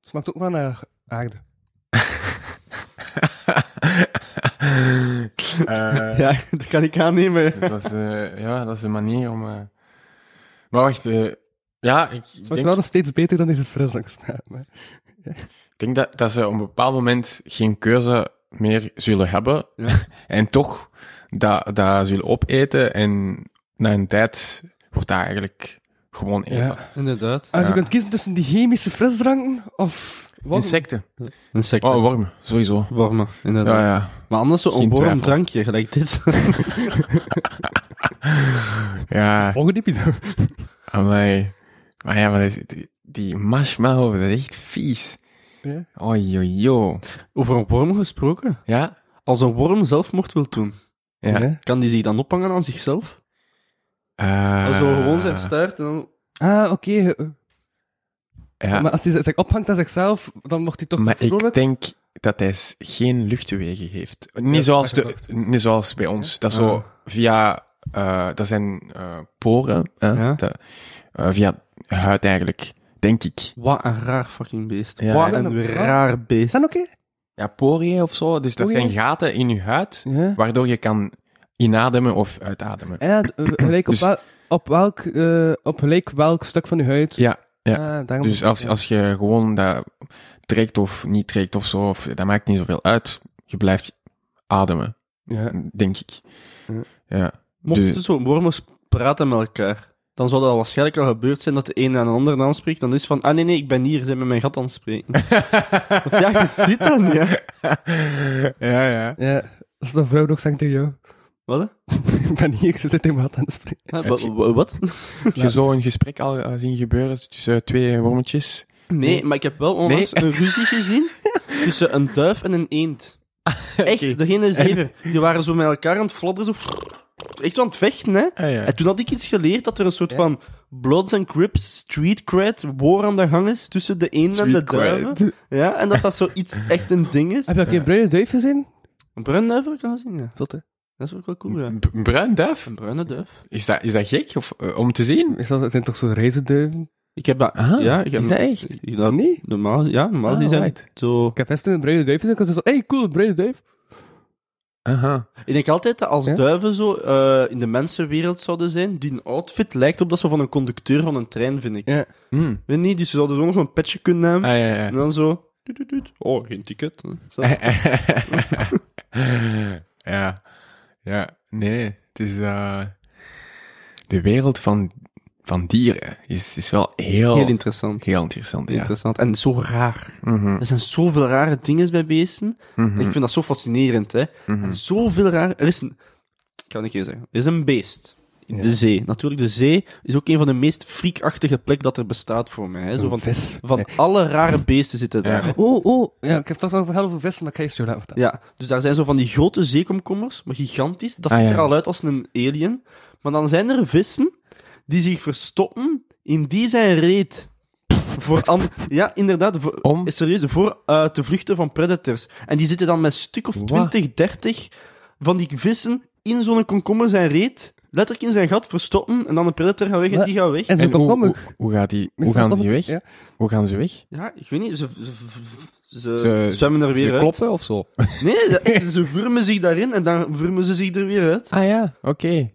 Speaker 5: Het smaakt ook wel naar aarde.
Speaker 3: Eh,
Speaker 4: *laughs* Ja, dat kan ik aannemen.
Speaker 3: dat is, eh, ja, dat is een manier om... eh, Maar wacht, eh, ja, ik
Speaker 5: Het smaakt
Speaker 3: denk,
Speaker 5: wel nog steeds beter dan deze frisdrank smaakt. hè.
Speaker 3: ik denk dat, dat ze op een bepaald moment geen keuze meer zullen hebben.
Speaker 4: Ja.
Speaker 3: *laughs* En toch dat, dat zullen opeten. En na een tijd wordt dat eigenlijk gewoon eten.
Speaker 5: Ja.
Speaker 4: Inderdaad.
Speaker 5: Als
Speaker 3: Ja.
Speaker 5: je kunt kiezen tussen die chemische frisdranken of wognes.
Speaker 3: Insecten.
Speaker 4: Insecten.
Speaker 3: Oh, wormen, sowieso.
Speaker 4: Wormen, inderdaad.
Speaker 3: Ja, ja.
Speaker 4: Maar anders zo'n
Speaker 3: Geen
Speaker 4: warm
Speaker 3: twijfel.
Speaker 4: drankje, gelijk dit. *laughs*
Speaker 3: Ja,
Speaker 5: Volgende episode.
Speaker 3: amai. Maar ja, maar dat- die, die marshmallow, dat is echt vies.
Speaker 5: Ja.
Speaker 3: Oei, oei, oei.
Speaker 4: Over een worm gesproken.
Speaker 3: Ja?
Speaker 4: Als een worm zelfmoord wil doen,
Speaker 3: Ja.
Speaker 5: Ja.
Speaker 4: kan die zich dan ophangen aan zichzelf?
Speaker 3: Eh,
Speaker 4: Zo gewoon zijn staart en dan...
Speaker 5: Ah, oké. eh,
Speaker 3: Ja,
Speaker 5: Maar
Speaker 3: maar,
Speaker 5: als hij zich ophangt aan zichzelf, dan wordt hij toch
Speaker 3: ik
Speaker 5: vrolijk.
Speaker 3: denk dat hij s- geen luchtwegen heeft. Niet, zoals,
Speaker 5: dat
Speaker 3: de,
Speaker 5: dacht
Speaker 3: niet zoals bij ons. Dat is
Speaker 5: Ah.
Speaker 3: zo via... eh, dat zijn eh, poren. Hè?
Speaker 4: Ja.
Speaker 3: Dat- eh, via huid eigenlijk, denk ik.
Speaker 4: Wat een raar fucking beest.
Speaker 3: Ja.
Speaker 4: Wat een raar beest.
Speaker 5: Dan oké?
Speaker 3: Ja, poriën of zo. Dus dat
Speaker 5: Poriën.
Speaker 3: zijn gaten in je huid,
Speaker 5: Ja.
Speaker 3: waardoor je kan inademen of uitademen.
Speaker 5: Ah Ja, d- eh,
Speaker 3: *coughs*
Speaker 5: gelijk op,
Speaker 3: Dus-
Speaker 5: wel- op, welk, eh, op gelijk welk stuk van je huid.
Speaker 3: Ja,
Speaker 5: ja. daarom
Speaker 3: Dus als, als je gewoon dat trekt of niet trekt of zo, of, dat maakt niet zoveel uit. Je blijft ademen,
Speaker 5: Ja.
Speaker 3: denk
Speaker 5: *laughs*
Speaker 3: ik.
Speaker 5: Ja.
Speaker 3: Ja.
Speaker 4: Mochten
Speaker 3: Dus-
Speaker 4: zo'n wormen praten met elkaar, dan zou dat waarschijnlijk al gebeurd zijn dat de een aan de ander aanspreekt. Dan is het van, ah nee, nee, ik ben hier, ze zijn met mijn gat aan het spreken.
Speaker 3: *laughs*
Speaker 4: ja, je ziet dat niet, hè.
Speaker 3: ja, ja.
Speaker 5: Ja, als de vrouw nog zegt tegen jou,
Speaker 4: Wat? hè?
Speaker 5: *laughs* ik ben hier, je zit in wat aan het spreken.
Speaker 4: Ah, wa- wa- wat?
Speaker 3: Heb je zo een gesprek al eh, zien gebeuren tussen twee wormetjes?
Speaker 4: Nee, maar ik heb wel onlangs een ruzie
Speaker 3: *laughs*
Speaker 4: gezien tussen een duif en een eend. Echt,
Speaker 3: Ah, Oké.
Speaker 4: degene zeven. Die waren zo met elkaar aan het fladderen, zo... Echt zo aan het vechten, hè.
Speaker 3: Ah, ja.
Speaker 4: En toen had ik iets geleerd dat er een soort van Bloods and Crips, street cred, war aan de gang is tussen de een en de
Speaker 3: Street
Speaker 4: duiven. Ja, en dat dat zoiets echt een ding
Speaker 3: *laughs*
Speaker 4: is.
Speaker 5: Heb je al geen bruine duif gezien?
Speaker 4: Een bruine duif heb ik al gezien, ja.
Speaker 5: Tot, hè.
Speaker 4: Dat is ook wel cool, ja.
Speaker 3: B- een Bruin duif?
Speaker 4: Een bruine duif.
Speaker 3: Is dat, is dat gek of, eh, om te zien?
Speaker 5: Is dat, het zijn toch zo reizenduiven?
Speaker 4: Ik heb dat...
Speaker 3: Ah,
Speaker 4: ja, ik heb
Speaker 3: is dat echt?
Speaker 4: Ik- dat-
Speaker 5: Nee?
Speaker 4: Normaal, ja, normaal
Speaker 3: Ah,
Speaker 4: die zijn
Speaker 3: right.
Speaker 4: zo...
Speaker 5: Ik heb best een bruine duif gezien, ik was zo, hey, cool, een bruine duif.
Speaker 3: Aha.
Speaker 4: Ik denk altijd dat als
Speaker 5: Ja?
Speaker 4: duiven zo eh, in de mensenwereld zouden zijn, die een outfit lijkt op dat zo van een conducteur van een trein, vind ik.
Speaker 5: Ja.
Speaker 3: Hm.
Speaker 4: Weet niet, dus ze zouden zo nog een petje kunnen hebben.
Speaker 3: Ah, ja, ja.
Speaker 4: En dan zo... doet, doet, doet. Oh, geen ticket. Zo.
Speaker 3: *laughs* ja. Ja, nee. Het is... eh, de wereld van, van dieren is, is wel heel,
Speaker 4: Heel
Speaker 3: heel,
Speaker 4: interessant.
Speaker 3: interessant. Ja.
Speaker 4: Interessant. En zo raar.
Speaker 3: Mhm,
Speaker 4: Er zijn zoveel rare dingen bij beesten.
Speaker 3: mhm,
Speaker 4: Ik vind dat zo fascinerend, hè.
Speaker 3: mhm.
Speaker 4: Zoveel raar... Er is een... Ik kan het een keer zeggen. Er is een beest. In de zee. Natuurlijk, de zee is ook een van de meest freakachtige plekken dat er bestaat voor mij. Hè. Zo van,
Speaker 5: vis.
Speaker 4: van alle rare beesten zitten daar.
Speaker 3: Ja.
Speaker 5: Oh, oh, ja, ik heb toch nog een verhaal over vissen, maar ik ga je zo laten vertellen.
Speaker 4: Ja, dus daar zijn zo van die grote zeekomkommers, maar gigantisch. Dat ziet
Speaker 3: Ah, ja.
Speaker 4: er al uit als een alien. Maar dan zijn er vissen die zich verstoppen in die zijn reet. Voor an- ja, inderdaad. Voor,
Speaker 3: Om?
Speaker 4: Is serieus, voor eh, te vluchten van predators. En die zitten dan met stuk of 20, 30 van die vissen in zo'n komkommer zijn reet. Letterlijk in zijn gat verstoppen en dan de predator gaat weg en
Speaker 5: Wat?
Speaker 4: die gaat weg.
Speaker 5: En zo'n
Speaker 3: En hoe, hoe,
Speaker 5: komkommer.
Speaker 3: hoe, gaat die, hoe gaan ze weg?
Speaker 5: Ja.
Speaker 3: Hoe gaan ze weg?
Speaker 4: Ja, ik weet niet, ze, ze, ze-
Speaker 3: Ze-
Speaker 4: zwemmen er weer
Speaker 3: Ze
Speaker 4: uit.
Speaker 3: kloppen of zo?
Speaker 4: Nee, echt, ze *laughs* wurmen zich daarin en dan wurmen ze zich er weer uit.
Speaker 3: Ah ja, oké.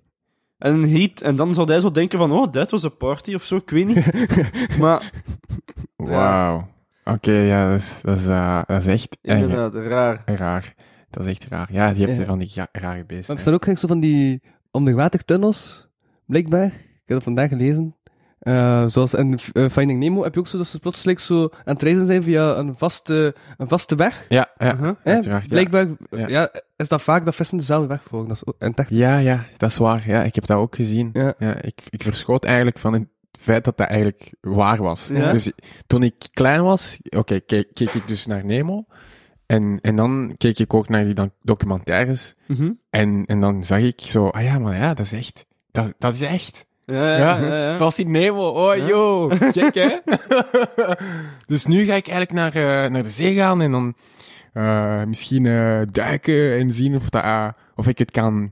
Speaker 4: En een heat. En dan zou hij zo denken van, oh, dat was een party of zo, ik weet niet. *laughs* maar
Speaker 3: Wauw. Oké, ja, dat is, dat is, eh, dat is echt eh,
Speaker 4: inderdaad, raar.
Speaker 3: raar. Dat is echt raar. Ja, je hebt
Speaker 5: Ja.
Speaker 3: van die ja- rare beesten.
Speaker 5: Maar er staan ook gelijk zo van die onderwatertunnels, blijkbaar. Ik heb dat vandaag gelezen. Eh, zoals in F- eh, Finding Nemo heb je ook zo dat ze plotseling zo aan het reizen zijn via een vaste, een vaste weg.
Speaker 3: Ja, ja.
Speaker 4: Uh-huh.
Speaker 5: hè?
Speaker 3: uiteraard, ja.
Speaker 5: Blijkbaar eh,
Speaker 3: Ja.
Speaker 5: ja. is dat vaak dat vissen dezelfde weg volgen. Dat is ook- en het echt-
Speaker 3: Ja, ja, dat is waar. Ja, ik heb dat ook gezien.
Speaker 5: Ja.
Speaker 3: ik, ik verschoot eigenlijk van het feit dat dat eigenlijk waar was.
Speaker 4: Ja.
Speaker 3: Dus toen ik klein was, oké, keek, keek ik dus naar Nemo. En, en dan keek ik ook naar die dan- documentaires.
Speaker 4: Mhm.
Speaker 3: En, en dan zag ik zo, ah ja, maar ja, dat is echt. Dat, dat is echt.
Speaker 4: Ja, ja, ja, ja.
Speaker 3: Zoals die Nemo. Oh, yo. Gek, *laughs* hè? dus nu ga ik eigenlijk naar, eh, naar de zee gaan en dan eh, misschien eh, duiken en zien of, dat, eh, of ik het kan,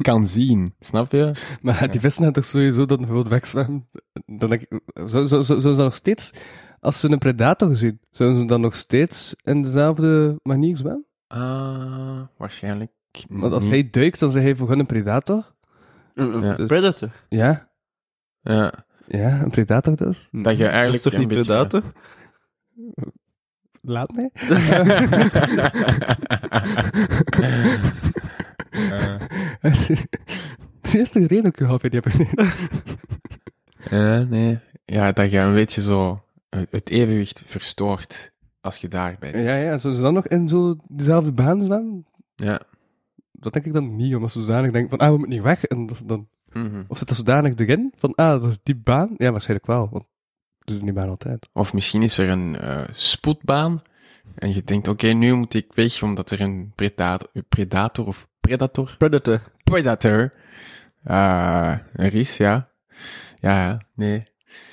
Speaker 3: kan zien. Snap je?
Speaker 5: Maar die vissen hebben toch sowieso dat gewoon wegzwemmen? Dan denk ik, zo, zo, zo, zouden ze dan nog steeds, als ze een predator zien, zouden ze dan nog steeds in dezelfde manier zwemmen?
Speaker 3: Ah, waarschijnlijk.
Speaker 5: Want als
Speaker 3: niet.
Speaker 5: hij duikt, dan is hij voor hun een predator.
Speaker 4: Een- een
Speaker 3: Ja.
Speaker 4: Mm, Predator.
Speaker 5: Ja,
Speaker 3: Ja,
Speaker 5: ja, een predator dus.
Speaker 3: dat je
Speaker 4: Mm, Dat is
Speaker 3: eigenlijk
Speaker 4: toch
Speaker 3: een
Speaker 4: niet
Speaker 3: beetje-
Speaker 4: Predator?
Speaker 5: Laat mij. *laughs* De eerste reden ook je half die hebben.
Speaker 3: Ja, nee. Ja, dat je een beetje zo het het evenwicht verstoort als je daarbij bent.
Speaker 5: *laughs* Ja, ja, zouden ze dan nog in zo dezelfde baan zwemmen?
Speaker 3: Ja.
Speaker 5: Dat denk ik dan niet, omdat ze zodanig denken van, ah, we moeten niet weg. En dat ze dan,
Speaker 3: Mhm.
Speaker 5: of zit dat zodanig erin, van, ah, dat is die baan? Ja, waarschijnlijk wel, want ze doen die baan altijd.
Speaker 3: Of misschien is er een eh, spoedbaan en je denkt, oké, nu moet ik weg omdat er een predator, predator of predator,
Speaker 4: Predator.
Speaker 3: predator eh, er is, ja. Ja, ja, nee.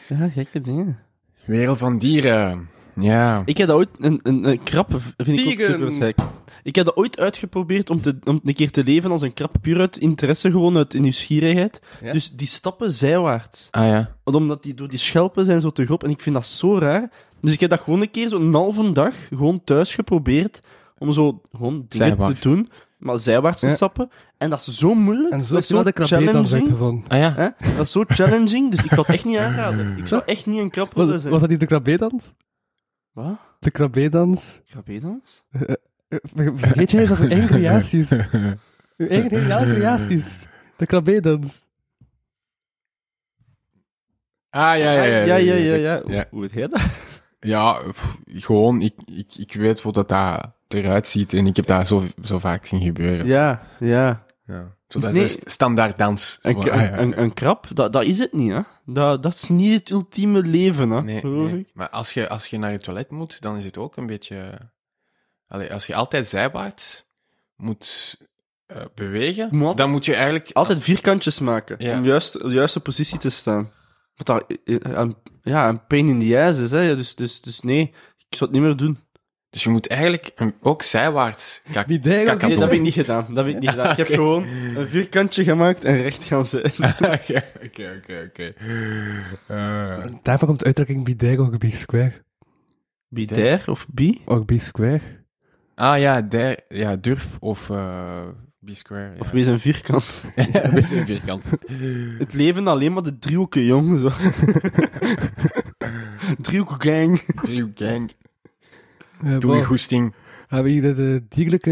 Speaker 4: Ja, gekke dingen.
Speaker 3: Wereld van dieren. Ja.
Speaker 4: Ik heb dat ooit... Een, een, een krab vind ik ook
Speaker 5: Vegan.
Speaker 4: superwaarschijnlijk. Ik heb dat ooit uitgeprobeerd om, te, om een keer te leven als een krab. Puur uit interesse, gewoon uit nieuwsgierigheid.
Speaker 5: Ja.
Speaker 4: Dus die stappen zijwaarts.
Speaker 3: Ah ja.
Speaker 4: Want Omdat die door die schelpen zijn zo te grob. En ik vind dat zo raar. Dus ik heb dat gewoon een keer zo'n halve dag gewoon thuis geprobeerd. Om zo gewoon dingen
Speaker 3: Zijwaarts.
Speaker 4: te doen. Maar zijwaarts te
Speaker 5: Ja.
Speaker 4: stappen. En dat is zo moeilijk.
Speaker 5: En zo
Speaker 4: dat
Speaker 5: heb
Speaker 4: is
Speaker 5: je wel de krabbeer dan
Speaker 4: challenging.
Speaker 5: uitgevonden.
Speaker 3: Ah ja.
Speaker 4: *laughs* Hè? Dat is zo challenging, dus ik kan het
Speaker 3: *laughs*
Speaker 4: echt niet aanraden. Ik zou echt niet een krab willen
Speaker 5: Was,
Speaker 4: zijn.
Speaker 5: was dat niet de krabbeerdans?
Speaker 4: Wat?
Speaker 5: De krabbeerdans?
Speaker 4: Krabedans?
Speaker 5: Eh, ver- Vergeet jij eens dat je *laughs* eigen creaties? Uw eigen geniale creaties. De krabbeerdans.
Speaker 3: Ah ja, ja, ja.
Speaker 4: ja, ja, ja, ja.
Speaker 3: Ja.
Speaker 4: Hoe- Hoe het heet dat?
Speaker 3: Ja, pff, gewoon, ik, ik, ik weet hoe dat, daar eruit ziet en ik heb dat zo, zo vaak zien gebeuren.
Speaker 4: Ja, ja.
Speaker 3: Ja. Zo dat
Speaker 4: Nee.
Speaker 3: is standaard dans.
Speaker 4: Een,
Speaker 3: Ah, ja, ja.
Speaker 4: een, een, een krab, dat, dat is het niet, hè. Dat, dat is niet het ultieme leven, hè,
Speaker 3: Nee,
Speaker 4: geloof
Speaker 3: nee.
Speaker 4: ik.
Speaker 3: maar als je, als je naar het toilet moet, dan is het ook een beetje... Allee, als je altijd zijwaarts moet eh, bewegen,
Speaker 4: Moet.
Speaker 3: dan moet je eigenlijk...
Speaker 4: Altijd vierkantjes maken,
Speaker 3: Ja.
Speaker 4: om juist op de juiste positie te staan. Wat dat eh, eh, een- ja, een pain in the ass is, hè. Dus, dus, dus nee, ik zou het niet meer doen.
Speaker 3: Dus je moet eigenlijk een- ook zijwaarts kak-
Speaker 5: Wie deed dat?
Speaker 3: kakken
Speaker 4: Nee, dat
Speaker 3: doen.
Speaker 4: heb ik niet gedaan. Dat heb ik niet gedaan. *laughs* Ik heb gewoon een vierkantje gemaakt en recht gaan *laughs* zitten.
Speaker 3: *laughs* Oké, oké, oké, oké. Eh,
Speaker 5: Daarvan komt de uitdrukking Bidego Ogbi Square.
Speaker 4: Bidair of bi?
Speaker 5: Ogbi Square.
Speaker 3: Ah ja, der, ja durf of eh, B-square. ja.
Speaker 4: Of wees een vierkant.
Speaker 3: *laughs* een beetje een vierkant.
Speaker 4: Het leven alleen maar de driehoeken, jong. Zo. driehoeken gang.
Speaker 3: Driehoek gang.
Speaker 5: Eh,
Speaker 3: Doe je
Speaker 5: bon,
Speaker 3: goesting.
Speaker 5: Hebben we hier de, de dierlijke...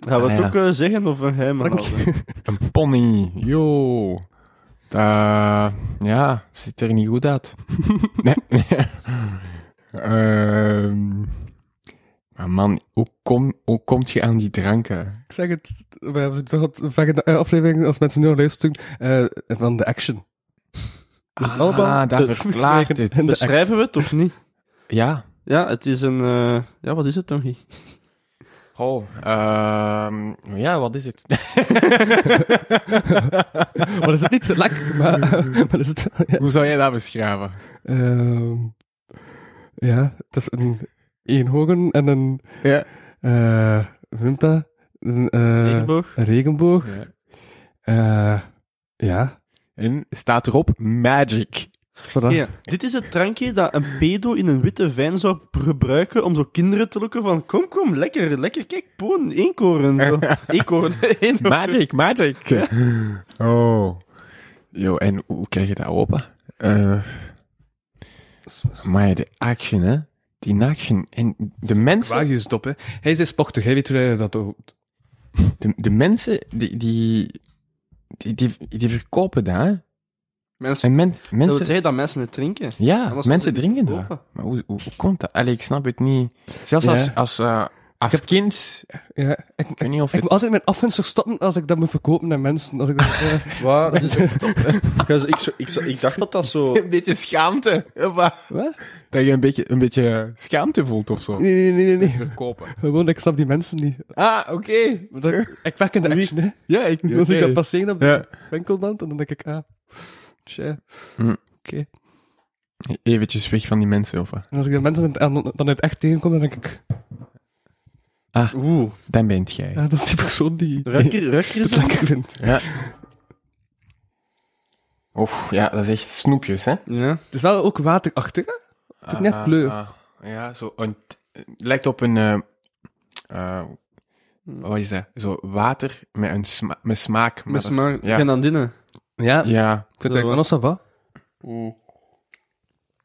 Speaker 4: Gaan we
Speaker 3: Ah,
Speaker 4: het
Speaker 3: ja.
Speaker 4: ook eh, zeggen of een geheim
Speaker 5: Dank
Speaker 4: houden?
Speaker 3: Een pony. Yo. Da- ja, ziet er niet goed *laughs* uit. nee. nee. *laughs* Ehm, maar man, hoe, kom, hoe komt je aan die dranken?
Speaker 5: Ik zeg het, we hebben toch wat vaak in de eh, aflevering, als mensen nu al luisteren, eh, van de action. *laughs* Dus
Speaker 3: ah,
Speaker 5: allemaal
Speaker 3: dat
Speaker 5: het-
Speaker 3: verklaart
Speaker 5: en
Speaker 3: het. Ah,
Speaker 5: de-
Speaker 4: Beschrijven we het of niet?
Speaker 3: Ja.
Speaker 4: Ja, het is een... eh, Ja, wat is het nog? niet?
Speaker 3: Oh, ehm, ja, wat is het?
Speaker 5: Maar is het niet zo
Speaker 3: *laughs*
Speaker 5: lekker, maar, *laughs* maar is het wel, ja.
Speaker 3: Hoe zou jij dat beschrijven?
Speaker 5: Ehm, ja, het is een eenhoorn en een,
Speaker 3: Ja.
Speaker 5: eh, hoe noemt dat? Een, eh,
Speaker 4: Regenboog?
Speaker 5: een regenboog.
Speaker 3: Ja.
Speaker 5: Eh, ja,
Speaker 3: En staat erop Magic.
Speaker 5: voilà.
Speaker 4: Ja. Dit is het drankje dat een pedo in een witte wijn zou gebruiken om zo kinderen te lokken van kom, kom, lekker, lekker, kijk, poen, eenkoren.
Speaker 3: *laughs*
Speaker 4: Zo. Eekhoorn, eenhoorn.
Speaker 3: Magic, *laughs* magic. Oh. Yo, en hoe krijg je dat open? Eh maar de action, hè? Die action. En de mensen,
Speaker 5: je stop, hè. Hij is sportig, hij weet hoe hij dat doet.
Speaker 3: de, de mensen die, die, die, die, die verkopen dat, hè?
Speaker 4: Mensen,
Speaker 3: En men-
Speaker 4: dat wil
Speaker 3: mensen...
Speaker 4: zeggen dat mensen het drinken.
Speaker 3: Ja,
Speaker 4: Anders
Speaker 3: mensen
Speaker 4: komt het
Speaker 3: drinken
Speaker 4: niet
Speaker 3: dat.
Speaker 4: open.
Speaker 3: Maar hoe, hoe, hoe komt dat? Allee, ik snap het niet. Zelfs
Speaker 5: Ja.
Speaker 3: als, als, eh, als kind...
Speaker 5: Ja, ik,
Speaker 3: Ik weet niet of
Speaker 5: ik
Speaker 3: het...
Speaker 5: moet altijd mijn afwinster stoppen als ik dat moet verkopen aan mensen. Als ik dat, eh,
Speaker 4: Waar? *laughs* ik, zo- ik, zo- ik dacht dat dat
Speaker 3: *laughs*
Speaker 4: zo...
Speaker 3: Een beetje schaamte. of wat?
Speaker 5: Wat?
Speaker 3: Dat je een beetje, een beetje schaamte voelt of zo.
Speaker 5: nee, nee, nee, nee,
Speaker 3: *laughs*
Speaker 5: nee.
Speaker 3: Kopen.
Speaker 5: Gewoon, ik snap die mensen niet.
Speaker 3: Ah, oké.
Speaker 5: Want ik- ik werk in de action, hè.
Speaker 3: Ja, *laughs* ik...
Speaker 5: Als ik
Speaker 3: oké.
Speaker 5: dat passeer op de
Speaker 3: Ja.
Speaker 5: winkelband, en dan denk ik, ah, tja.
Speaker 3: Hm.
Speaker 5: Oké.
Speaker 3: Eventjes weg van die mensen, of wat?
Speaker 5: En als ik de mensen in het- en dan in het echt tegenkom, dan denk ik,
Speaker 4: Oeh.
Speaker 3: Dan bent jij.
Speaker 5: ah, dat is die persoon die
Speaker 4: Rukker, rukker
Speaker 5: het
Speaker 4: is
Speaker 5: *laughs* lekker vindt.
Speaker 3: Ja. Oef, ja, dat is echt snoepjes, hè?
Speaker 4: Ja.
Speaker 5: Het is wel ook waterachtig, hè?
Speaker 3: Het
Speaker 5: net kleur.
Speaker 3: ah. ja, zo een... Het lijkt op een... eh, eh, wat is dat? Zo water met een sma met smaak. maar
Speaker 4: Met
Speaker 3: dat-
Speaker 4: z'n maar
Speaker 3: Ja.
Speaker 4: grenadine.
Speaker 5: Ja,
Speaker 3: Ja.
Speaker 5: ik vind het eigenlijk wel wat.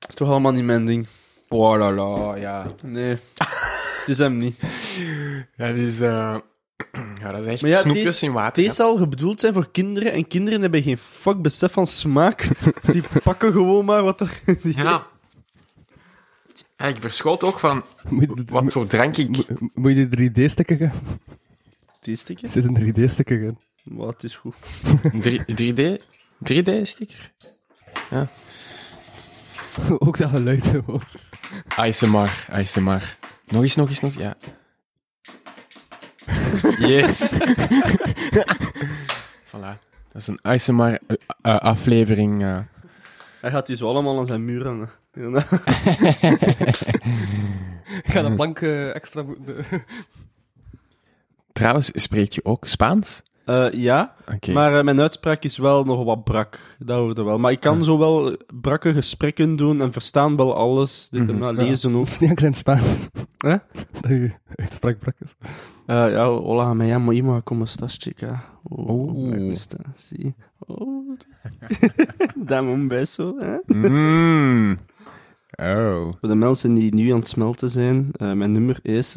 Speaker 4: Is toch allemaal niet mijn ding?
Speaker 3: Oh la la, ja.
Speaker 4: Nee. het is hem niet.
Speaker 3: Dat is... eh, *clears throat* ja, dat is echt
Speaker 4: Maar ja,
Speaker 3: snoepjes in water.
Speaker 4: Deze
Speaker 3: hè.
Speaker 4: zal gebedoeld zijn voor kinderen en kinderen hebben geen fuck besef van smaak. Die pakken gewoon maar wat er... *laughs* Die...
Speaker 3: Ja. Ja, ik verschoot ook van...
Speaker 5: *laughs* Moet je de-
Speaker 3: Wat voor drank ik...
Speaker 5: mo- Moet je de 3D-sticker gaan? *laughs*
Speaker 4: Die stikken?
Speaker 5: Er zit een 3D-sticker in. *laughs*
Speaker 4: Maar het is goed.
Speaker 3: Drie- 3D? 3D-sticker?
Speaker 5: Ook dat geluid gewoon.
Speaker 3: ASMR, ASMR. Nog eens, nog eens, nog Ja. Yes. voilà. Dat is een eh, ASMR-aflevering.
Speaker 4: Hij gaat die zo allemaal aan zijn muur hangen. *laughs* Ja,
Speaker 5: Ik ga de plank eh, extra moeten...
Speaker 3: Trouwens, spreek je ook Spaans?
Speaker 4: Eh, ja,
Speaker 3: Oké. *laughs*
Speaker 4: maar eh, mijn uitspraak is wel nog wat brak. Dat hoorde wel. Maar ik kan zo wel brakke gesprekken doen en verstaan wel alles. Dit en dat, lezen ook.
Speaker 5: *laughs* Het is niet enkel in het Spaans.
Speaker 4: Hè?
Speaker 5: Dat je uitspraak brak is.
Speaker 4: Eh, ja, hola, me llamo Ima, como estás, chica? Oh,
Speaker 3: Oeh.
Speaker 4: me gusta, sí. Oh. *laughs* Dame un beso, hè?
Speaker 3: Mm. Oh.
Speaker 4: Voor de mensen die nu aan het smelten zijn, eh, mijn nummer is...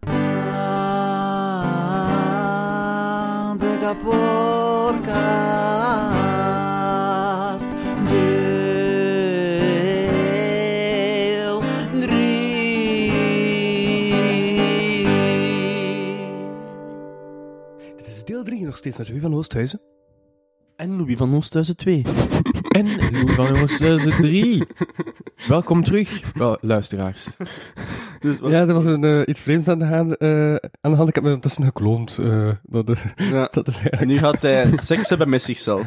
Speaker 9: Antica Podcast Deel 3
Speaker 5: Dit is deel 3 nog steeds met Ruud van Oosthuizen.
Speaker 4: En Louis van Oosthuizen 2.
Speaker 3: En Lou van Oosthuizen *laughs* 3. eh, Welkom terug, wel, luisteraars.
Speaker 4: Dus wat-
Speaker 5: Ja, er was een, eh, iets vreemds aan de, hand, eh, aan de hand. Ik heb me ondertussen gekloond. eh, dat, eh,
Speaker 4: ja.
Speaker 5: dat is *laughs* eigenlijk...
Speaker 4: En nu gaat hij seks hebben met zichzelf.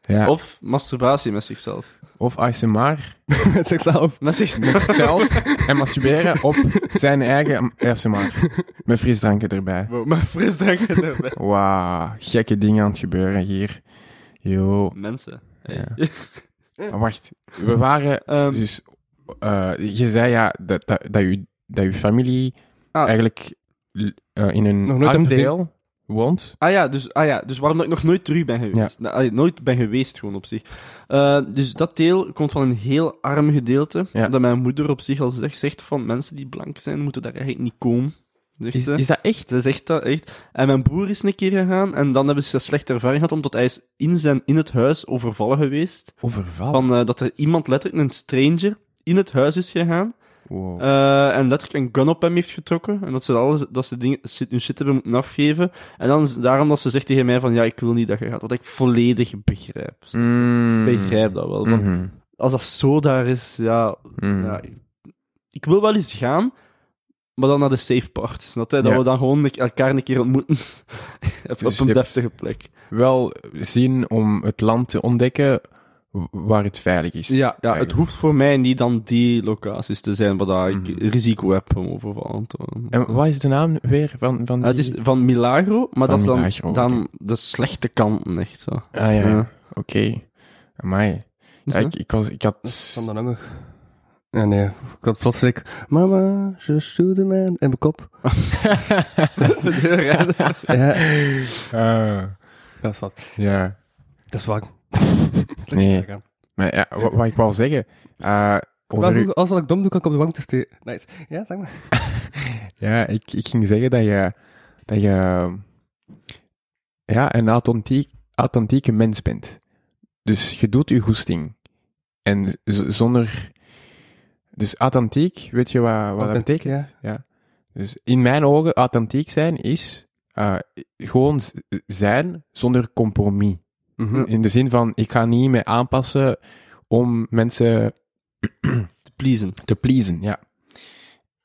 Speaker 3: Ja. Of,
Speaker 4: Of masturbatie met zichzelf.
Speaker 3: of ASMR
Speaker 5: met zichzelf.
Speaker 4: Met zich...
Speaker 3: met zichzelf en masturberen op zijn eigen ASMR. Met frisdranken erbij.
Speaker 4: Wow, maar frisdrank erbij.
Speaker 3: Wauw, gekke dingen aan het gebeuren hier. Yo.
Speaker 4: Mensen.
Speaker 3: Ja. Maar Wacht, we waren
Speaker 4: Ehm,
Speaker 3: dus... eh, je zei ja dat, dat, dat, je, dat je familie
Speaker 4: Ah.
Speaker 3: eigenlijk l- eh, in
Speaker 5: Nog
Speaker 3: een
Speaker 5: nooit
Speaker 3: arm
Speaker 5: heb
Speaker 3: deel woont.
Speaker 4: Ah ja, dus, ah ja, dus waarom dat ik nog nooit terug ben geweest. Nou, allee, nooit ben geweest, gewoon op zich. Eh, dus dat deel komt van een heel arm gedeelte.
Speaker 3: Ja.
Speaker 4: Dat mijn moeder op zich al zegt, zegt van mensen die blank zijn, moeten daar eigenlijk niet komen. Zegt
Speaker 3: Is,
Speaker 4: ze.
Speaker 3: is dat echt?
Speaker 4: Ze zegt dat echt. En mijn broer is een keer gegaan en dan hebben ze een slechte ervaring gehad, omdat hij is in, zijn, in het huis overvallen geweest.
Speaker 3: Overval.
Speaker 4: Van, eh, dat er iemand, letterlijk een stranger, in het huis is gegaan
Speaker 3: Wow.
Speaker 4: eh, en letterlijk een gun op hem heeft getrokken. En dat ze, alles, dat ze dingen, shit, hun shit hebben moeten afgeven. En dan is- daarom dat ze zegt tegen mij van, ja, ik wil niet dat je gaat. Wat ik volledig begrijp.
Speaker 3: Mm.
Speaker 4: Ik begrijp dat wel. Want
Speaker 3: Mhm.
Speaker 4: als dat zo daar is, ja...
Speaker 3: Mhm.
Speaker 4: ja ik, ik wil wel eens gaan, maar dan naar de safe parts. Dat, hè, dat
Speaker 3: Ja.
Speaker 4: we dan gewoon een- elkaar een keer ontmoeten. *laughs* op,
Speaker 3: Dus je
Speaker 4: een
Speaker 3: hebt-
Speaker 4: deftige plek.
Speaker 3: Wel zien om het land te ontdekken w- waar het veilig is.
Speaker 4: Ja, ja het
Speaker 3: eigenlijk.
Speaker 4: hoeft voor mij niet dan die locaties te zijn waar dat ik
Speaker 3: Mhm.
Speaker 4: risico heb om overvallen te worden.
Speaker 3: En wat is de naam weer van, van
Speaker 4: Ah, het is
Speaker 3: die-
Speaker 4: van Milagro,
Speaker 3: Van
Speaker 4: maar dat is dan,
Speaker 3: Milagro,
Speaker 4: dan
Speaker 3: oké.
Speaker 4: de slechte kanten, echt zo.
Speaker 3: Ah ja,
Speaker 4: Ja. *laughs*
Speaker 3: oké. Amai. Ja, ik, ik, was, ik had...
Speaker 5: Van de nummer. Ja, nee. Ik had plotseling... Mama, je stuurde mij in mijn kop. Ja,
Speaker 3: Ah,
Speaker 5: dat is wat.
Speaker 3: ja.
Speaker 5: Dat is waar.
Speaker 3: Nee. Maar ja, wat, wat ik wou zeggen... eh, over u-
Speaker 5: Wel, Als wat ik dom doe, kan ik op de wang te steken. Nice. Ja, zeg maar.
Speaker 3: ja, ik, ik ging zeggen dat je... Dat je... Ja, een authentiek, authentieke mens bent. Dus je doet je goesting. En z- zonder... Dus authentiek, weet je wat, wat dat betekent?
Speaker 5: ja.
Speaker 3: Dus in mijn ogen, authentiek zijn is eh, gewoon z- zijn zonder compromis. In de zin van, ik ga niet mee aanpassen om mensen
Speaker 4: Te pleasen.
Speaker 3: te pleasen, ja.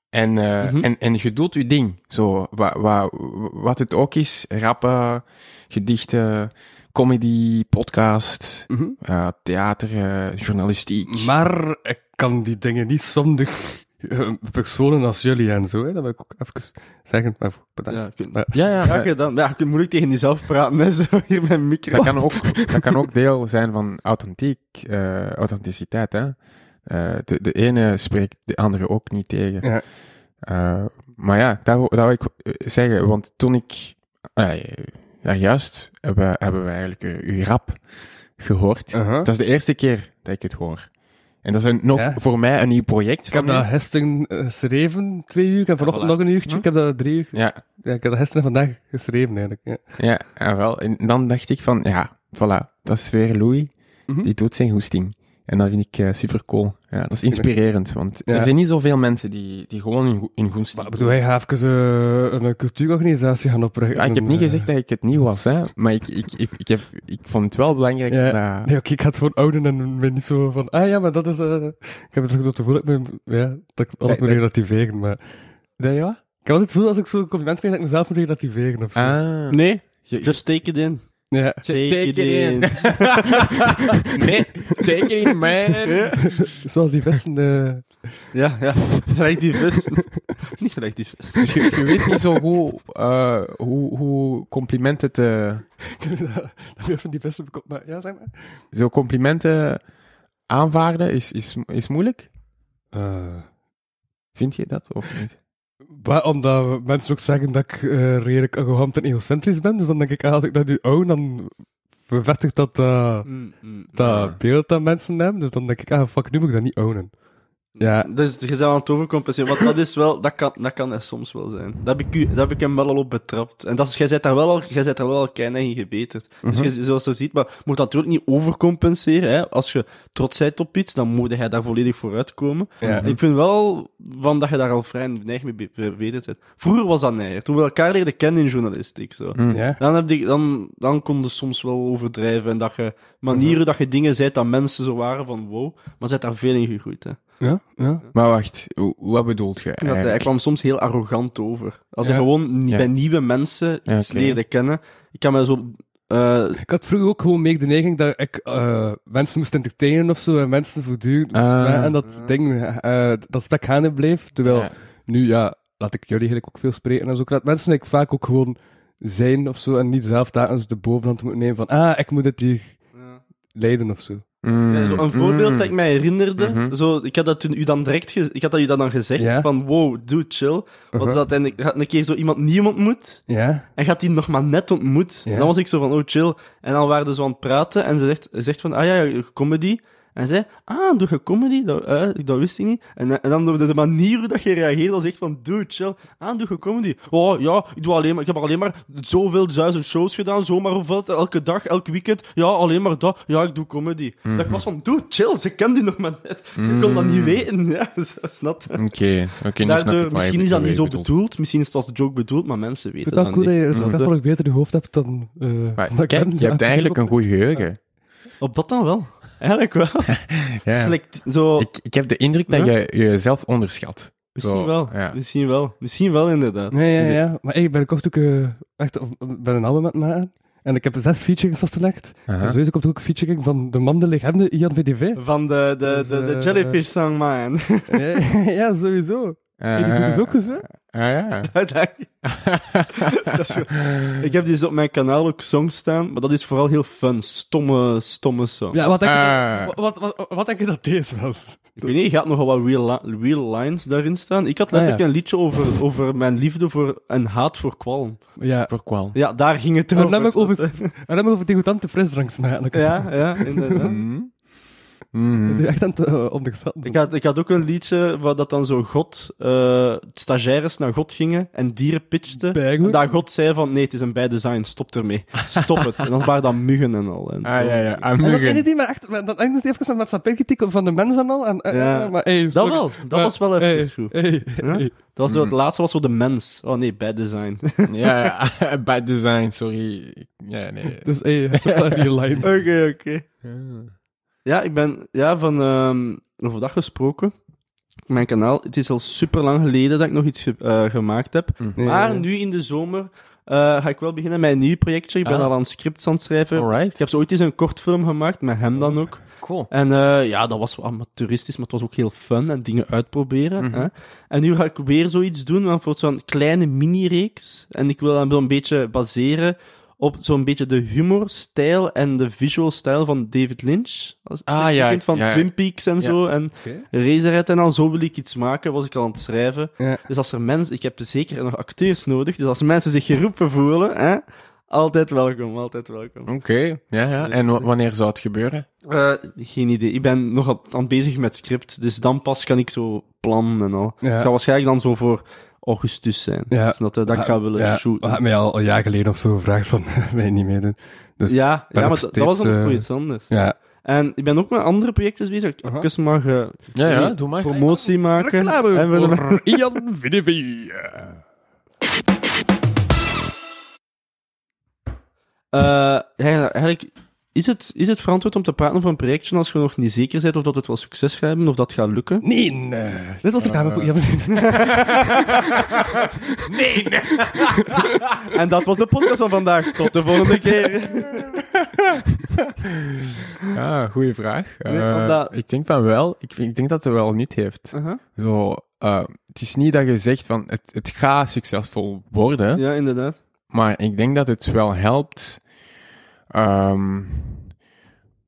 Speaker 3: En, eh,
Speaker 4: Mhm.
Speaker 3: en, en je doet je ding. Zo, wa, wa, wat het ook is, rappen, gedichten, comedy, podcast,
Speaker 5: Mhm.
Speaker 3: eh, theater, eh, journalistiek.
Speaker 5: Maar ik kan die dingen niet zonder eh, personen als jullie en zo. Hè. Dat wil ik ook even zeggen. Maar voor- bedankt.
Speaker 4: Ja, kun-
Speaker 5: Maar-
Speaker 3: ja, ja,
Speaker 4: ja,
Speaker 3: eh,
Speaker 4: oké, dan. Ja, je kunt moeilijk tegen jezelf praten, hè, zo hier met een micro.
Speaker 3: dat, kan ook, dat kan ook deel zijn van authentiek, eh, authenticiteit. Hè? Eh, de, de ene spreekt de andere ook niet tegen.
Speaker 5: Ja.
Speaker 3: Eh, maar ja, dat, wou- dat wil ik eh, zeggen, want toen ik... eh, daar juist hebben, hebben we eigenlijk eh, uw rap gehoord.
Speaker 5: Uh-huh.
Speaker 3: Dat is de eerste keer dat ik het hoor. En dat is een- nog
Speaker 5: Ja.
Speaker 3: voor mij een nieuw project.
Speaker 5: Ik heb
Speaker 3: van
Speaker 5: dat
Speaker 3: u.
Speaker 5: gisteren eh, geschreven, twee uur. Ik heb vanochtend nog een uurtje. Ik heb dat drie uur.
Speaker 3: Ja,
Speaker 5: Ja, ik heb dat gisteren en vandaag geschreven eigenlijk. Ja.
Speaker 3: ja, en wel. En dan dacht ik van, ja, voilà, dat is weer Louis.
Speaker 5: Mhm.
Speaker 3: Die doet zijn hoesting. En dat vind ik eh, super cool. Ja, dat is inspirerend, want
Speaker 5: Ja.
Speaker 3: er zijn niet zoveel mensen die, die gewoon hun, go- hun goesting
Speaker 5: Maar ik
Speaker 3: doen.
Speaker 5: bedoel, hij gaat even eh, een cultuurorganisatie gaan oprichten.
Speaker 3: Ja, Ah, ik heb
Speaker 5: En,
Speaker 3: niet
Speaker 5: eh,
Speaker 3: gezegd dat ik het nieuw was, hè. Maar ik, ik, ik, ik, heb, ik vond het wel belangrijk
Speaker 5: Ja.
Speaker 3: dat...
Speaker 5: Nee, oké, ik ga het gewoon ouden en ben niet zo van... Ah ja, maar dat is... eh, ik heb het ook zo het gevoel dat ik, me- ja, dat ik alles
Speaker 3: Nee,
Speaker 5: moet
Speaker 3: nee.
Speaker 5: relativeren, maar...
Speaker 3: Dat je wat?
Speaker 5: Ik heb altijd het gevoel als ik zo'n compliment krijg dat ik mezelf moet relativeren of zo. *laughs*
Speaker 3: Ah.
Speaker 4: Nee,
Speaker 3: Je-
Speaker 4: just take it in.
Speaker 5: Ja.
Speaker 4: Take, it, in. *laughs*
Speaker 3: Nee, take it in, *laughs* man.
Speaker 5: Zoals die vesten... eh, *laughs*
Speaker 4: Ja, ja. Gelijk die vis. *laughs* Niet gelijk die vis.
Speaker 3: Dus je, je weet niet zo hoe, eh, hoe, hoe complimenten te...
Speaker 5: dat weer van die vesten bekop- maar ja, zeg maar.
Speaker 3: Zo complimenten aanvaarden is, is, is moeilijk.
Speaker 5: Eh,
Speaker 3: Vind je dat of niet?
Speaker 5: maar omdat we- mensen ook zeggen dat ik eh, redelijk arrogant en egocentrisch ben, dus dan denk ik, ah, als ik dat nu oud, dan bevestigt dat... eh,
Speaker 4: Mm,
Speaker 5: dat beeld dat mensen hebben. Dus dan denk ik, ah fuck, nu moet ik dat niet ownen. Ja.
Speaker 4: Dus je bent aan het overcompenseren. Want dat is wel, dat kan, dat kan er soms wel zijn. Dat heb ik, u- dat heb ik hem wel al op betrapt. En dat is, jij bent daar wel al, jij bent daar wel al keihard in gebeterd. Dus je, zoals je ziet, maar je moet dat natuurlijk niet overcompenseren. Hè. Als je trots bent op iets, dan moet jij daar volledig voor uitkomen. Ik vind wel van dat je daar al vrij neig mee be- be- bezig bent. Vroeger was dat neiger. Toen we elkaar leerden kennen in journalistiek. Zo.
Speaker 3: Hm.
Speaker 5: Ja.
Speaker 4: Dan, heb ik, dan, dan kon je soms wel overdrijven. En dat je manieren dat je dingen zei dat mensen zo waren van wow. Maar ze zijn daar veel in gegroeid. Hè.
Speaker 5: Ja, ja.
Speaker 3: Maar wacht, hoe- wat bedoelt je
Speaker 4: Dat, hij
Speaker 3: eigenlijk?
Speaker 4: kwam soms heel arrogant over. Als
Speaker 5: Ja.
Speaker 4: hij gewoon ni-
Speaker 3: Ja.
Speaker 4: bij nieuwe mensen
Speaker 3: Ja,
Speaker 4: iets
Speaker 3: oké.
Speaker 4: leerde kennen. Ik kan me zo... eh,
Speaker 5: Ik had vroeger ook gewoon meer de neiging dat ik eh, mensen moest entertainen of zo, en mensen voortdurend. moest-
Speaker 3: Ah.
Speaker 5: ja, en dat ding, eh, dat spek gaande bleef. Terwijl
Speaker 3: Ja.
Speaker 5: nu, ja, laat ik jullie eigenlijk ook veel spreken. En zo. Ik laat mensen ik vaak ook gewoon zijn of zo, en niet zelf daar eens de bovenhand moeten nemen van, ah, ik moet dit hier leiden of zo.
Speaker 3: Mm,
Speaker 4: ja, zo een voorbeeld dat ik mij herinnerde.
Speaker 3: Mhm.
Speaker 4: Zo, ik had dat toen u dan direct ge- ik had dat u dat dan gezegd.
Speaker 5: Ja.
Speaker 4: Van wow, dude, chill.
Speaker 3: Uh-huh.
Speaker 4: Want dat, en ik had een keer zo iemand nieuw ontmoet.
Speaker 5: Ja?
Speaker 4: En gaat die nog maar net ontmoet.
Speaker 5: Ja.
Speaker 4: En dan was ik zo van, oh chill. En dan waren ze zo aan het praten. En ze zegt, ze zegt van, ah ja, ja, comedy. En zij, ah, doe je comedy? Dat, eh, dat wist ik niet. En, eh, en dan de, de manier hoe dat je reageert, dan zegt van, dude, chill. Ah, doe je comedy? Oh ja, ik, doe alleen maar, ik heb alleen maar zoveel duizend shows gedaan, zomaar hoeveel, elke dag, elk weekend. Ja, alleen maar dat. Ja, ik doe comedy. Dat ik was van, dude, chill, ze kent die nog maar net. Ze kon dat niet weten. Ja, *laughs* zo, snap je?
Speaker 3: Oké, oké, nu snap
Speaker 4: Daardoor,
Speaker 3: ik wat je
Speaker 4: misschien is dat
Speaker 3: bedoelt.
Speaker 4: niet zo bedoeld, misschien is het als joke bedoeld, maar mensen
Speaker 5: Ik
Speaker 4: weten
Speaker 5: vind het
Speaker 4: dat
Speaker 5: wel
Speaker 4: niet. Mm.
Speaker 5: cool dat je
Speaker 4: Snap je?
Speaker 5: strafvallig beter je hoofd hebt dan, eh,
Speaker 4: *laughs*
Speaker 3: Maar
Speaker 5: *laughs* dan ik
Speaker 3: kijk,
Speaker 5: ben.
Speaker 3: je hebt eigenlijk een goed geheugen.
Speaker 4: Op dat dan wel. Eigenlijk wel.
Speaker 5: *laughs*
Speaker 4: Select, zo,
Speaker 3: Ik, ik heb de indruk dat je jezelf onderschat.
Speaker 4: Oh. misschien,
Speaker 3: Zo,
Speaker 4: wel.
Speaker 3: ja.
Speaker 4: misschien wel. Misschien wel, inderdaad.
Speaker 5: Nee, ja, ja. Maar ik ben kort ook eh, echt op- ben een album aan het maken. En ik heb zes featurings vastgelegd.
Speaker 3: Aha.
Speaker 5: En sowieso komt er ook een featuring van de man, de legende, Ian
Speaker 3: *laughs*
Speaker 5: VDV.
Speaker 4: Van de, de,
Speaker 5: Dus,
Speaker 4: de, de
Speaker 5: eh,
Speaker 4: Jellyfish Song Man.
Speaker 5: ja, sowieso.
Speaker 3: Eh,
Speaker 5: En die doet dus ook eens, hè?
Speaker 3: ah, ja.
Speaker 4: *laughs* dat
Speaker 5: *laughs*
Speaker 4: is goed. Ik heb dus op mijn kanaal ook songs staan, maar dat is vooral heel fun. Stomme, stomme song.
Speaker 5: Ja, wat denk,
Speaker 3: Ah.
Speaker 5: je, wat, wat, wat, wat denk je dat deze was?
Speaker 4: Ik weet niet, je gaat nogal wat real, li- real lines daarin staan. Ik had letterlijk
Speaker 5: Ah, ja.
Speaker 4: een liedje over, over mijn liefde voor en haat voor kwalm.
Speaker 5: Ja.
Speaker 3: Voor kwal.
Speaker 4: Ja, daar ging het
Speaker 5: En
Speaker 4: over. *laughs*
Speaker 5: dan heb ik over, en dan heb ik over degutante frisdranks maken.
Speaker 4: Ja, ja, inderdaad.
Speaker 3: Mm.
Speaker 5: Dat is echt aan het eh, onderschatten.
Speaker 4: Ik had, ik had ook een liedje waar dat dan zo God, eh, stagiaires naar God gingen en dieren pitchten.
Speaker 5: Bijgoed.
Speaker 4: En daar God zei van, nee, het is een bad design, stop ermee. Stop het. En dan waren dat muggen en al. En,
Speaker 3: Ah, ja, ja. Ah,
Speaker 5: En dat
Speaker 3: muggen.
Speaker 5: eindigt niet met echt, met- dat eindigt even met maatschappijkritiek van de mens en al. En, eh,
Speaker 4: Ja.
Speaker 5: eh, maar, hey,
Speaker 4: Dat
Speaker 5: sorry. Eh,
Speaker 4: wel, dat
Speaker 5: Maar,
Speaker 4: was wel even
Speaker 5: hey,
Speaker 4: goed.
Speaker 5: hey,
Speaker 4: Ja?
Speaker 5: hey.
Speaker 4: Dat was
Speaker 3: Hmm.
Speaker 4: zo, het laatste was zo de mens. Oh nee, bad design. *laughs*
Speaker 3: Ja, ja. *laughs* Bad design, sorry. Ja, nee.
Speaker 5: Dus hey, *laughs* je hebt wel die lines.
Speaker 4: Oké, oké. Ja, ik ben ja, van ehm over dat gesproken. Mijn kanaal. Het is al super lang geleden dat ik nog iets ge- eh, gemaakt heb. Maar nu in de zomer eh, ga ik wel beginnen met een nieuw projectje. Ik ben
Speaker 3: Ah.
Speaker 4: al aan scripts aan het schrijven. Ik
Speaker 3: Alright.
Speaker 4: heb zo ooit eens een kortfilm gemaakt, met hem dan ook.
Speaker 3: Cool.
Speaker 4: En eh, ja, dat was wel amateuristisch, maar het was ook heel fun en dingen uitproberen.
Speaker 3: Mhm.
Speaker 4: hè. En nu ga ik weer zoiets doen, want voor zo'n kleine mini-reeks. En ik wil dan wel een beetje baseren op zo'n beetje de humorstijl en de visual stijl van David Lynch. Als
Speaker 3: Ah,
Speaker 4: ik
Speaker 3: ja,
Speaker 4: vind Van
Speaker 3: ja, ja.
Speaker 4: Twin Peaks en zo. En Razorhead en al, zo wil ik iets maken, was ik al aan het schrijven.
Speaker 5: Ja.
Speaker 4: Dus als er mensen, ik heb zeker nog acteurs nodig, dus als mensen zich geroepen voelen, hè, altijd welkom, altijd welkom.
Speaker 3: Oké, ja, ja. En wa- wanneer zou het gebeuren?
Speaker 4: Eh, geen idee. Ik ben nog aan- aan bezig met script, dus dan pas kan ik zo plannen en al.
Speaker 5: Ja.
Speaker 4: Het gaat waarschijnlijk dan zo voor augustus zijn.
Speaker 5: Ja.
Speaker 4: Dus dat, eh, dat ik ga willen
Speaker 5: ja,
Speaker 4: shooten.
Speaker 5: We hadden mij al al een jaar geleden of zo gevraagd van, *laughs* wil je niet meedoen? Dus, ja.
Speaker 4: ja, ja,
Speaker 5: nog
Speaker 4: maar dat- dat was
Speaker 5: steeds,
Speaker 4: dan ook
Speaker 5: eh,
Speaker 4: wel iets anders. En ik ben ook met andere projectjes bezig. Ik
Speaker 5: Aha.
Speaker 4: even mag eh,
Speaker 3: Ja, ja,
Speaker 4: Nee,
Speaker 3: doe maar.
Speaker 4: promotie maken. En we hebben-
Speaker 5: voor Ian
Speaker 4: *laughs*
Speaker 5: Vinnevi.
Speaker 4: Eh, ja, eigenlijk is het, is het verantwoord om te praten over een projectje als je nog niet zeker bent of dat het wel succes gaat hebben of dat gaat lukken?
Speaker 5: Nee, nee. Dit was de kamer voor Ian Vinnevi.
Speaker 4: En dat was de podcast van vandaag. Tot de *laughs* volgende keer.
Speaker 3: Ja, goede Ah, vraag.
Speaker 4: Nee,
Speaker 3: Eh,
Speaker 4: omdat-
Speaker 3: Ik denk van wel. Ik, vind- ik denk dat het wel niet heeft.
Speaker 4: Aha.
Speaker 3: Zo, eh, het is niet dat je zegt van het, het gaat succesvol worden,
Speaker 4: Ja, inderdaad.
Speaker 3: maar ik denk dat het wel helpt ehm,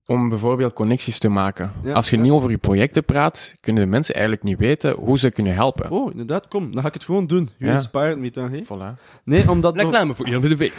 Speaker 3: om bijvoorbeeld connecties te maken.
Speaker 4: Ja,
Speaker 3: Als je
Speaker 4: ja.
Speaker 3: niet over je projecten praat, kunnen de mensen eigenlijk niet weten hoe ze kunnen helpen.
Speaker 4: Oh, inderdaad. Kom, dan ga ik het gewoon doen. You
Speaker 3: Ja.
Speaker 4: inspired me, dan, hè?
Speaker 3: Voilà.
Speaker 4: Nee, omdat...
Speaker 5: Reclame voor Ian Vinnevi.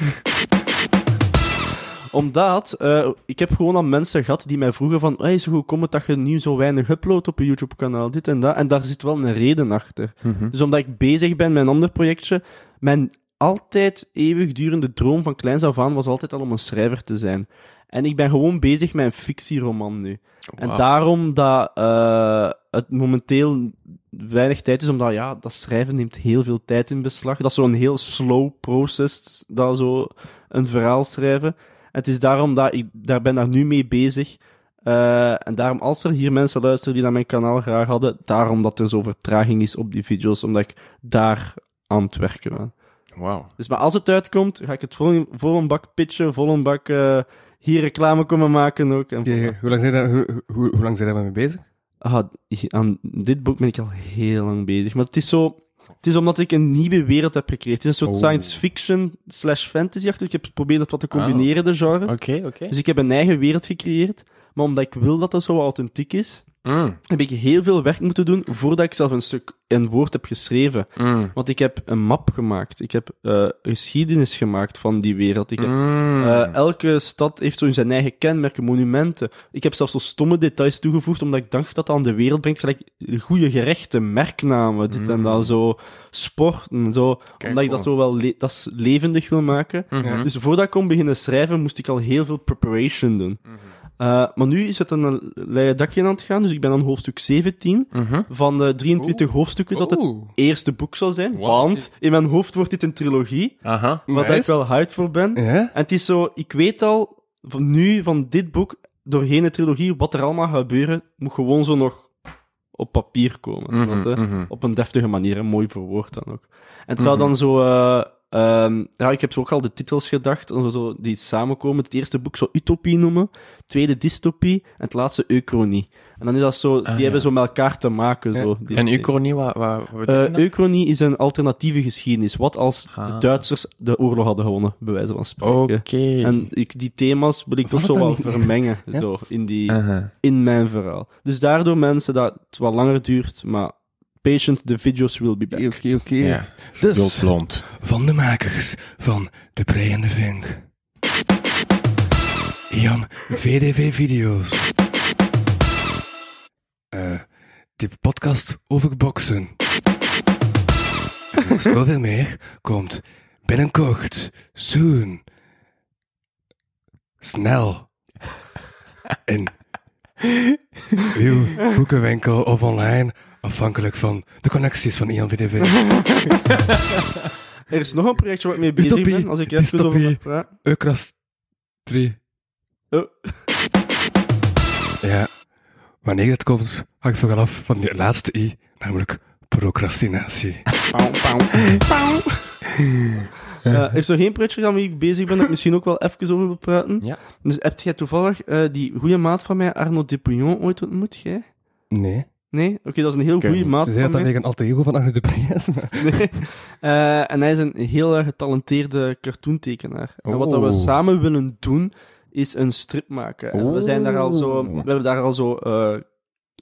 Speaker 4: Omdat, eh, ik heb gewoon aan mensen gehad die mij vroegen van hey, zo hoe komt het dat je nu zo weinig uploadt op je YouTube-kanaal, dit en dat. En daar zit wel een reden achter. Dus omdat ik bezig ben met een ander projectje, mijn altijd eeuwigdurende droom van kleins af aan was altijd al om een schrijver te zijn. En ik ben gewoon bezig met een fictieroman nu. En daarom dat eh, het momenteel weinig tijd is, omdat ja, dat schrijven neemt heel veel tijd in beslag. Dat is zo'n heel slow process, dat zo een verhaal schrijven. Het is daarom dat ik daar ben daar nu mee bezig. Eh, en daarom, als er hier mensen luisteren die naar mijn kanaal graag hadden, daarom dat er zo vertraging is op die video's, omdat ik daar aan het werken ben.
Speaker 3: Wauw.
Speaker 4: Dus maar als het uitkomt, ga ik het vol, vol een bak pitchen, vol een bak eh, hier reclame komen maken ook. En
Speaker 5: Oké, Hoe lang zijn daar- hoe- hoe- hoe lang zijn we mee bezig?
Speaker 4: Ah, i- aan dit boek ben ik al heel lang bezig. Maar het is zo... Het is omdat ik een nieuwe wereld heb gecreëerd. Het is een soort
Speaker 3: Oh.
Speaker 4: science fiction slash fantasy. achter. Ik heb geprobeerd dat wat te combineren, de genres.
Speaker 3: Oké, oké.
Speaker 4: Dus ik heb een eigen wereld gecreëerd. Maar omdat ik wil dat dat zo authentiek is,
Speaker 3: Mm,
Speaker 4: heb ik heel veel werk moeten doen voordat ik zelf een stuk, een woord heb geschreven.
Speaker 3: mm,
Speaker 4: Want ik heb een map gemaakt. Ik heb eh, geschiedenis gemaakt van die wereld. Ik heb
Speaker 3: mm.
Speaker 4: eh, elke stad heeft zo zijn eigen kenmerken, monumenten. Ik heb zelfs zo stomme details toegevoegd, omdat ik dacht dat dat aan de wereld brengt. Gelijk goede gerechten, merknamen, dit en
Speaker 3: Mm.
Speaker 4: dat, zo sporten, zo. omdat ik dat zo wel le- dat is levendig wil maken.
Speaker 3: oh. Mhm.
Speaker 4: Dus voordat ik kon beginnen schrijven, moest ik al heel veel preparation doen.
Speaker 3: Mhm.
Speaker 4: Eh, maar nu is het een leien dakje aan het gaan, dus ik ben aan hoofdstuk 17
Speaker 3: Mhm.
Speaker 4: van de 23 hoofdstukken dat het
Speaker 5: Oeh.
Speaker 4: eerste boek zal zijn.
Speaker 3: Wow.
Speaker 4: Want in mijn hoofd wordt dit een trilogie,
Speaker 3: Aha.
Speaker 4: waar
Speaker 5: Nice.
Speaker 4: ik wel hyped voor ben.
Speaker 5: Ja?
Speaker 4: En het is zo, ik weet al van nu, van dit boek, doorheen de trilogie, wat er allemaal gaat gebeuren, moet gewoon zo nog op papier komen.
Speaker 3: Mhm,
Speaker 4: snap je?
Speaker 3: mhm.
Speaker 4: Op een deftige manier, hè, mooi verwoord dan ook. En het zou dan zo, eh, ehm, ja, ik heb zo ook al de titels gedacht, en zo- zo, die samenkomen. Het eerste boek zou Utopie noemen, het tweede Dystopie, en het laatste Euchronie. En dan is dat zo, die
Speaker 3: Ah, ja.
Speaker 4: hebben zo met elkaar te maken. Zo, die
Speaker 3: En
Speaker 4: twee.
Speaker 3: uw kolonie, wat... wat, wat
Speaker 4: Eh, Euchronie is een alternatieve geschiedenis. Wat als de
Speaker 3: Ah.
Speaker 4: Duitsers de oorlog hadden gewonnen, bij wijze van spreken.
Speaker 3: Oké.
Speaker 4: En ik, die thema's wil ik toch zo wel vermengen zo, in, die,
Speaker 3: Aha.
Speaker 4: in mijn verhaal. Dus daardoor, mensen, dat het wat langer duurt, maar patient, the videos will be back.
Speaker 5: Oké, oké.
Speaker 3: Ja.
Speaker 5: Dus,
Speaker 3: blond.
Speaker 5: van de makers van De Prei en de Vink. Ian VDV Video's. eh, die podcast over boksen. En Zoveel meer komt binnenkort, soon, snel, in uw boekenwinkel of online, afhankelijk van de connecties van Ian VDV.
Speaker 4: Er is nog een projectje waar ik mee bezig
Speaker 5: Utopie,
Speaker 4: ben, als ik er even over
Speaker 5: dystopie.
Speaker 4: mag praten.
Speaker 5: Eukras 3.
Speaker 4: Oh.
Speaker 5: Ja, wanneer dat komt, hangt vooral af van die laatste i, namelijk procrastinatie.
Speaker 4: Pauw, pauw, pauw. Eh, er is nog één projectje waarmee ik bezig ben, dat ik misschien ook wel even over wil praten.
Speaker 3: Ja.
Speaker 4: Dus heb jij toevallig eh, die goede maat van mij, Arno Depouillon, ooit ontmoet? Jij?
Speaker 5: Nee.
Speaker 4: Nee? Oké, dat is een heel goede maat
Speaker 5: Ze
Speaker 4: van
Speaker 5: zeiden dat
Speaker 4: mij.
Speaker 5: dat een alter ego van Agnes de Pree is, maar-
Speaker 4: *laughs* Nee. Eh, en hij is een heel erg getalenteerde cartoontekenaar. En wat dat we
Speaker 5: Oh.
Speaker 4: samen willen doen, is een strip maken. En we zijn daar al zo... We hebben daar al zo... eh,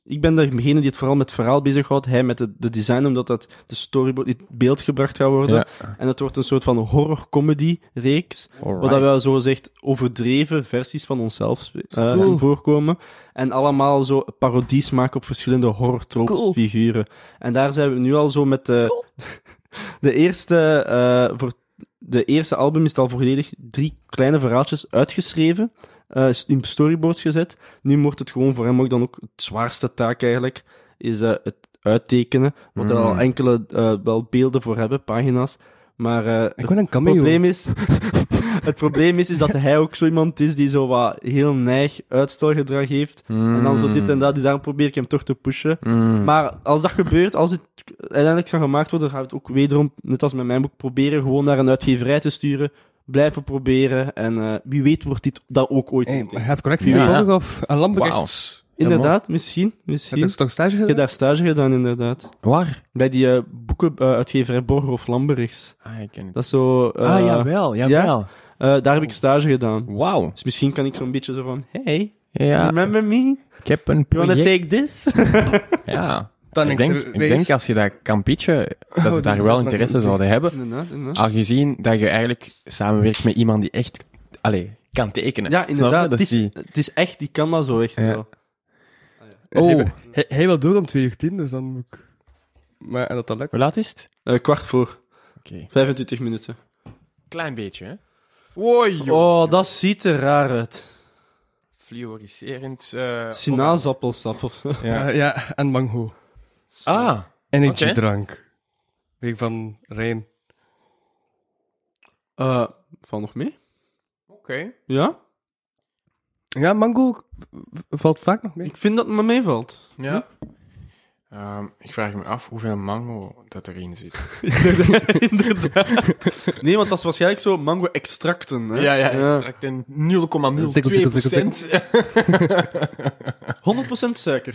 Speaker 4: ik ben degene die het vooral met het verhaal bezighoudt. Hij met de, de design, omdat dat de storyboard in beeld gebracht gaat worden.
Speaker 3: Ja.
Speaker 4: En het wordt een soort van horror-comedy-reeks. Waar dat wel zo zegt overdreven versies van onszelf eh, voorkomen. En allemaal zo parodies maken op verschillende horror-tropes-figuren. En daar zijn we nu al zo met de... *laughs* De eerste, eh, voor de eerste album is het al volledig drie kleine verhaaltjes uitgeschreven. eh, s- in storyboards gezet. Nu wordt het gewoon voor hem ook dan ook het zwaarste taak eigenlijk. Is eh, het uittekenen. Want er al enkele eh, wel beelden voor hebben, pagina's. Maar eh,
Speaker 5: Ik
Speaker 4: het
Speaker 5: wil een cameo.
Speaker 4: probleem is. *laughs* het probleem is, is dat hij ook zo iemand is die zo wat heel neig uitstelgedrag heeft. En dan zo dit en dat. Dus daarom probeer ik hem toch te pushen. Maar als dat gebeurt, als het uiteindelijk zou gemaakt worden, dan ga ik het ook wederom, net als met mijn boek, proberen gewoon naar een uitgeverij te sturen. Blijven proberen. En eh, wie weet wordt dit dat ook ooit.
Speaker 5: Hey,
Speaker 4: een ding.
Speaker 5: maar je hebt connectie met
Speaker 3: Ja.
Speaker 5: Bolger of een lamp bekijkt.
Speaker 3: Wauw.
Speaker 4: Inderdaad, misschien.
Speaker 5: Heb je
Speaker 4: misschien.
Speaker 5: dus toch stage
Speaker 4: Ik heb
Speaker 5: gedaan?
Speaker 4: daar stage gedaan, inderdaad.
Speaker 3: Waar?
Speaker 4: Bij die eh, boekenuitgeverij Borger of Lamberichs.
Speaker 3: Ah, ik ken het.
Speaker 4: Dat is zo... eh,
Speaker 3: ah, jawel, jawel.
Speaker 4: eh, daar heb ik stage gedaan.
Speaker 3: Wauw.
Speaker 4: Dus misschien kan ik zo'n beetje zo van... Hey,
Speaker 3: Ja,
Speaker 4: remember me?
Speaker 3: ik heb een
Speaker 4: You wanna
Speaker 3: project.
Speaker 4: take this? *laughs*
Speaker 3: Ja.
Speaker 5: Dan
Speaker 3: Ik
Speaker 5: niks.
Speaker 3: denk,
Speaker 5: Nee,
Speaker 3: ik denk als je dat kan pitchen, dat ze daar wel interesse zouden hebben.
Speaker 4: inderdaad, inderdaad.
Speaker 3: Aangezien dat je eigenlijk samenwerkt met iemand die echt allee, kan tekenen.
Speaker 4: Ja,
Speaker 3: Snap
Speaker 4: inderdaad.
Speaker 3: je? Dat
Speaker 4: Het is,
Speaker 3: die...
Speaker 4: het is echt, die kan dat zo echt
Speaker 3: Ja.
Speaker 4: wel.
Speaker 3: Oh,
Speaker 5: Hij, hij wil door om 2 uur 10, dus dan moet ik... Maar en dat dat lukt.
Speaker 3: hoe laat is het?
Speaker 4: Eh, kwart voor.
Speaker 3: Oké.
Speaker 4: 25 minuten.
Speaker 3: Klein beetje, hè? Woi,
Speaker 4: Oh, dat ziet er raar uit.
Speaker 3: Fluoriserend. eh,
Speaker 4: Sinaasappelsap of zo.
Speaker 3: Ja.
Speaker 5: Eh, ja, en mango.
Speaker 3: Ah,
Speaker 5: Energydrank. Weer van
Speaker 4: *laughs*
Speaker 5: Rijn.
Speaker 4: Eh, Van nog mee?
Speaker 3: oké.
Speaker 4: Ja?
Speaker 5: Ja, mango v- valt vaak nog mee.
Speaker 4: Ik vind dat het me meevalt. *laughs*
Speaker 3: Ja. Hm. Ehm, ik vraag me af hoeveel mango dat erin zit.
Speaker 4: inderdaad. Nee, want dat is waarschijnlijk zo mango-extracten. Hè?
Speaker 3: Extract een 0,02 procent.
Speaker 4: 100% suiker.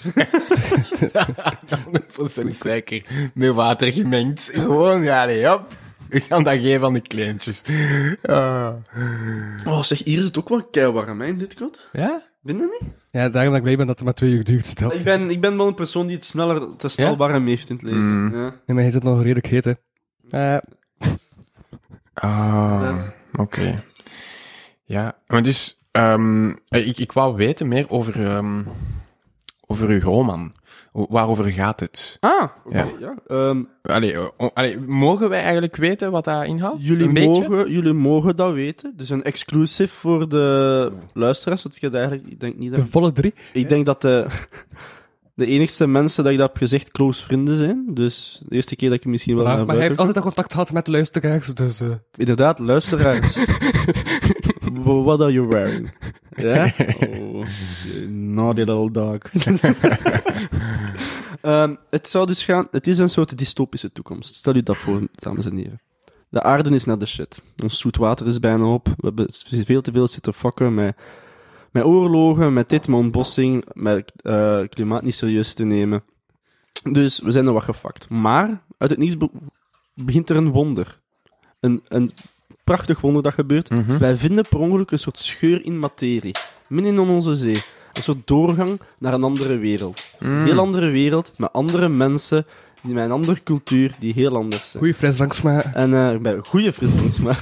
Speaker 4: *laughs*
Speaker 3: 100% zeker. Met water gemengd. Gewoon, ja, nee, hop. We gaan dat geven aan de kleintjes. Ah.
Speaker 4: Oh, zeg, hier is het ook wel keiwarm, hè, in dit kot.
Speaker 3: ja?
Speaker 4: Ben je dat niet?
Speaker 5: Ja, daarom dat ik blij ben dat het maar twee uur duurt. Stel.
Speaker 4: Ik ben, ik ben wel een persoon die het sneller, te snel
Speaker 3: Ja?
Speaker 4: warm heeft in het leven.
Speaker 3: Mm.
Speaker 4: Ja.
Speaker 5: Nee, maar hij zit nog redelijk heet, hè. Eh,
Speaker 3: Ah,
Speaker 4: Ja.
Speaker 3: oké. Ja, maar dus... ehm, eh, ik, ik wou weten meer over, ehm, over uw grootman. Hoe- Waarover gaat het?
Speaker 4: Ah, oké.
Speaker 3: Ja.
Speaker 4: ja. Ehm,
Speaker 3: Allee, eh, o- allee, mogen wij eigenlijk weten wat dat inhoudt?
Speaker 4: Jullie
Speaker 3: Een beetje?
Speaker 4: mogen, jullie mogen dat weten. Dus een exclusief voor de luisteraars. Want ik, had eigenlijk, ik denk niet dat.
Speaker 5: de volle drie.
Speaker 4: Ik denk dat de, *laughs* de enigste mensen dat ik dat heb gezegd close vrienden zijn. Dus de eerste keer dat ik misschien wel.
Speaker 5: maar
Speaker 4: naar
Speaker 5: maar hij heeft
Speaker 4: buiten
Speaker 5: altijd al contact gehad met de luisteraars, dus... eh,
Speaker 4: kom. Inderdaad, luisteraars. What are you wearing? Ja? Oh, you naughty little dog. *laughs* Ehm, het zou dus gaan. Het is een soort dystopische toekomst. Stel u dat voor, dames en heren. De aarde is naar de shit. Ons zoet water is bijna op. We hebben veel te veel zitten fokken met, met oorlogen, met dit, met ontbossing, met eh, klimaat niet serieus te nemen. Dus we zijn er wat gefakt. Maar uit het niets be- begint er een wonder. Een, een prachtig wonder dat gebeurt. Wij vinden per ongeluk een soort scheur in materie. Midden in onze zee. Een soort doorgang naar een andere wereld. Een heel andere wereld, met andere mensen, die met een andere cultuur, die heel anders zijn.
Speaker 5: goeie fris langs maar
Speaker 4: En eh, bij goede frisdrinksmaak.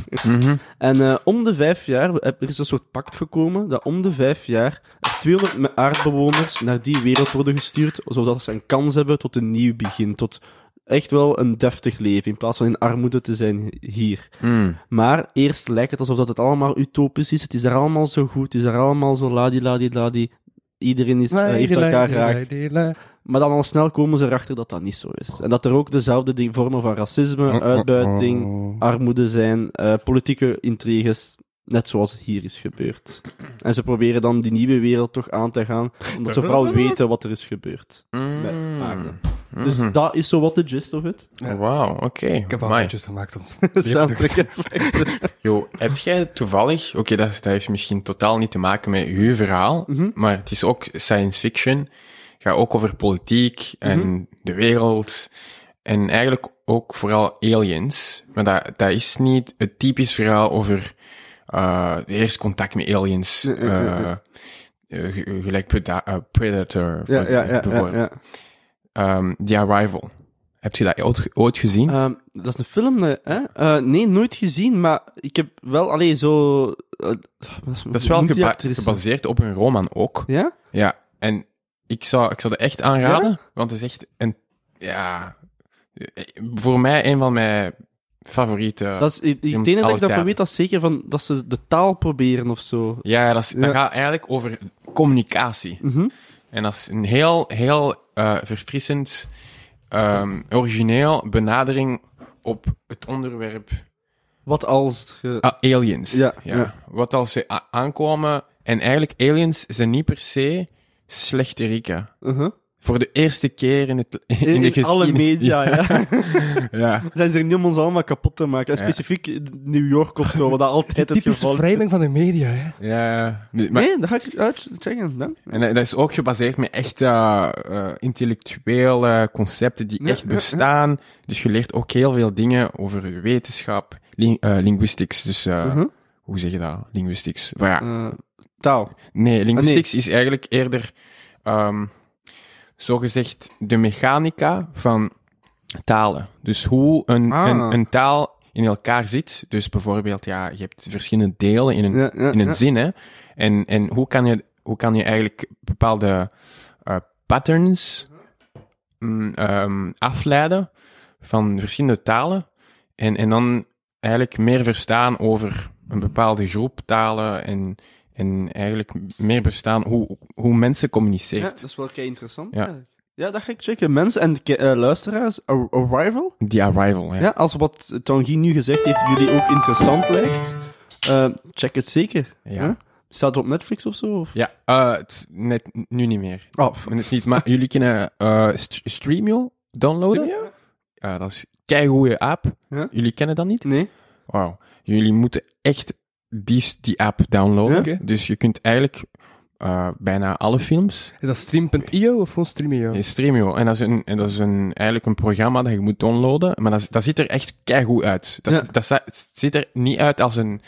Speaker 4: En eh, om de vijf jaar, er is een soort pact gekomen dat om de vijf jaar er 200 me- aardbewoners naar die wereld worden gestuurd, zodat ze een kans hebben tot een nieuw begin, tot echt wel een deftig leven, in plaats van in armoede te zijn hier.
Speaker 3: Hmm.
Speaker 4: Maar eerst lijkt het alsof dat het allemaal utopisch is, het is daar allemaal zo goed, het is daar allemaal zo ladi-ladi-ladi, iedereen is, eh, heeft elkaar graag. Maar dan al snel komen ze erachter dat dat niet zo is. En dat er ook dezelfde ding, vormen van
Speaker 3: Oh,
Speaker 4: racisme, uitbuiting, armoede zijn, eh, politieke intriges. Net zoals hier is gebeurd. En ze proberen dan die nieuwe wereld toch aan te gaan, omdat ze vooral weten wat er is gebeurd met
Speaker 3: Mm.
Speaker 4: aarde. Dus dat is zo wat de gist of het.
Speaker 3: Wauw, oké.
Speaker 5: Ik heb al
Speaker 3: Amai.
Speaker 5: matches
Speaker 4: *laughs*
Speaker 5: gemaakt om
Speaker 4: Soundtrack.
Speaker 3: Jo, heb jij toevallig... Oké, dat, is- dat heeft misschien totaal niet te maken met uw verhaal,
Speaker 4: Mhm.
Speaker 3: maar het is ook science fiction. gaat ook over politiek en
Speaker 4: Mhm.
Speaker 3: de wereld. En eigenlijk ook vooral aliens. Maar dat, dat is niet het typisch verhaal over eh eerst contact met aliens. eh, eh, ge- gelijk Preda- eh, Predator,
Speaker 4: Ja, ja, ja. ja,
Speaker 3: bijvoorbeeld.
Speaker 4: ja.
Speaker 3: Ehm, The Arrival. Heb je dat ooit, ooit gezien?
Speaker 4: Ehm, dat is een film, eh, hè? Eh, nee, nooit gezien, maar ik heb wel alleen zo. eh,
Speaker 3: dat is wel
Speaker 4: hoe noemt die
Speaker 3: geba-
Speaker 4: actrice?
Speaker 3: gebaseerd op een roman ook.
Speaker 4: Ja?
Speaker 3: Ja, en ik zou, ik zou dat echt aanraden, want het is echt een... Ja... eh, Voor mij een van mijn favoriete...
Speaker 4: Dat is, ik, ik
Speaker 3: moet
Speaker 4: denk dat ik
Speaker 3: alles
Speaker 4: dat wel
Speaker 3: duiden.
Speaker 4: weet, dat is zeker van dat ze de taal proberen of zo.
Speaker 3: Ja, dat, is,
Speaker 4: Ja.
Speaker 3: dat gaat eigenlijk over communicatie.
Speaker 4: Mhm.
Speaker 3: En dat is een heel, heel eh, verfrissend, ehm, origineel benadering op het onderwerp
Speaker 4: Wat als. ge-
Speaker 3: Ah, aliens.
Speaker 4: Ja, ja.
Speaker 3: Wat als ze a- aankomen... En eigenlijk, aliens zijn niet per se slechte rikken.
Speaker 4: Mhm.
Speaker 3: Voor de eerste keer in, het, in,
Speaker 4: In,
Speaker 3: de
Speaker 4: in alle
Speaker 3: geschiedenis-
Speaker 4: media, ja.
Speaker 3: *laughs*
Speaker 4: *laughs*
Speaker 3: ja.
Speaker 4: Zijn ze er niet om ons allemaal kapot te maken? En
Speaker 3: Ja.
Speaker 4: specifiek New York of zo, wat dat altijd het
Speaker 5: Typische
Speaker 4: geval is.
Speaker 5: framing van de media, hè.
Speaker 3: Ja, maar,
Speaker 4: Nee, dat ga ik uitchecken. dank.
Speaker 3: en dat is ook gebaseerd met echt eh, eh, intellectuele concepten die
Speaker 4: Ja,
Speaker 3: echt
Speaker 4: ja, ja.
Speaker 3: bestaan. Dus je leert ook heel veel dingen over wetenschap, lin- eh, linguistics. Dus eh,
Speaker 4: Mhm.
Speaker 3: hoe zeg je dat? Linguistics. Maar ja,
Speaker 4: Eh, taal.
Speaker 3: nee,
Speaker 4: Ah,
Speaker 3: linguistics is eigenlijk eerder ehm zogezegd de mechanica van talen. Dus hoe een,
Speaker 4: Ah.
Speaker 3: een, een taal in elkaar zit. Dus bijvoorbeeld, ja, je hebt verschillende delen in een,
Speaker 4: Ja, ja,
Speaker 3: in een
Speaker 4: ja.
Speaker 3: zin. Hè? En, en hoe, kan je, hoe kan je eigenlijk bepaalde eh, patterns mm, ehm, afleiden van verschillende talen en, en dan eigenlijk meer verstaan over een bepaalde groep talen en, en eigenlijk meer bestaan hoe, hoe mensen
Speaker 4: Ja,
Speaker 3: communiceren.
Speaker 4: dat is wel kei interessant.
Speaker 3: Ja.
Speaker 4: eigenlijk. Ja, dat ga ik checken. Mensen en ke- eh, luisteraars, Ar- Arrival.
Speaker 3: Die arrival, hè.
Speaker 4: Ja, als wat Tanguy nu gezegd heeft jullie ook interessant lijkt, eh, check het zeker.
Speaker 3: Ja.
Speaker 4: Huh? Staat het op Netflix of zo? Of?
Speaker 3: Ja, eh, het- net nu niet meer.
Speaker 4: Oh, f-
Speaker 3: Net niet, maar jullie kunnen eh st- Streamio downloaden. Eh, dat is een goede app.
Speaker 4: Ja.
Speaker 3: Jullie kennen dat niet?
Speaker 4: nee.
Speaker 3: Wauw. Jullie moeten echt die, die app downloaden.
Speaker 4: Ja. Oké.
Speaker 3: Dus je kunt eigenlijk eh, bijna alle films
Speaker 5: Is dat stream.io of gewoon streamio?
Speaker 3: in Streamio. En dat is, een, en dat is een, eigenlijk een programma dat je moet downloaden. Maar dat, is- dat ziet er echt keigoed uit. Dat,
Speaker 4: Ja.
Speaker 3: dat, zi- ziet er niet uit als een,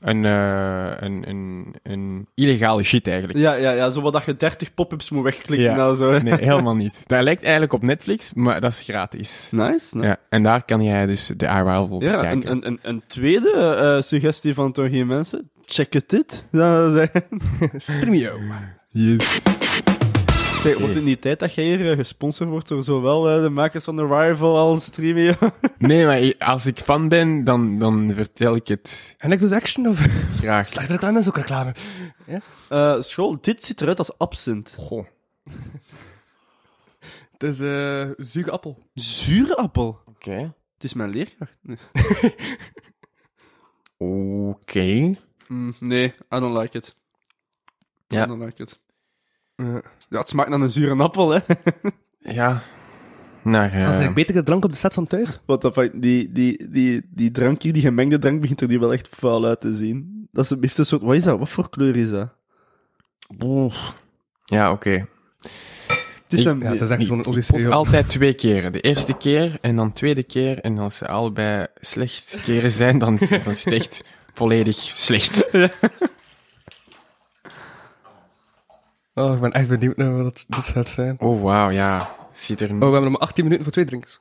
Speaker 3: een, eh, een, een, een illegale shit eigenlijk.
Speaker 4: *laughs* Ja, ja, ja, zo wat dat je 30 pop-ups moet wegklikken.
Speaker 3: Ja.
Speaker 4: Nou, zo.
Speaker 3: Nee, helemaal niet. Dat lijkt eigenlijk op Netflix, maar dat is gratis.
Speaker 4: *laughs* Nice. nice.
Speaker 3: Ja, en daar kan jij dus de Arrival
Speaker 4: Ja,
Speaker 3: bekijken.
Speaker 4: een, een, een, een tweede eh, suggestie van toch geen mensen. Check het dit. zou ik zeggen. *laughs*
Speaker 5: Streamio.
Speaker 4: Zeg, wordt het niet tijd dat jij hier eh, gesponsord wordt door zowel eh, de makers van The Rival als Streamio?
Speaker 3: Nee, maar als ik fan ben, dan, dan vertel ik het
Speaker 5: En ik doe dus action of... *laughs*
Speaker 3: graag.
Speaker 5: Slechte reclame is ook reclame.
Speaker 4: *laughs* Eh school, dit ziet eruit als absint.
Speaker 3: Goh.
Speaker 5: Het is eh zuige appel.
Speaker 4: Zuurappel.
Speaker 3: Oké.
Speaker 4: Het is mijn leerkracht. Nee.
Speaker 3: Oké.
Speaker 4: Mm, nee, I don't like it.
Speaker 3: Ja.
Speaker 4: I don't like it. Ja, het smaakt naar een zure appel, hè.
Speaker 3: Ja. Naar, eh,
Speaker 5: Dat is betere drank op de set van thuis.
Speaker 4: Wat dat van- die, die, die, die drank hier, die gemengde drank, begint er nu wel echt vuil uit te zien. Dat is, heeft een soort... Wat is dat? Wat voor kleur is dat?
Speaker 3: Ja, oké.
Speaker 4: Het is
Speaker 3: Ik-
Speaker 4: een...
Speaker 5: Ja, dat is echt
Speaker 3: Ik-
Speaker 5: gewoon een
Speaker 3: ik proef
Speaker 5: odyssee.
Speaker 3: altijd twee keren. De eerste keer en dan tweede keer. En als ze allebei slecht keren zijn, dan, is- dan is het echt volledig slecht.
Speaker 5: Oh, ik ben echt benieuwd naar wat dit gaat zijn.
Speaker 3: Oh, wauw, ja. Ziet er...
Speaker 5: Oh, we hebben nog maar 18 minuten voor twee drinks.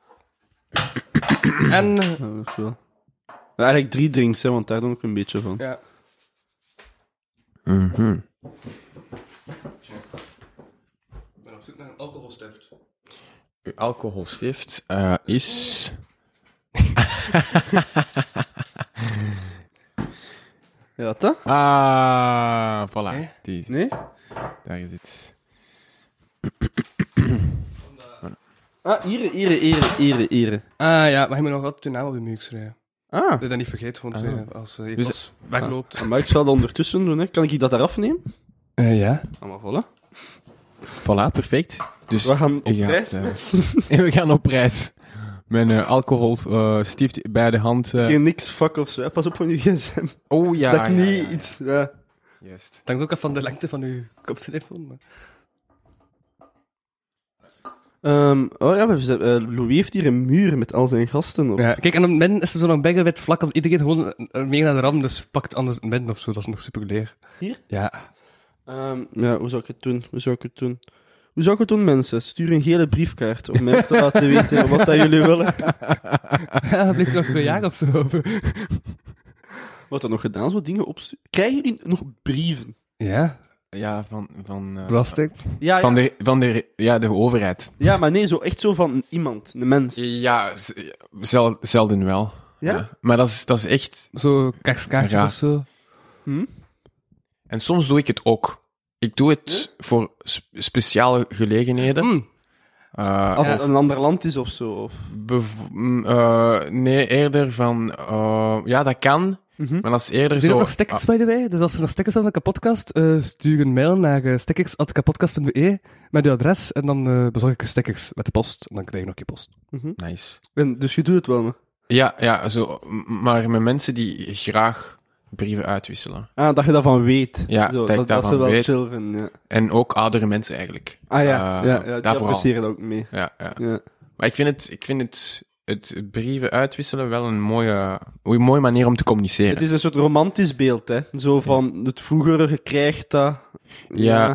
Speaker 5: en... eh,
Speaker 4: Ja, dat is wel- Ja, Eigenlijk drie drinks, hè, want daar doe ik een beetje van.
Speaker 5: Ja.
Speaker 3: Mhm. alcoholstift eh, is.
Speaker 4: Ja, dat?
Speaker 3: Ah, voilà. Die,
Speaker 4: Nee?
Speaker 3: Daar is het.
Speaker 4: Ah, hier, hier, hier, hier, hier.
Speaker 5: Ah ja, maar je moet nog altijd je naam op je muur schrijven.
Speaker 4: Ah.
Speaker 5: Dat je dat niet vergeet, want
Speaker 3: Ah.
Speaker 5: eh, als eh, je
Speaker 3: Dus-
Speaker 5: pas wegloopt.
Speaker 4: Maar ik zou dat ondertussen doen, hè. Kan ik dat eraf nemen?
Speaker 5: Eh, ja.
Speaker 4: Ah, maar voilà.
Speaker 3: Voilà, perfect. Dus
Speaker 4: We gaan op
Speaker 3: je gaat,
Speaker 4: reis.
Speaker 3: eh, *laughs*
Speaker 4: *laughs*
Speaker 3: we gaan op reis. Mijn eh, alcoholstift bij de hand. eh,
Speaker 4: Geen niks, fuck of zo. hè. Pas op van je gsm.
Speaker 3: Oh ja.
Speaker 4: dat ik
Speaker 3: ja,
Speaker 4: niet
Speaker 3: ja, ja.
Speaker 4: iets... ja.
Speaker 3: Juist.
Speaker 5: Het hangt ook af van de lengte van uw koptelefoon. Maar...
Speaker 4: Ehm, oh ja, we hebben- eh, Louis heeft hier een muur met al zijn gasten op.
Speaker 5: Ja, kijk, en dan midden is er zo'n wit vlak, want iedereen gewoon eh, mee naar de ram, dus pakt anders een midden of zo, dat is nog super *laughs* leer.
Speaker 4: Hier?
Speaker 5: Ja.
Speaker 4: Ehm, ja, hoe zou ik het doen? Hoe zou ik het doen? Hoe zou ik het doen, mensen? Stuur een gele briefkaart om mij te laten weten wat dat jullie willen.
Speaker 5: dat blijft nog twee jaar of zo.
Speaker 4: Wat dat nog gedaan, zo dingen opsturen. Krijgen jullie nog brieven?
Speaker 5: Ja,
Speaker 3: Ja, van, van, eh,
Speaker 5: plastic.
Speaker 4: Ja,
Speaker 3: van,
Speaker 4: ja.
Speaker 3: de, van de, ja, de overheid.
Speaker 4: ja, maar nee, zo echt zo van iemand, een mens.
Speaker 3: Ja, z- zel- zelden wel.
Speaker 4: Ja?
Speaker 3: Maar dat is, dat is echt...
Speaker 5: Zo kerstkaartjes
Speaker 3: Ja.
Speaker 5: of zo.
Speaker 3: En soms doe ik het ook. Ik doe het voor sp- speciale gelegenheden.
Speaker 5: Mm.
Speaker 3: Eh,
Speaker 4: Als
Speaker 3: of
Speaker 4: het een ander land is of zo. Of...
Speaker 3: bev- mm, eh, nee, eerder van... eh, ja, dat kan.
Speaker 4: Mhm.
Speaker 3: Maar dat is eerder
Speaker 5: Er zijn
Speaker 3: zo...
Speaker 5: ook nog stickers, by the way. Dus als er nog stickers zijn aan de podcast, eh, stuur een mail naar uh, stickers.kapotkast.be met uw adres en dan eh, bezorg ik je stickers met de post. En dan krijg je nog je post.
Speaker 3: Ah, nice.
Speaker 4: En, dus je doet het wel, hè?
Speaker 3: Ja, ja zo, m- maar met mensen die graag brieven uitwisselen.
Speaker 4: Ah, dat je daarvan weet.
Speaker 3: Ja,
Speaker 4: zo,
Speaker 3: dat ik
Speaker 4: dat ze
Speaker 3: daarvan
Speaker 4: wel
Speaker 3: weet.
Speaker 4: chill vinden, ja.
Speaker 3: En ook oudere mensen eigenlijk.
Speaker 4: Ah ja,
Speaker 3: Eh,
Speaker 4: ja, ja
Speaker 3: daar
Speaker 4: die
Speaker 3: vooral.
Speaker 4: appreciëren dat ook mee.
Speaker 3: Ja, ja.
Speaker 4: Ja.
Speaker 3: Maar ik vind het, ik vind het, het brieven uitwisselen wel een mooie, een mooie manier om te communiceren.
Speaker 4: Het is een soort romantisch beeld, hè. Zo van, het vroegere, je krijgt dat.
Speaker 3: ja.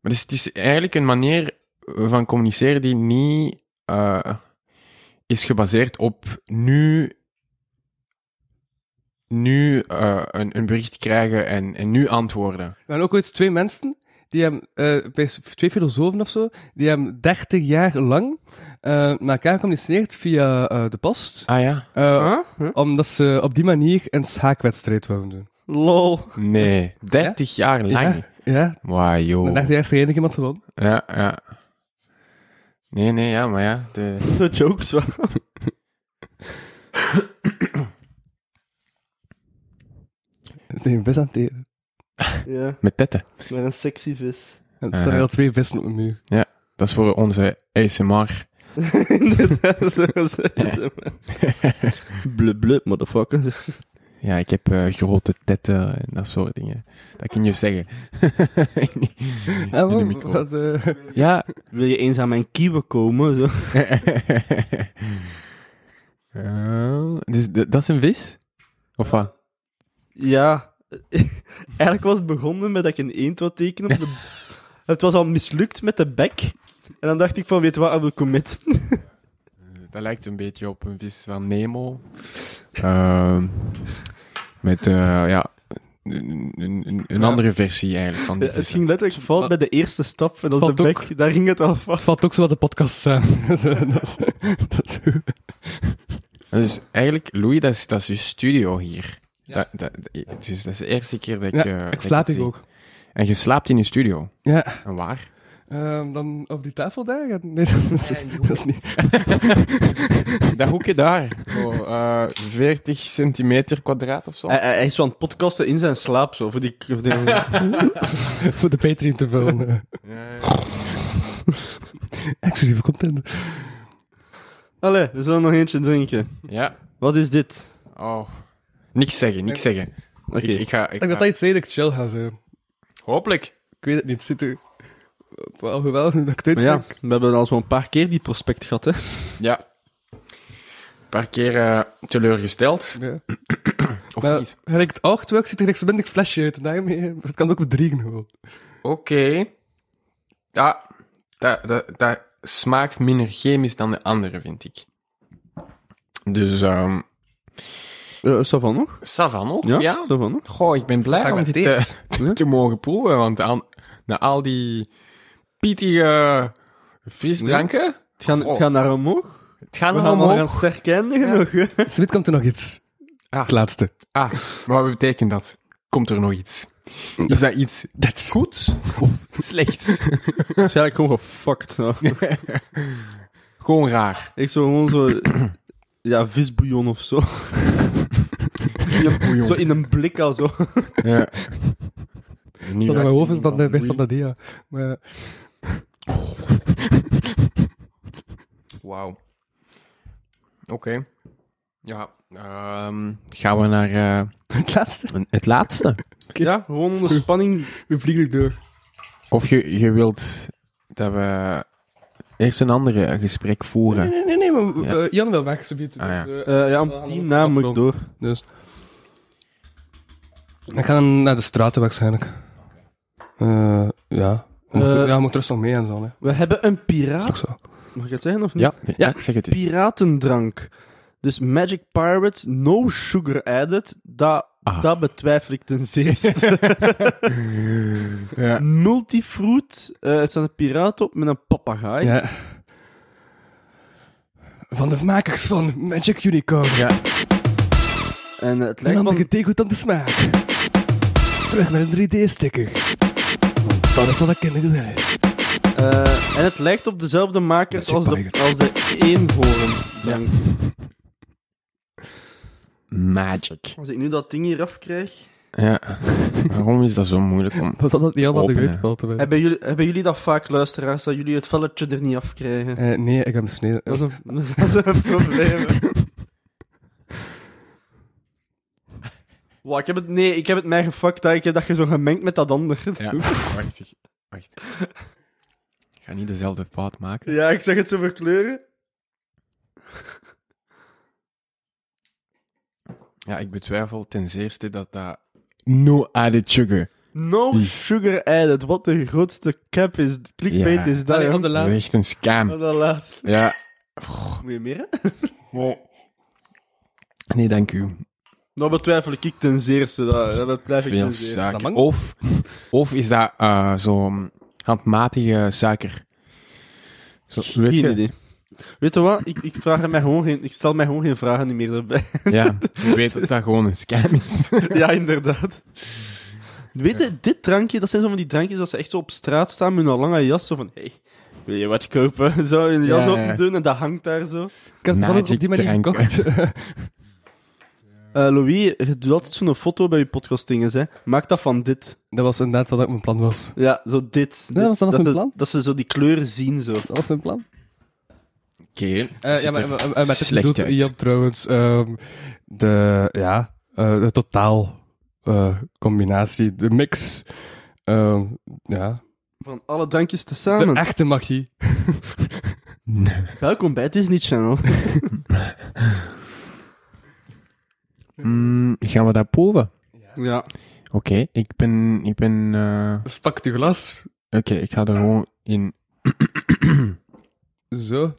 Speaker 3: Maar dus het is eigenlijk een manier van communiceren die niet eh, is gebaseerd op nu, nu eh, een, een bericht krijgen en, en nu antwoorden.
Speaker 5: We hebben ook ooit twee mensen, die hebben, eh, bij s- twee filosofen of zo, die hebben 30 jaar lang eh, naar elkaar gecommuniceerd via eh, de post.
Speaker 3: Ah ja?
Speaker 5: Eh,
Speaker 4: Huh? Huh?
Speaker 5: Omdat ze op die manier een schaakwedstrijd wilden doen.
Speaker 4: Lol. *laughs*
Speaker 3: Nee. 30 jaar lang.
Speaker 5: Ja, ja.
Speaker 3: Wauw,
Speaker 5: Dan
Speaker 3: joh.
Speaker 5: dacht hij eerst er enig iemand gewoon.
Speaker 3: Ja, ja. Nee, nee, ja, maar ja. De...
Speaker 4: De jokes wel.
Speaker 5: Een vis aan het eten.
Speaker 4: Ja,
Speaker 3: Met tetten.
Speaker 4: maar een sexy *laughs* vis.
Speaker 5: En er staan
Speaker 3: Eh.
Speaker 5: al twee vissen op de muur.
Speaker 3: Dat is voor onze ASMR.
Speaker 4: Inderdaad, zo is het. blub, blub, motherfucker.
Speaker 3: Ja, ik heb eh, grote tetten en dat soort dingen. Dat kun je zeggen. *laughs* In de
Speaker 5: Ah, wel,
Speaker 3: micro.
Speaker 5: wat, eh,
Speaker 3: Ja. *laughs*
Speaker 4: Wil je eens aan mijn kieven komen? Zo.
Speaker 3: Eh, dus d- dat is een vis? Of wat?
Speaker 4: Ja. *laughs* Eigenlijk was het begonnen met dat ik een eend wou tekenen. Op de... het was al mislukt met de bek. En dan dacht ik van, weet je wat, I will commit.
Speaker 3: Dat lijkt een beetje op een vis van Nemo. Ehm, met, eh, ja, een, een- een, een andere versie eigenlijk van die
Speaker 4: Ja, het
Speaker 3: vis.
Speaker 4: ging letterlijk fout bij de eerste stap. En dat is
Speaker 5: valt
Speaker 4: de bek, daar ging het al fout.
Speaker 5: het valt ook zo wat de podcasts zijn. Zo, *laughs* dat is, dat is hoe-
Speaker 3: Dus eigenlijk, Louis, dat is, dat is je studio hier. Dat, dat, het is- dat is de eerste keer dat ik...
Speaker 5: Ja,
Speaker 3: eh, dat
Speaker 5: ik slaap
Speaker 3: het
Speaker 5: ik
Speaker 3: zie.
Speaker 5: ook.
Speaker 3: En je slaapt in je studio.
Speaker 5: Ja,
Speaker 3: En waar?
Speaker 5: ehm, dan op die tafel daar? Nee, *laughs* dat is, dat is niet.
Speaker 3: Dat hoekje daar. Zo, eh, 40 centimeter kwadraat of zo.
Speaker 4: Hij, hij- hij is wel aan het podcasten in zijn slaap, zo. Voor die, voor die-
Speaker 5: *laughs* Voor de Patreon te vullen. eh. *laughs* Exclusieve content.
Speaker 4: *laughs* Allee, we zullen nog eentje drinken.
Speaker 3: Ja.
Speaker 4: Wat is dit?
Speaker 3: Oh. Niks zeggen, niks zeggen.
Speaker 4: Oké.
Speaker 3: Ik, ik ga... Ik,
Speaker 5: Ik
Speaker 3: ga-
Speaker 5: had altijd redelijk chill gaan zijn.
Speaker 3: Hopelijk.
Speaker 5: Ik weet het niet, het zit er... Alhoewel, dat ik dit
Speaker 4: Maar ja, we hebben al zo'n paar keer die prospect gehad, hè.
Speaker 3: Ja. Een paar keer eh, teleurgesteld.
Speaker 5: Ja.
Speaker 3: Of
Speaker 5: Maar
Speaker 3: niet.
Speaker 5: gelijk het artwork ziet er gelijk zo minder flesje uit. En daarmee, dat kan ook bedriegen gewoon.
Speaker 3: Oké. Ja. Dat, dat, dat smaakt minder chemisch dan de andere, vind ik. Dus, ehm...
Speaker 4: Uh, Savan nog?
Speaker 3: Savan nog?
Speaker 4: Ja,
Speaker 3: ja
Speaker 4: Savan nog.
Speaker 3: Goh, ik ben blij om dit te, *laughs* te, te mogen proeven, want aan, na al die pietige frisdranken
Speaker 4: Het gaat, het gaat naar omhoog.
Speaker 3: Het gaat
Speaker 4: We Oh. gaan maar gaan sterk eindigen nog. *laughs* hè.
Speaker 5: Smit komt er nog iets.
Speaker 3: Ah.
Speaker 5: Het laatste.
Speaker 3: Ah, maar wat betekent dat? Komt er nog iets? Is dat iets
Speaker 5: That's
Speaker 3: goeds of slechts?
Speaker 4: Waarschijnlijk gewoon gefucked. nou.
Speaker 3: Gewoon raar.
Speaker 4: Ik zou gewoon zo... *clears throat* Ja, visbouillon of *laughs* zo. In een-
Speaker 3: Bouillon.
Speaker 4: Zo in een blik al zo.
Speaker 3: Ja. Niet *laughs*
Speaker 5: Dat
Speaker 3: raar.
Speaker 5: mijn hoofd van de best van dat dia. Maar eh,
Speaker 3: Wauw. Oké. Ja, ehm, gaan we naar eh,
Speaker 5: *laughs* het laatste.
Speaker 3: het laatste.
Speaker 4: Ja, gewoon onder spanning.
Speaker 5: We vliegen er door.
Speaker 3: Of je, je wilt dat we eerst een ander eh, gesprek voeren.
Speaker 5: Nee, nee, nee. Maar,
Speaker 3: Ja.
Speaker 5: eh, Jan wil weg. Ze biedt-
Speaker 3: Ah, ja.
Speaker 5: eh,
Speaker 4: Eh, ja, om tien na moet ik door.
Speaker 5: Dus. Ik ga dan naar de straten waarschijnlijk. Eh, ja. Je Moet,
Speaker 4: Eh.
Speaker 5: ja, je moet rustig mee en zo. Hè.
Speaker 4: We hebben een
Speaker 5: Is
Speaker 4: piraat.
Speaker 5: toch zo.
Speaker 4: Mag ik het zeggen of niet?
Speaker 3: Ja, ja, zeg het eens.
Speaker 4: Piratendrank. Dus Magic Pirates, no sugar added. Dat,
Speaker 3: Ah.
Speaker 4: dat betwijfel ik ten
Speaker 5: *laughs*
Speaker 4: zeerste.
Speaker 3: Ja.
Speaker 4: Multifruit. eh, het staat een piraat op met een papagaai.
Speaker 5: Ja. Van de makers van Magic Unicorn. Ja.
Speaker 4: En eh, het
Speaker 5: Een
Speaker 4: lijkt wel...
Speaker 5: andere tegengoed de smaak. Terug met een 3D-sticker. Dat is wat ik kinderen willen.
Speaker 4: eh, en het lijkt op dezelfde makers
Speaker 5: Magic
Speaker 4: als de,
Speaker 5: Pirates.
Speaker 4: als de eenhoorndrank.
Speaker 3: Magic.
Speaker 4: Als ik nu dat ding hier afkrijg...
Speaker 3: Ja. *laughs* Waarom is dat zo moeilijk om...
Speaker 5: Was dat dat niet allemaal
Speaker 3: Open,
Speaker 5: de
Speaker 3: hè.
Speaker 5: uitval te
Speaker 4: Hebben jullie, hebben jullie dat vaak, luisteraars, dat jullie het velletje er niet afkrijgen?
Speaker 5: Eh, nee, ik heb besneden.
Speaker 4: Dat is een, *laughs* dat is een probleem. Wow, ik heb het, nee, ik heb het mij gefuckt. hè. Ik heb dat je zo gemengd met dat ander.
Speaker 3: Ja, wacht. Wacht. Ik ga niet dezelfde fout maken.
Speaker 4: Ja, ik zeg het zo verkleuren.
Speaker 3: Ja, ik betwijfel ten zeerste dat dat... No added sugar.
Speaker 4: No
Speaker 3: Is-
Speaker 4: sugar added. Wat de grootste cap is. Clickbait
Speaker 3: Ja.
Speaker 4: is dat. hè.
Speaker 5: de
Speaker 3: Echt een
Speaker 4: Op
Speaker 3: scam.
Speaker 4: dat laatste.
Speaker 3: Ja.
Speaker 4: Moet je meer? hè?
Speaker 3: Nee, dank u.
Speaker 4: Nou, Dat betwijfel ik ten zeerste. Dat, dat betwijf ik
Speaker 3: Veel
Speaker 4: ten zeerste.
Speaker 5: dat
Speaker 3: suiker.
Speaker 5: lang?
Speaker 3: Of, of is dat eh zo'n handmatige suiker? Zo, weet
Speaker 4: Geen
Speaker 3: je?
Speaker 4: idee. Weet je wat? Ik, ik, vraag er mij gewoon geen, ik stel mij gewoon geen vragen meer erbij.
Speaker 3: Ja, je weet dat dat gewoon een scam
Speaker 5: *laughs*
Speaker 3: is.
Speaker 4: Ja, inderdaad. *laughs* Weet je, dit drankje, dat zijn zo van die drankjes dat ze echt zo op straat staan met een lange jas. Zo van, hey, wil je wat kopen? *laughs* Zo, een jas
Speaker 3: Ja, ja.
Speaker 4: op doen en dat hangt daar zo.
Speaker 5: Ik heb het wel op
Speaker 3: Magic
Speaker 5: die manier
Speaker 3: drank.
Speaker 5: gekocht.
Speaker 4: Eh, Louis, je doet altijd zo'n foto bij je podcastinges, hè. Maak dat van dit.
Speaker 5: *laughs* dat was inderdaad wat ook mijn plan was.
Speaker 4: Ja, zo dit.
Speaker 5: Ja, was dat nog
Speaker 4: ze-
Speaker 5: een plan?
Speaker 4: Dat ze zo die kleuren zien, zo.
Speaker 5: Dat was mijn plan.
Speaker 3: Oké.
Speaker 5: Eh,
Speaker 3: dat
Speaker 5: ja,
Speaker 3: ziet
Speaker 5: maar,
Speaker 3: er
Speaker 5: eh, eh, met dit
Speaker 3: slecht
Speaker 5: bedoelt
Speaker 3: uit.
Speaker 5: Ian trouwens ehm, de, ja, eh, de totaal eh, combinatie, de mix. ehm, ja.
Speaker 4: Van alle drankjes
Speaker 5: De
Speaker 4: tezamen.
Speaker 5: echte magie.
Speaker 4: Welkom bij Disney Channel.
Speaker 3: Mm, gaan we dat proeven?
Speaker 4: ja.
Speaker 3: Oké, ik ben... Ik ben eh,
Speaker 5: Dus pak je glas.
Speaker 3: Oké, ik ga er gewoon in...
Speaker 5: *clears throat* Zo.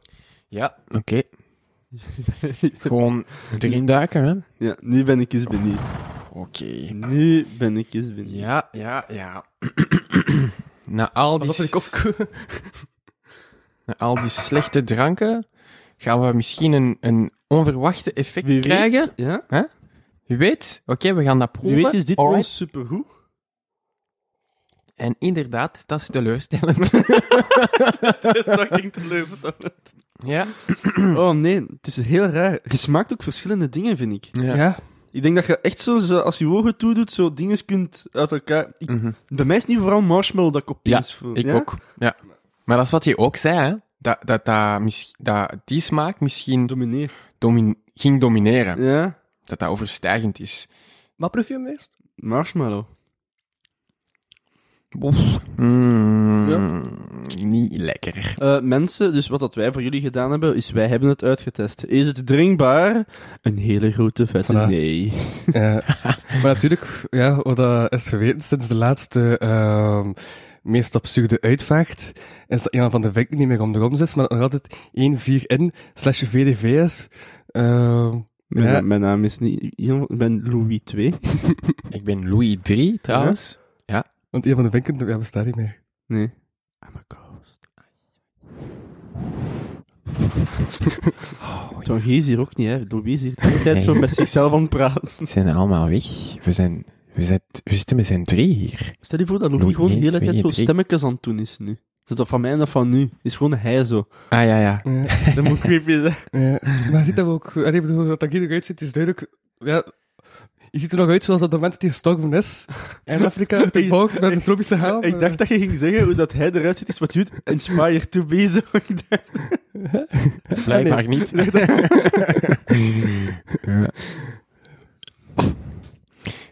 Speaker 3: Ja, oké. gewoon erin duiken, hè?
Speaker 4: ja, nu ben ik eens benieuwd.
Speaker 3: Oké.
Speaker 4: Nu ben ik eens benieuwd.
Speaker 3: Ja, ja, ja. *clears throat* Na al, die, na al die slechte dranken gaan we misschien een, een onverwachte effect
Speaker 4: Wie weet.
Speaker 3: krijgen.
Speaker 4: Ja?
Speaker 3: Wie weet. Oké, we gaan dat
Speaker 4: Wie
Speaker 3: proeven.
Speaker 4: weet is dit
Speaker 3: Alright.
Speaker 4: gewoon supergoed.
Speaker 3: En inderdaad, dat is teleurstellend. *laughs*
Speaker 4: Dat is toch niet teleurstellend.
Speaker 3: ja.
Speaker 4: Oh nee, het is heel raar. Je smaakt ook verschillende dingen, vind ik.
Speaker 3: Ja.
Speaker 4: Ik denk dat je echt zo, zo als je je ogen toedoet, zo dingen kunt uit elkaar... Ik- Bij mij is het nu vooral marshmallow dat ik opeens voel.
Speaker 3: Ik ook. Mhm. Ja. Maar dat is wat hij ook zei, hè. Dat, dat, dat, mis- dat die smaak misschien
Speaker 4: Domineer.
Speaker 3: domin- ging domineren.
Speaker 4: Ja,
Speaker 3: Dat dat overstijgend is.
Speaker 5: Wat proef je hem eerst?
Speaker 4: marshmallow.
Speaker 3: Mm, Niet lekker.
Speaker 4: Eh, mensen, dus wat dat wij voor jullie gedaan hebben, is wij hebben het uitgetest. Is het drinkbaar? Een hele grote vette
Speaker 5: Voilà.
Speaker 4: nee.
Speaker 5: Eh, *laughs* maar natuurlijk, ja, wat dat is geweten sinds de laatste ehm meest absurde uitvaart, is dat Jan van de Vink niet meer om de grond is, maar dat nog altijd 1-4-N slash VDV is. Ehm,
Speaker 4: Mijn,
Speaker 5: Ja.
Speaker 4: na- mijn naam is niet... Jan, Ik ben Louis II.
Speaker 3: Ik ben Louis 3 trouwens.
Speaker 5: want Jan van de Vink ja, bestaat niet meer.
Speaker 4: Nee. I'm a ghost. *laughs* Toen is hier ook niet, hè. Louise is hier de hele tijd zo
Speaker 3: Nee.
Speaker 4: met zichzelf aan het praten.
Speaker 3: Ze zijn allemaal weg. We, zijn, we, zijn, we zitten met z'n drie hier.
Speaker 4: Stel je voor dat Louis
Speaker 3: Louis
Speaker 4: gewoon de
Speaker 3: één,
Speaker 4: hele tijd
Speaker 3: twee,
Speaker 4: zo
Speaker 3: drie.
Speaker 4: stemmetjes aan het doen is nu. Is dat van mij en dat van nu? Is gewoon hij zo.
Speaker 3: Ah ja, ja.
Speaker 4: Dat moet creepy zijn.
Speaker 5: Ja, *laughs* maar ziet dat we ook... Allee, ik bedoel, dat dat hier eruit ziet, is duidelijk... Ja, je ziet er nog uit zoals op het moment dat hij gestorven is. En Afrika *laughs* heeft
Speaker 4: Ik-
Speaker 5: gevolgd met een tropische haal. eh.
Speaker 4: Ik dacht dat je ging zeggen hoe dat hij eruit ziet, is wat Jude inspired to be zo. Ik dacht-
Speaker 3: Blijkbaar niet. ja.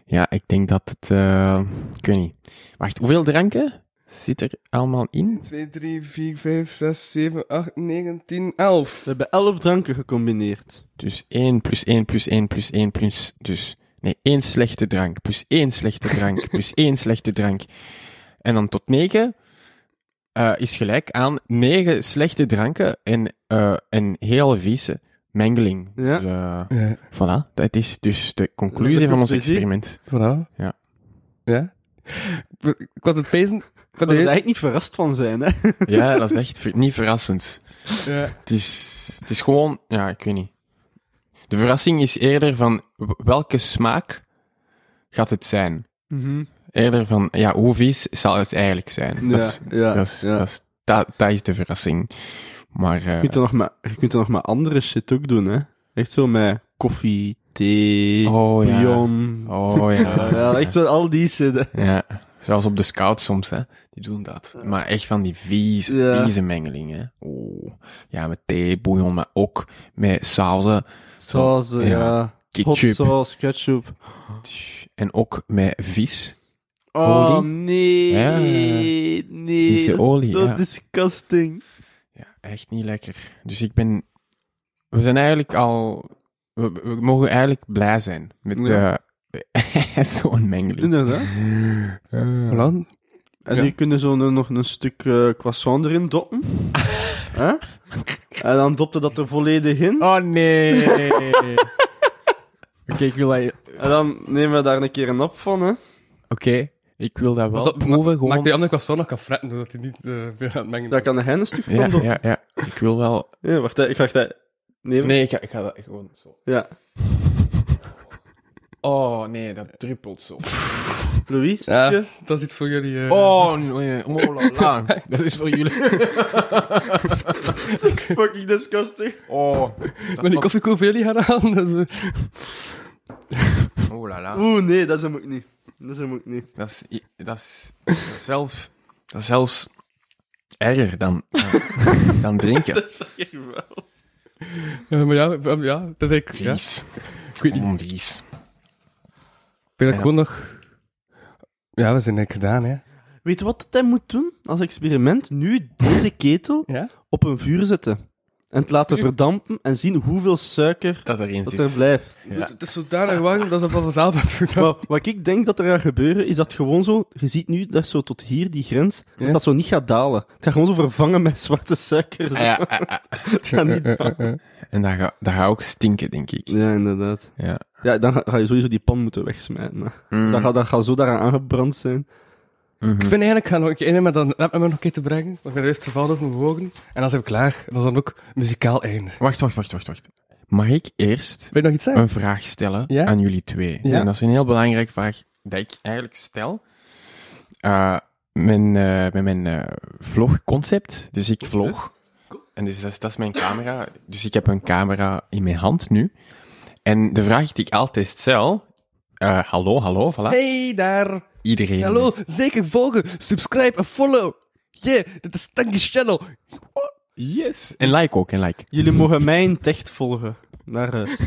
Speaker 3: ja, ik denk dat het... eh, ik weet niet. Wacht, hoeveel dranken zit er allemaal in?
Speaker 5: 2, 3, 4, 5, 6, 7, 8, 9, 10, 11.
Speaker 4: We hebben elf dranken gecombineerd.
Speaker 3: Dus 1 plus 1 plus 1 plus 1 plus... Dus, nee, één slechte drank, plus één slechte drank, plus één slechte drank. En dan tot 9 is gelijk aan 9 slechte dranken en eh, een heel vieze mengeling.
Speaker 4: Ja.
Speaker 3: Dus, eh,
Speaker 5: Ja,
Speaker 3: voilà, dat is dus de conclusie
Speaker 4: De
Speaker 3: van ons
Speaker 4: conclusie.
Speaker 3: experiment.
Speaker 5: voilà.
Speaker 3: Ja.
Speaker 5: Ja. Ik- Ik was het pezen. Ik had
Speaker 4: Daar
Speaker 5: het
Speaker 4: moet je
Speaker 5: idee-
Speaker 4: eigenlijk niet verrast van zijn, hè.
Speaker 3: Ja, dat is echt ver- niet verrassend.
Speaker 5: Ja.
Speaker 3: Het is, het is gewoon... Ja, ik weet niet. De verrassing is eerder van w- welke smaak gaat het zijn? Eerder van, ja, hoe vies zal het eigenlijk zijn? dat, is,
Speaker 4: Mhm. ja,
Speaker 3: dat, is,
Speaker 4: ja.
Speaker 3: dat, is, dat, dat is de verrassing. Maar eh,
Speaker 4: Je kunt, er nog maar, je kunt er nog maar andere shit ook doen, hè. Echt zo met koffie, thee,
Speaker 3: Oh, ja.
Speaker 4: bouillon.
Speaker 3: Oh ja. *laughs*
Speaker 4: Ja, echt zo al die shit, hè.
Speaker 3: Ja. Zoals op de scout soms, hè. Die doen dat. Maar echt van die vieze,
Speaker 4: Ja.
Speaker 3: vieze mengelingen. Oeh. Ja, met thee, bouillon, maar ook met sauzen,
Speaker 4: Saus,
Speaker 3: ja.
Speaker 4: eh, ja. Hot
Speaker 3: ketchup.
Speaker 4: sauce, ketchup.
Speaker 3: En ook met vis.
Speaker 4: Oh,
Speaker 3: Olie?
Speaker 4: nee.
Speaker 3: Ja.
Speaker 4: Nee.
Speaker 3: Vieze olie,
Speaker 4: Zo
Speaker 3: ja.
Speaker 4: disgusting.
Speaker 3: Ja, echt niet lekker. Dus ik ben... We zijn eigenlijk al... We, we mogen eigenlijk blij zijn met
Speaker 4: Ja.
Speaker 3: eh, *laughs* zo'n mengeling.
Speaker 4: Inderdaad.
Speaker 5: Voilà.
Speaker 4: En
Speaker 3: Ja.
Speaker 4: die kunnen zo nu nog een stuk eh, croissant erin *laughs* doppen. Hè? En dan dopte dat er volledig in.
Speaker 3: Oh nee. *laughs* Oké, ik wil dat. Oké,
Speaker 4: En dan nemen we daar een keer een op van, hè.
Speaker 3: ik wil dat wel
Speaker 5: Was dat-
Speaker 3: proeven. Gewoon.
Speaker 5: Maak die andere croissant nog kan fretten, zodat hij niet eh, veel aan het mengen
Speaker 4: Daar kan hij een stuk van
Speaker 3: ja,
Speaker 4: doppen.
Speaker 3: ja, ja. Ik wil wel.
Speaker 4: Ja. wacht, hè. ik ga dat nemen.
Speaker 3: Nee, ik ga, ik ga dat gewoon zo.
Speaker 4: Ja.
Speaker 3: Oh nee, dat druppelt zo.
Speaker 4: Louis,
Speaker 5: Ja,
Speaker 4: stukje.
Speaker 5: dat is iets voor jullie. eh, *laughs*
Speaker 3: Oh nee, oh la la. *laughs* Dat is voor jullie.
Speaker 4: *laughs* Fucking disgusting.
Speaker 3: Oh,
Speaker 5: Maar die koffiekoel voor jullie gaan aan. Dus, eh,
Speaker 3: oh la la.
Speaker 4: Oeh, nee, dat is hem ook niet. Dat is hem ook
Speaker 3: *laughs*
Speaker 4: niet.
Speaker 3: Dat is, i- dat is, dat is zelfs, dat is zelfs erger dan, dan, *laughs* dan drinken.
Speaker 5: eh, maar ja, eh, ja, dat is eigenlijk... Ja,
Speaker 3: Vies.
Speaker 5: ik weet niet.
Speaker 3: Mm, vies.
Speaker 5: Ik ben gewoon nog... Ja, we zijn eigenlijk gedaan, hè.
Speaker 4: Weet je wat dat hij moet doen als experiment? Nu deze ketel
Speaker 5: Ja?
Speaker 4: op een vuur zetten. En het laten verdampen en zien hoeveel suiker
Speaker 3: Dat erin
Speaker 4: dat
Speaker 3: zit.
Speaker 4: er
Speaker 5: *laughs*
Speaker 4: blijft.
Speaker 3: Ja.
Speaker 5: Het is zodanig warm dat ze van vanzelf aan het doen. zijn.
Speaker 4: Maar wat ik denk dat er gaat gebeuren, is dat gewoon zo... Je ziet nu dat zo tot hier, die grens, dat
Speaker 5: Ja.
Speaker 4: dat zo niet gaat dalen. Het gaat gewoon zo vervangen met zwarte suiker.
Speaker 3: Ah, ja, ah, ah.
Speaker 4: Het gaat
Speaker 5: *laughs*
Speaker 4: niet dalen.
Speaker 3: En dat gaat dat gaat ook stinken, denk ik.
Speaker 4: Ja, inderdaad.
Speaker 3: Ja.
Speaker 4: Ja, dan ga, ga je sowieso die pan moeten wegsmijten. hè.
Speaker 3: Mm.
Speaker 4: Dat gaat dat gaat zo daaraan aangebrand zijn.
Speaker 5: Ik ben eigenlijk gaan nog een keer in met dat rap nog een keer te brengen. Want ik ben juist gevallen over mijn wogen. En dan zijn we klaar. Dat is dan ook muzikaal einde.
Speaker 3: Wacht, wacht, wacht, wacht, wacht. Mag ik eerst
Speaker 5: Wil je nog iets
Speaker 3: *laughs*
Speaker 5: zeggen?
Speaker 3: een vraag stellen
Speaker 5: Ja?
Speaker 3: aan jullie twee?
Speaker 5: Ja.
Speaker 3: En dat is een heel belangrijke vraag die ik eigenlijk stel. Eh, mijn, eh, met mijn eh, vlogconcept. Dus ik vlog. En dus dat, is, dat is mijn camera. Dus ik heb een camera in mijn hand nu. En de vraag die ik altijd stel... eh, hallo, hallo, voilà.
Speaker 5: Hey daar!
Speaker 3: Iedereen.
Speaker 5: Hallo, zeker volgen, subscribe en follow! Yeah, dit is Tanky Channel!
Speaker 3: Yes. En like ook, en like.
Speaker 4: Jullie mogen mij in techt volgen. Naar
Speaker 5: *laughs*
Speaker 4: huis.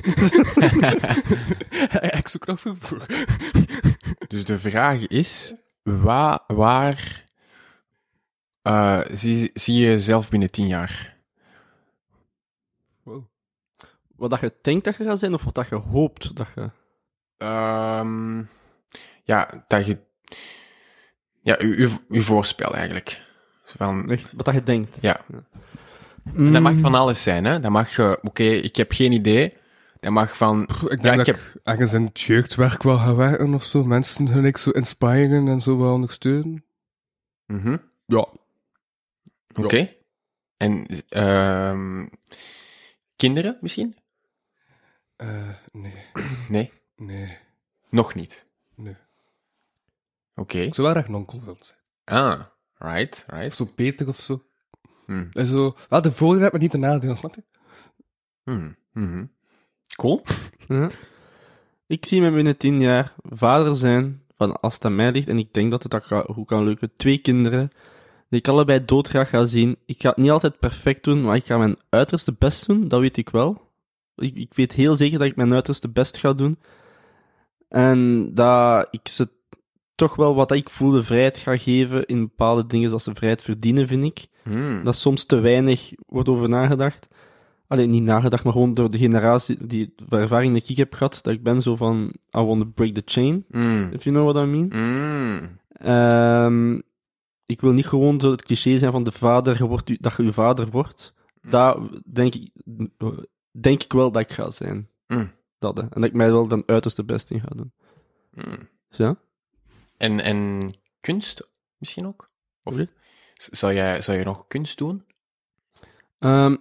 Speaker 5: Ik zoek nog veel voor.
Speaker 3: Dus de vraag is, wa- waar eh, zie, zie je jezelf binnen tien jaar?
Speaker 4: Wat dat je denkt dat je gaat zijn, of wat dat je hoopt dat je...
Speaker 3: Ehm, ja, dat je... Ja, uw, uw, uw voorspel eigenlijk. Zo Van,
Speaker 4: Echt, Wat dat je denkt.
Speaker 3: Ja.
Speaker 4: Mm.
Speaker 3: en dat mag van alles zijn, hè. Dat mag, eh, oké, ik heb geen idee. Dat mag van...
Speaker 5: Ik denk
Speaker 3: Ja, ik
Speaker 5: dat
Speaker 3: heb-
Speaker 5: ik ergens in het jeugdwerk wel gaan werken of zo. Mensen hun ik zo inspireren en zo wel ondersteunen.
Speaker 3: Mhm.
Speaker 5: Mhm. Ja.
Speaker 3: Oké.
Speaker 10: En ehm, kinderen misschien?
Speaker 5: Eh, nee.
Speaker 10: Nee,
Speaker 5: Nee.
Speaker 10: nog niet.
Speaker 5: Nee.
Speaker 10: Oké.
Speaker 5: Ik zou wel graag een onkel willen zijn.
Speaker 10: Ah, right, right.
Speaker 5: Of zo beter of zo.
Speaker 10: Hmm.
Speaker 5: En zo, wel de voordelen, maar niet de nadelen, snap je?
Speaker 10: Hmm, mhm. Cool.
Speaker 4: Ik zie me binnen tien jaar vader zijn van als het aan mij ligt. En ik denk dat het dat ga- goed kan lukken. Twee kinderen die ik allebei doodgraag ga zien. Ik ga het niet altijd perfect doen, maar ik ga mijn uiterste best doen. Dat weet ik wel. Ik, ik weet heel zeker dat ik mijn uiterste best ga doen. En dat ik ze toch wel wat ik voel de vrijheid ga geven in bepaalde dingen dat ze vrijheid verdienen, vind ik.
Speaker 3: Hm.
Speaker 10: Hmm.
Speaker 4: Dat soms te weinig wordt over nagedacht. Alleen niet nagedacht, maar gewoon door de generatie, die de ervaring die ik heb gehad, dat ik ben zo van, I want to break the chain,
Speaker 3: Hm.
Speaker 10: Hmm.
Speaker 4: if you know what I mean.
Speaker 10: Hmm.
Speaker 4: Ehm, ik wil niet gewoon zo het cliché zijn van de vader, je wordt u- dat je uw vader wordt. Daar denk ik, denk ik wel dat ik ga zijn.
Speaker 10: Mm.
Speaker 4: Dat, hè. En dat ik mij wel dan uiterste best in ga doen.
Speaker 10: Hmm.
Speaker 4: Dus ja?
Speaker 10: En, en kunst misschien ook? Of
Speaker 4: Sorry?
Speaker 10: Z- zou jij, zou jij nog kunst doen?
Speaker 4: Ehm,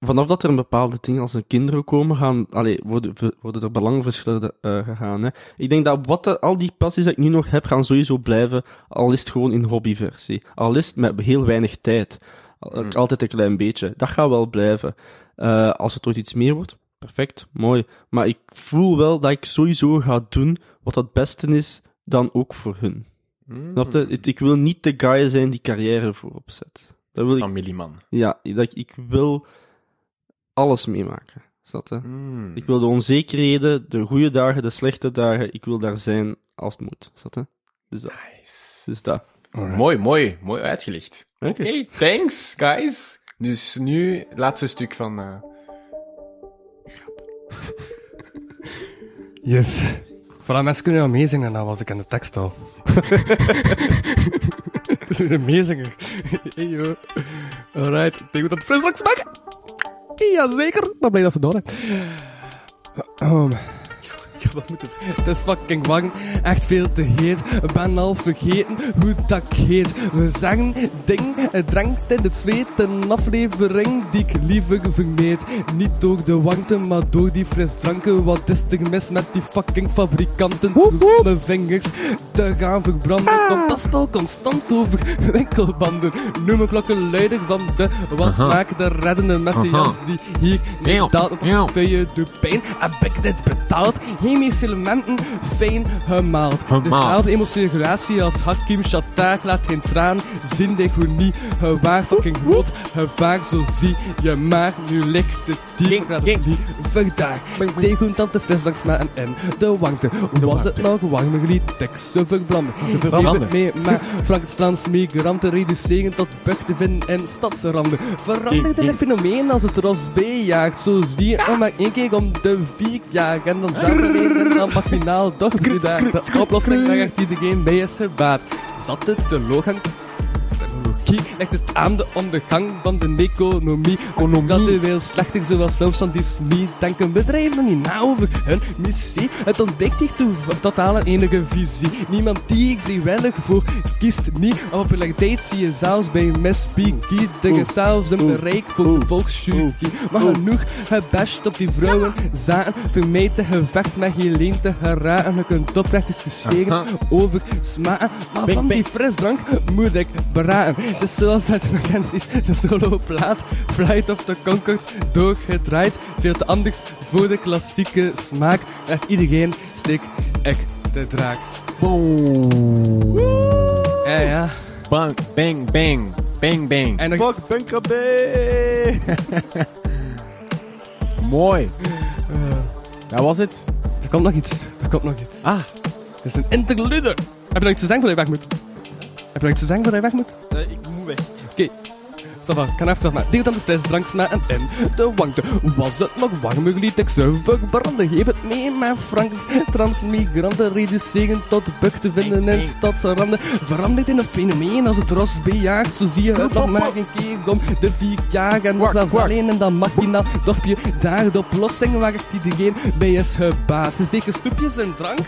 Speaker 4: vanaf dat er een bepaalde dingen als er kinderen komen, gaan, allee, worden, ver- worden er belangenverschillen eh, gegaan. Hè. Ik denk dat wat er- al die passies die ik nu nog heb, gaan sowieso blijven, al is het gewoon in hobbyversie. Al is het met heel weinig tijd. Al-
Speaker 10: Hmm.
Speaker 4: Altijd een klein beetje. Dat gaat wel blijven. Eh, als het ooit iets meer wordt, perfect, mooi. Maar ik voel wel dat ik sowieso ga doen wat het beste is, dan ook voor hun. Hmm. Snap je? Ik- Ik wil niet de guy zijn die carrière voorop zet. Dat wil ik
Speaker 10: Familieman.
Speaker 4: ja, dat ik, ik wil alles meemaken. Is dat, hè?
Speaker 3: Mm.
Speaker 10: Hmm.
Speaker 4: Ik wil de onzekerheden, de goede dagen, de slechte dagen, ik wil daar zijn als het moet. Is dat, hè? Dus dat.
Speaker 10: Nice.
Speaker 4: Dus dat.
Speaker 10: Mooi, mooi, mooi uitgelicht.
Speaker 4: Oké.
Speaker 10: Oké, thanks, guys. Dus nu het laatste stuk van. eh,
Speaker 5: Yes. Voilà, mensen kunnen wel meezingen en dan was ik aan de tekst al. *laughs* Dat is weer een meezinger. hey joh. Alright, ik denk dat het fris langs maken. Jazeker, dan blijf dat verdoren. Um. *laughs* Het is fucking warm, echt veel te heet. Ben al vergeten hoe dat heet. We zeggen ding, het drankt in het zweet. Een aflevering die ik liever vermeed. Niet door de warmte, maar door die frisdranken. Wat is er mis met die fucking fabrikanten? Om Mijn vingers te gaan verbranden. Komt dat spel constant over *laughs* winkelbanden? Noem een klokkenluider van de wat smaak de reddende messias die hier niet daalt op een je de pijn. Heb ik dit betaald? Chemische elementen fijn gemaald. Dezelfde emotionele relatie als Hakim Shatak laat geen traan zien. Denk hoe niet gewaar fucking groot gevaar. Zo zie je maar nu ligt het dier. Ik laat het liever daar. Tegen tante fris langs mij en in de warmte. Was het nog warmer liet teksten verbranden. Verbranden mee, maar *laughs* Frankensteins migranten reduceren tot bug te vinden in stadsranden. Verandert in een fenomeen als het ros B jaagt. Zo zie je om maar één keer om de vier jaar. En dan zijn we dan marginaal dacht u daar. De oplossing daar echt iedereen bij is gebaat. Zat het te loog hangt technologie legt het aan de ondergang van de economie. Economie. veel slechter, zoals Loves van Disney. Denken bedrijven niet na over hun missie. Het ontbreekt hier toe- totaal aan enige visie. Niemand die ik vrijwillig voor kiest niet. Maar populariteit zie je zelfs bij Mespiki. De zelfs een bereik voor de volksjury. Maar genoeg gebashed op die vrouwen zaten. Vermijd de gevecht met Helene te geraken. Je kunt oprecht discussiëren over smaken. Maar van die frisdrank moet ik beraden. Het is zoals met vakanties. De solo-plaat Flight of the Concords doorgedraaid. Veel te anders voor de klassieke smaak. Echt iedereen stik ik te draak.
Speaker 4: Oh.
Speaker 5: Ja, ja.
Speaker 10: Bang, bang, bang, bang, bang.
Speaker 5: En nog
Speaker 10: Mooi. Dat was het.
Speaker 5: Er komt nog iets. Er komt nog iets.
Speaker 10: Ah.
Speaker 5: Het is een interlude. Heb je nog iets te zeggen voordat je weg moet? Heb je nog iets te zeggen voordat je weg moet?
Speaker 4: Eh, ik moet weg.
Speaker 5: Stava, kan even maar. Deel dan de fles, dranks na en in de wangte. Was het nog warmer, liet ik ze verbranden. Geef het mee, maar Frankens. Transmigranten reduceren tot buk te vinden in stadsranden. Verandert in een fenomeen als het ros bejaagt. Zo zie je het nog maar een keer om de vier jaar. En zelfs alleen in dat marginaal dorpje. Daar de oplossing waar ik iedereen bij is gebaasd. Ze steken stoepjes en drank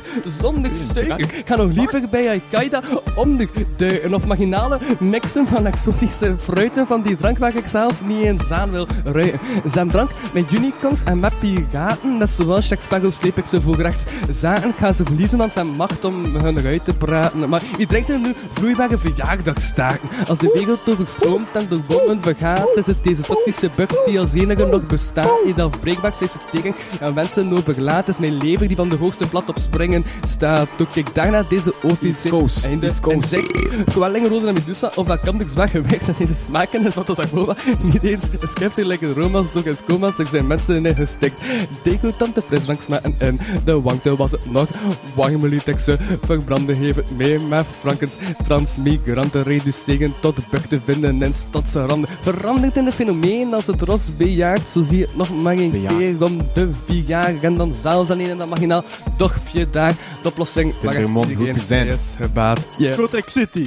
Speaker 5: zonder suiker. Ik ga nog liever bij Al-Qaeda onder de of marginale mixen van exotische fruiten van die die drank waar ik zelfs niet eens aan wil ruiken. Zijn drank met unicorns en met piraten, net zoals Jack Sparrow sleep ik ze voor rechts. Zaten gaan ze verliezen van zijn macht om hun uit te praten. Maar wie drinkt er nu vloeibare verjaardagstaken? Als de wereld overstroomt en door bommen vergaat, is het deze toxische bug die als enige nog bestaat. Niet afbreekbaar, slechts een teken en mensen overlaat. Is mijn lever die van de hoogste plat op springen staat. Toen ik daarna deze OTC
Speaker 10: Coast, East Coast.
Speaker 5: Zeg, kwelling, rode en medusa of dat kan dus zwaar gewerkt aan deze smaken is wat als Agboba niet eens schept in lekker Roma's door het coma's zich zijn mensen in gestikt. Decotante frisdranksmaken en de wangte was het nog. Warme lutexe verbranden geven mee met frankens. Transmigranten reduceren tot bug te vinden in stadse randen. Verandert in het fenomeen als het ros bejaagt, zo zie je het nog maar een
Speaker 10: Bejaagd.
Speaker 5: keer om de vier jaar. En dan zelfs alleen in dat marginaal dorpje daar. De oplossing
Speaker 10: Timmerman
Speaker 5: iedereen
Speaker 10: represent.
Speaker 5: is gebaat. Yeah.
Speaker 4: Protect City.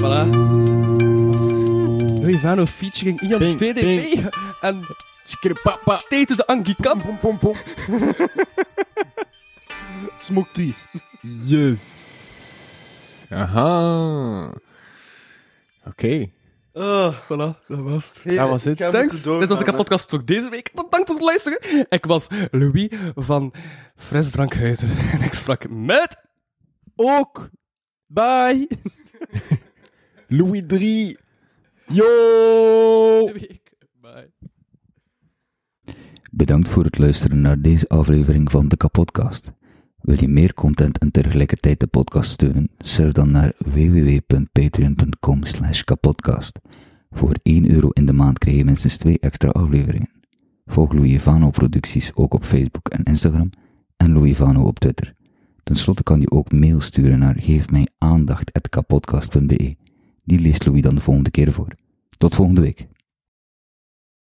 Speaker 5: Voilà. Louis Vano featuring Ian
Speaker 10: Ping,
Speaker 5: VDB
Speaker 10: ping.
Speaker 5: en
Speaker 10: Skripapa.
Speaker 5: Tete de Angie Kamp.
Speaker 10: Pom, pom, pom.
Speaker 4: Smoke trees.
Speaker 10: Yes. Aha. Oké.
Speaker 5: Voilà, Ah, dat was het.
Speaker 10: Dat was het.
Speaker 5: Thanks. Dit was de podcast voor deze week. Bedankt voor het luisteren. Ik was Louis van Fresdrankhuizen *laughs* en ik sprak met...
Speaker 4: Ook. Bye.
Speaker 10: Louis 3.
Speaker 5: Oh.
Speaker 10: Yo.
Speaker 5: Bye.
Speaker 11: Bedankt voor het luisteren naar deze aflevering van de Kapodcast. Wil je meer content en tegelijkertijd de podcast steunen? Surf dan naar www.patreon.com slash kapodcast. Voor 1 euro in de maand krijg je minstens 2 extra afleveringen. Volg Louis Vano producties ook op Facebook en Instagram en Louis Vano op Twitter. Ten slotte kan je ook mail sturen naar geefmijaandacht.kapodcast.be. Die leest Louis dan de volgende keer voor. Tot volgende week.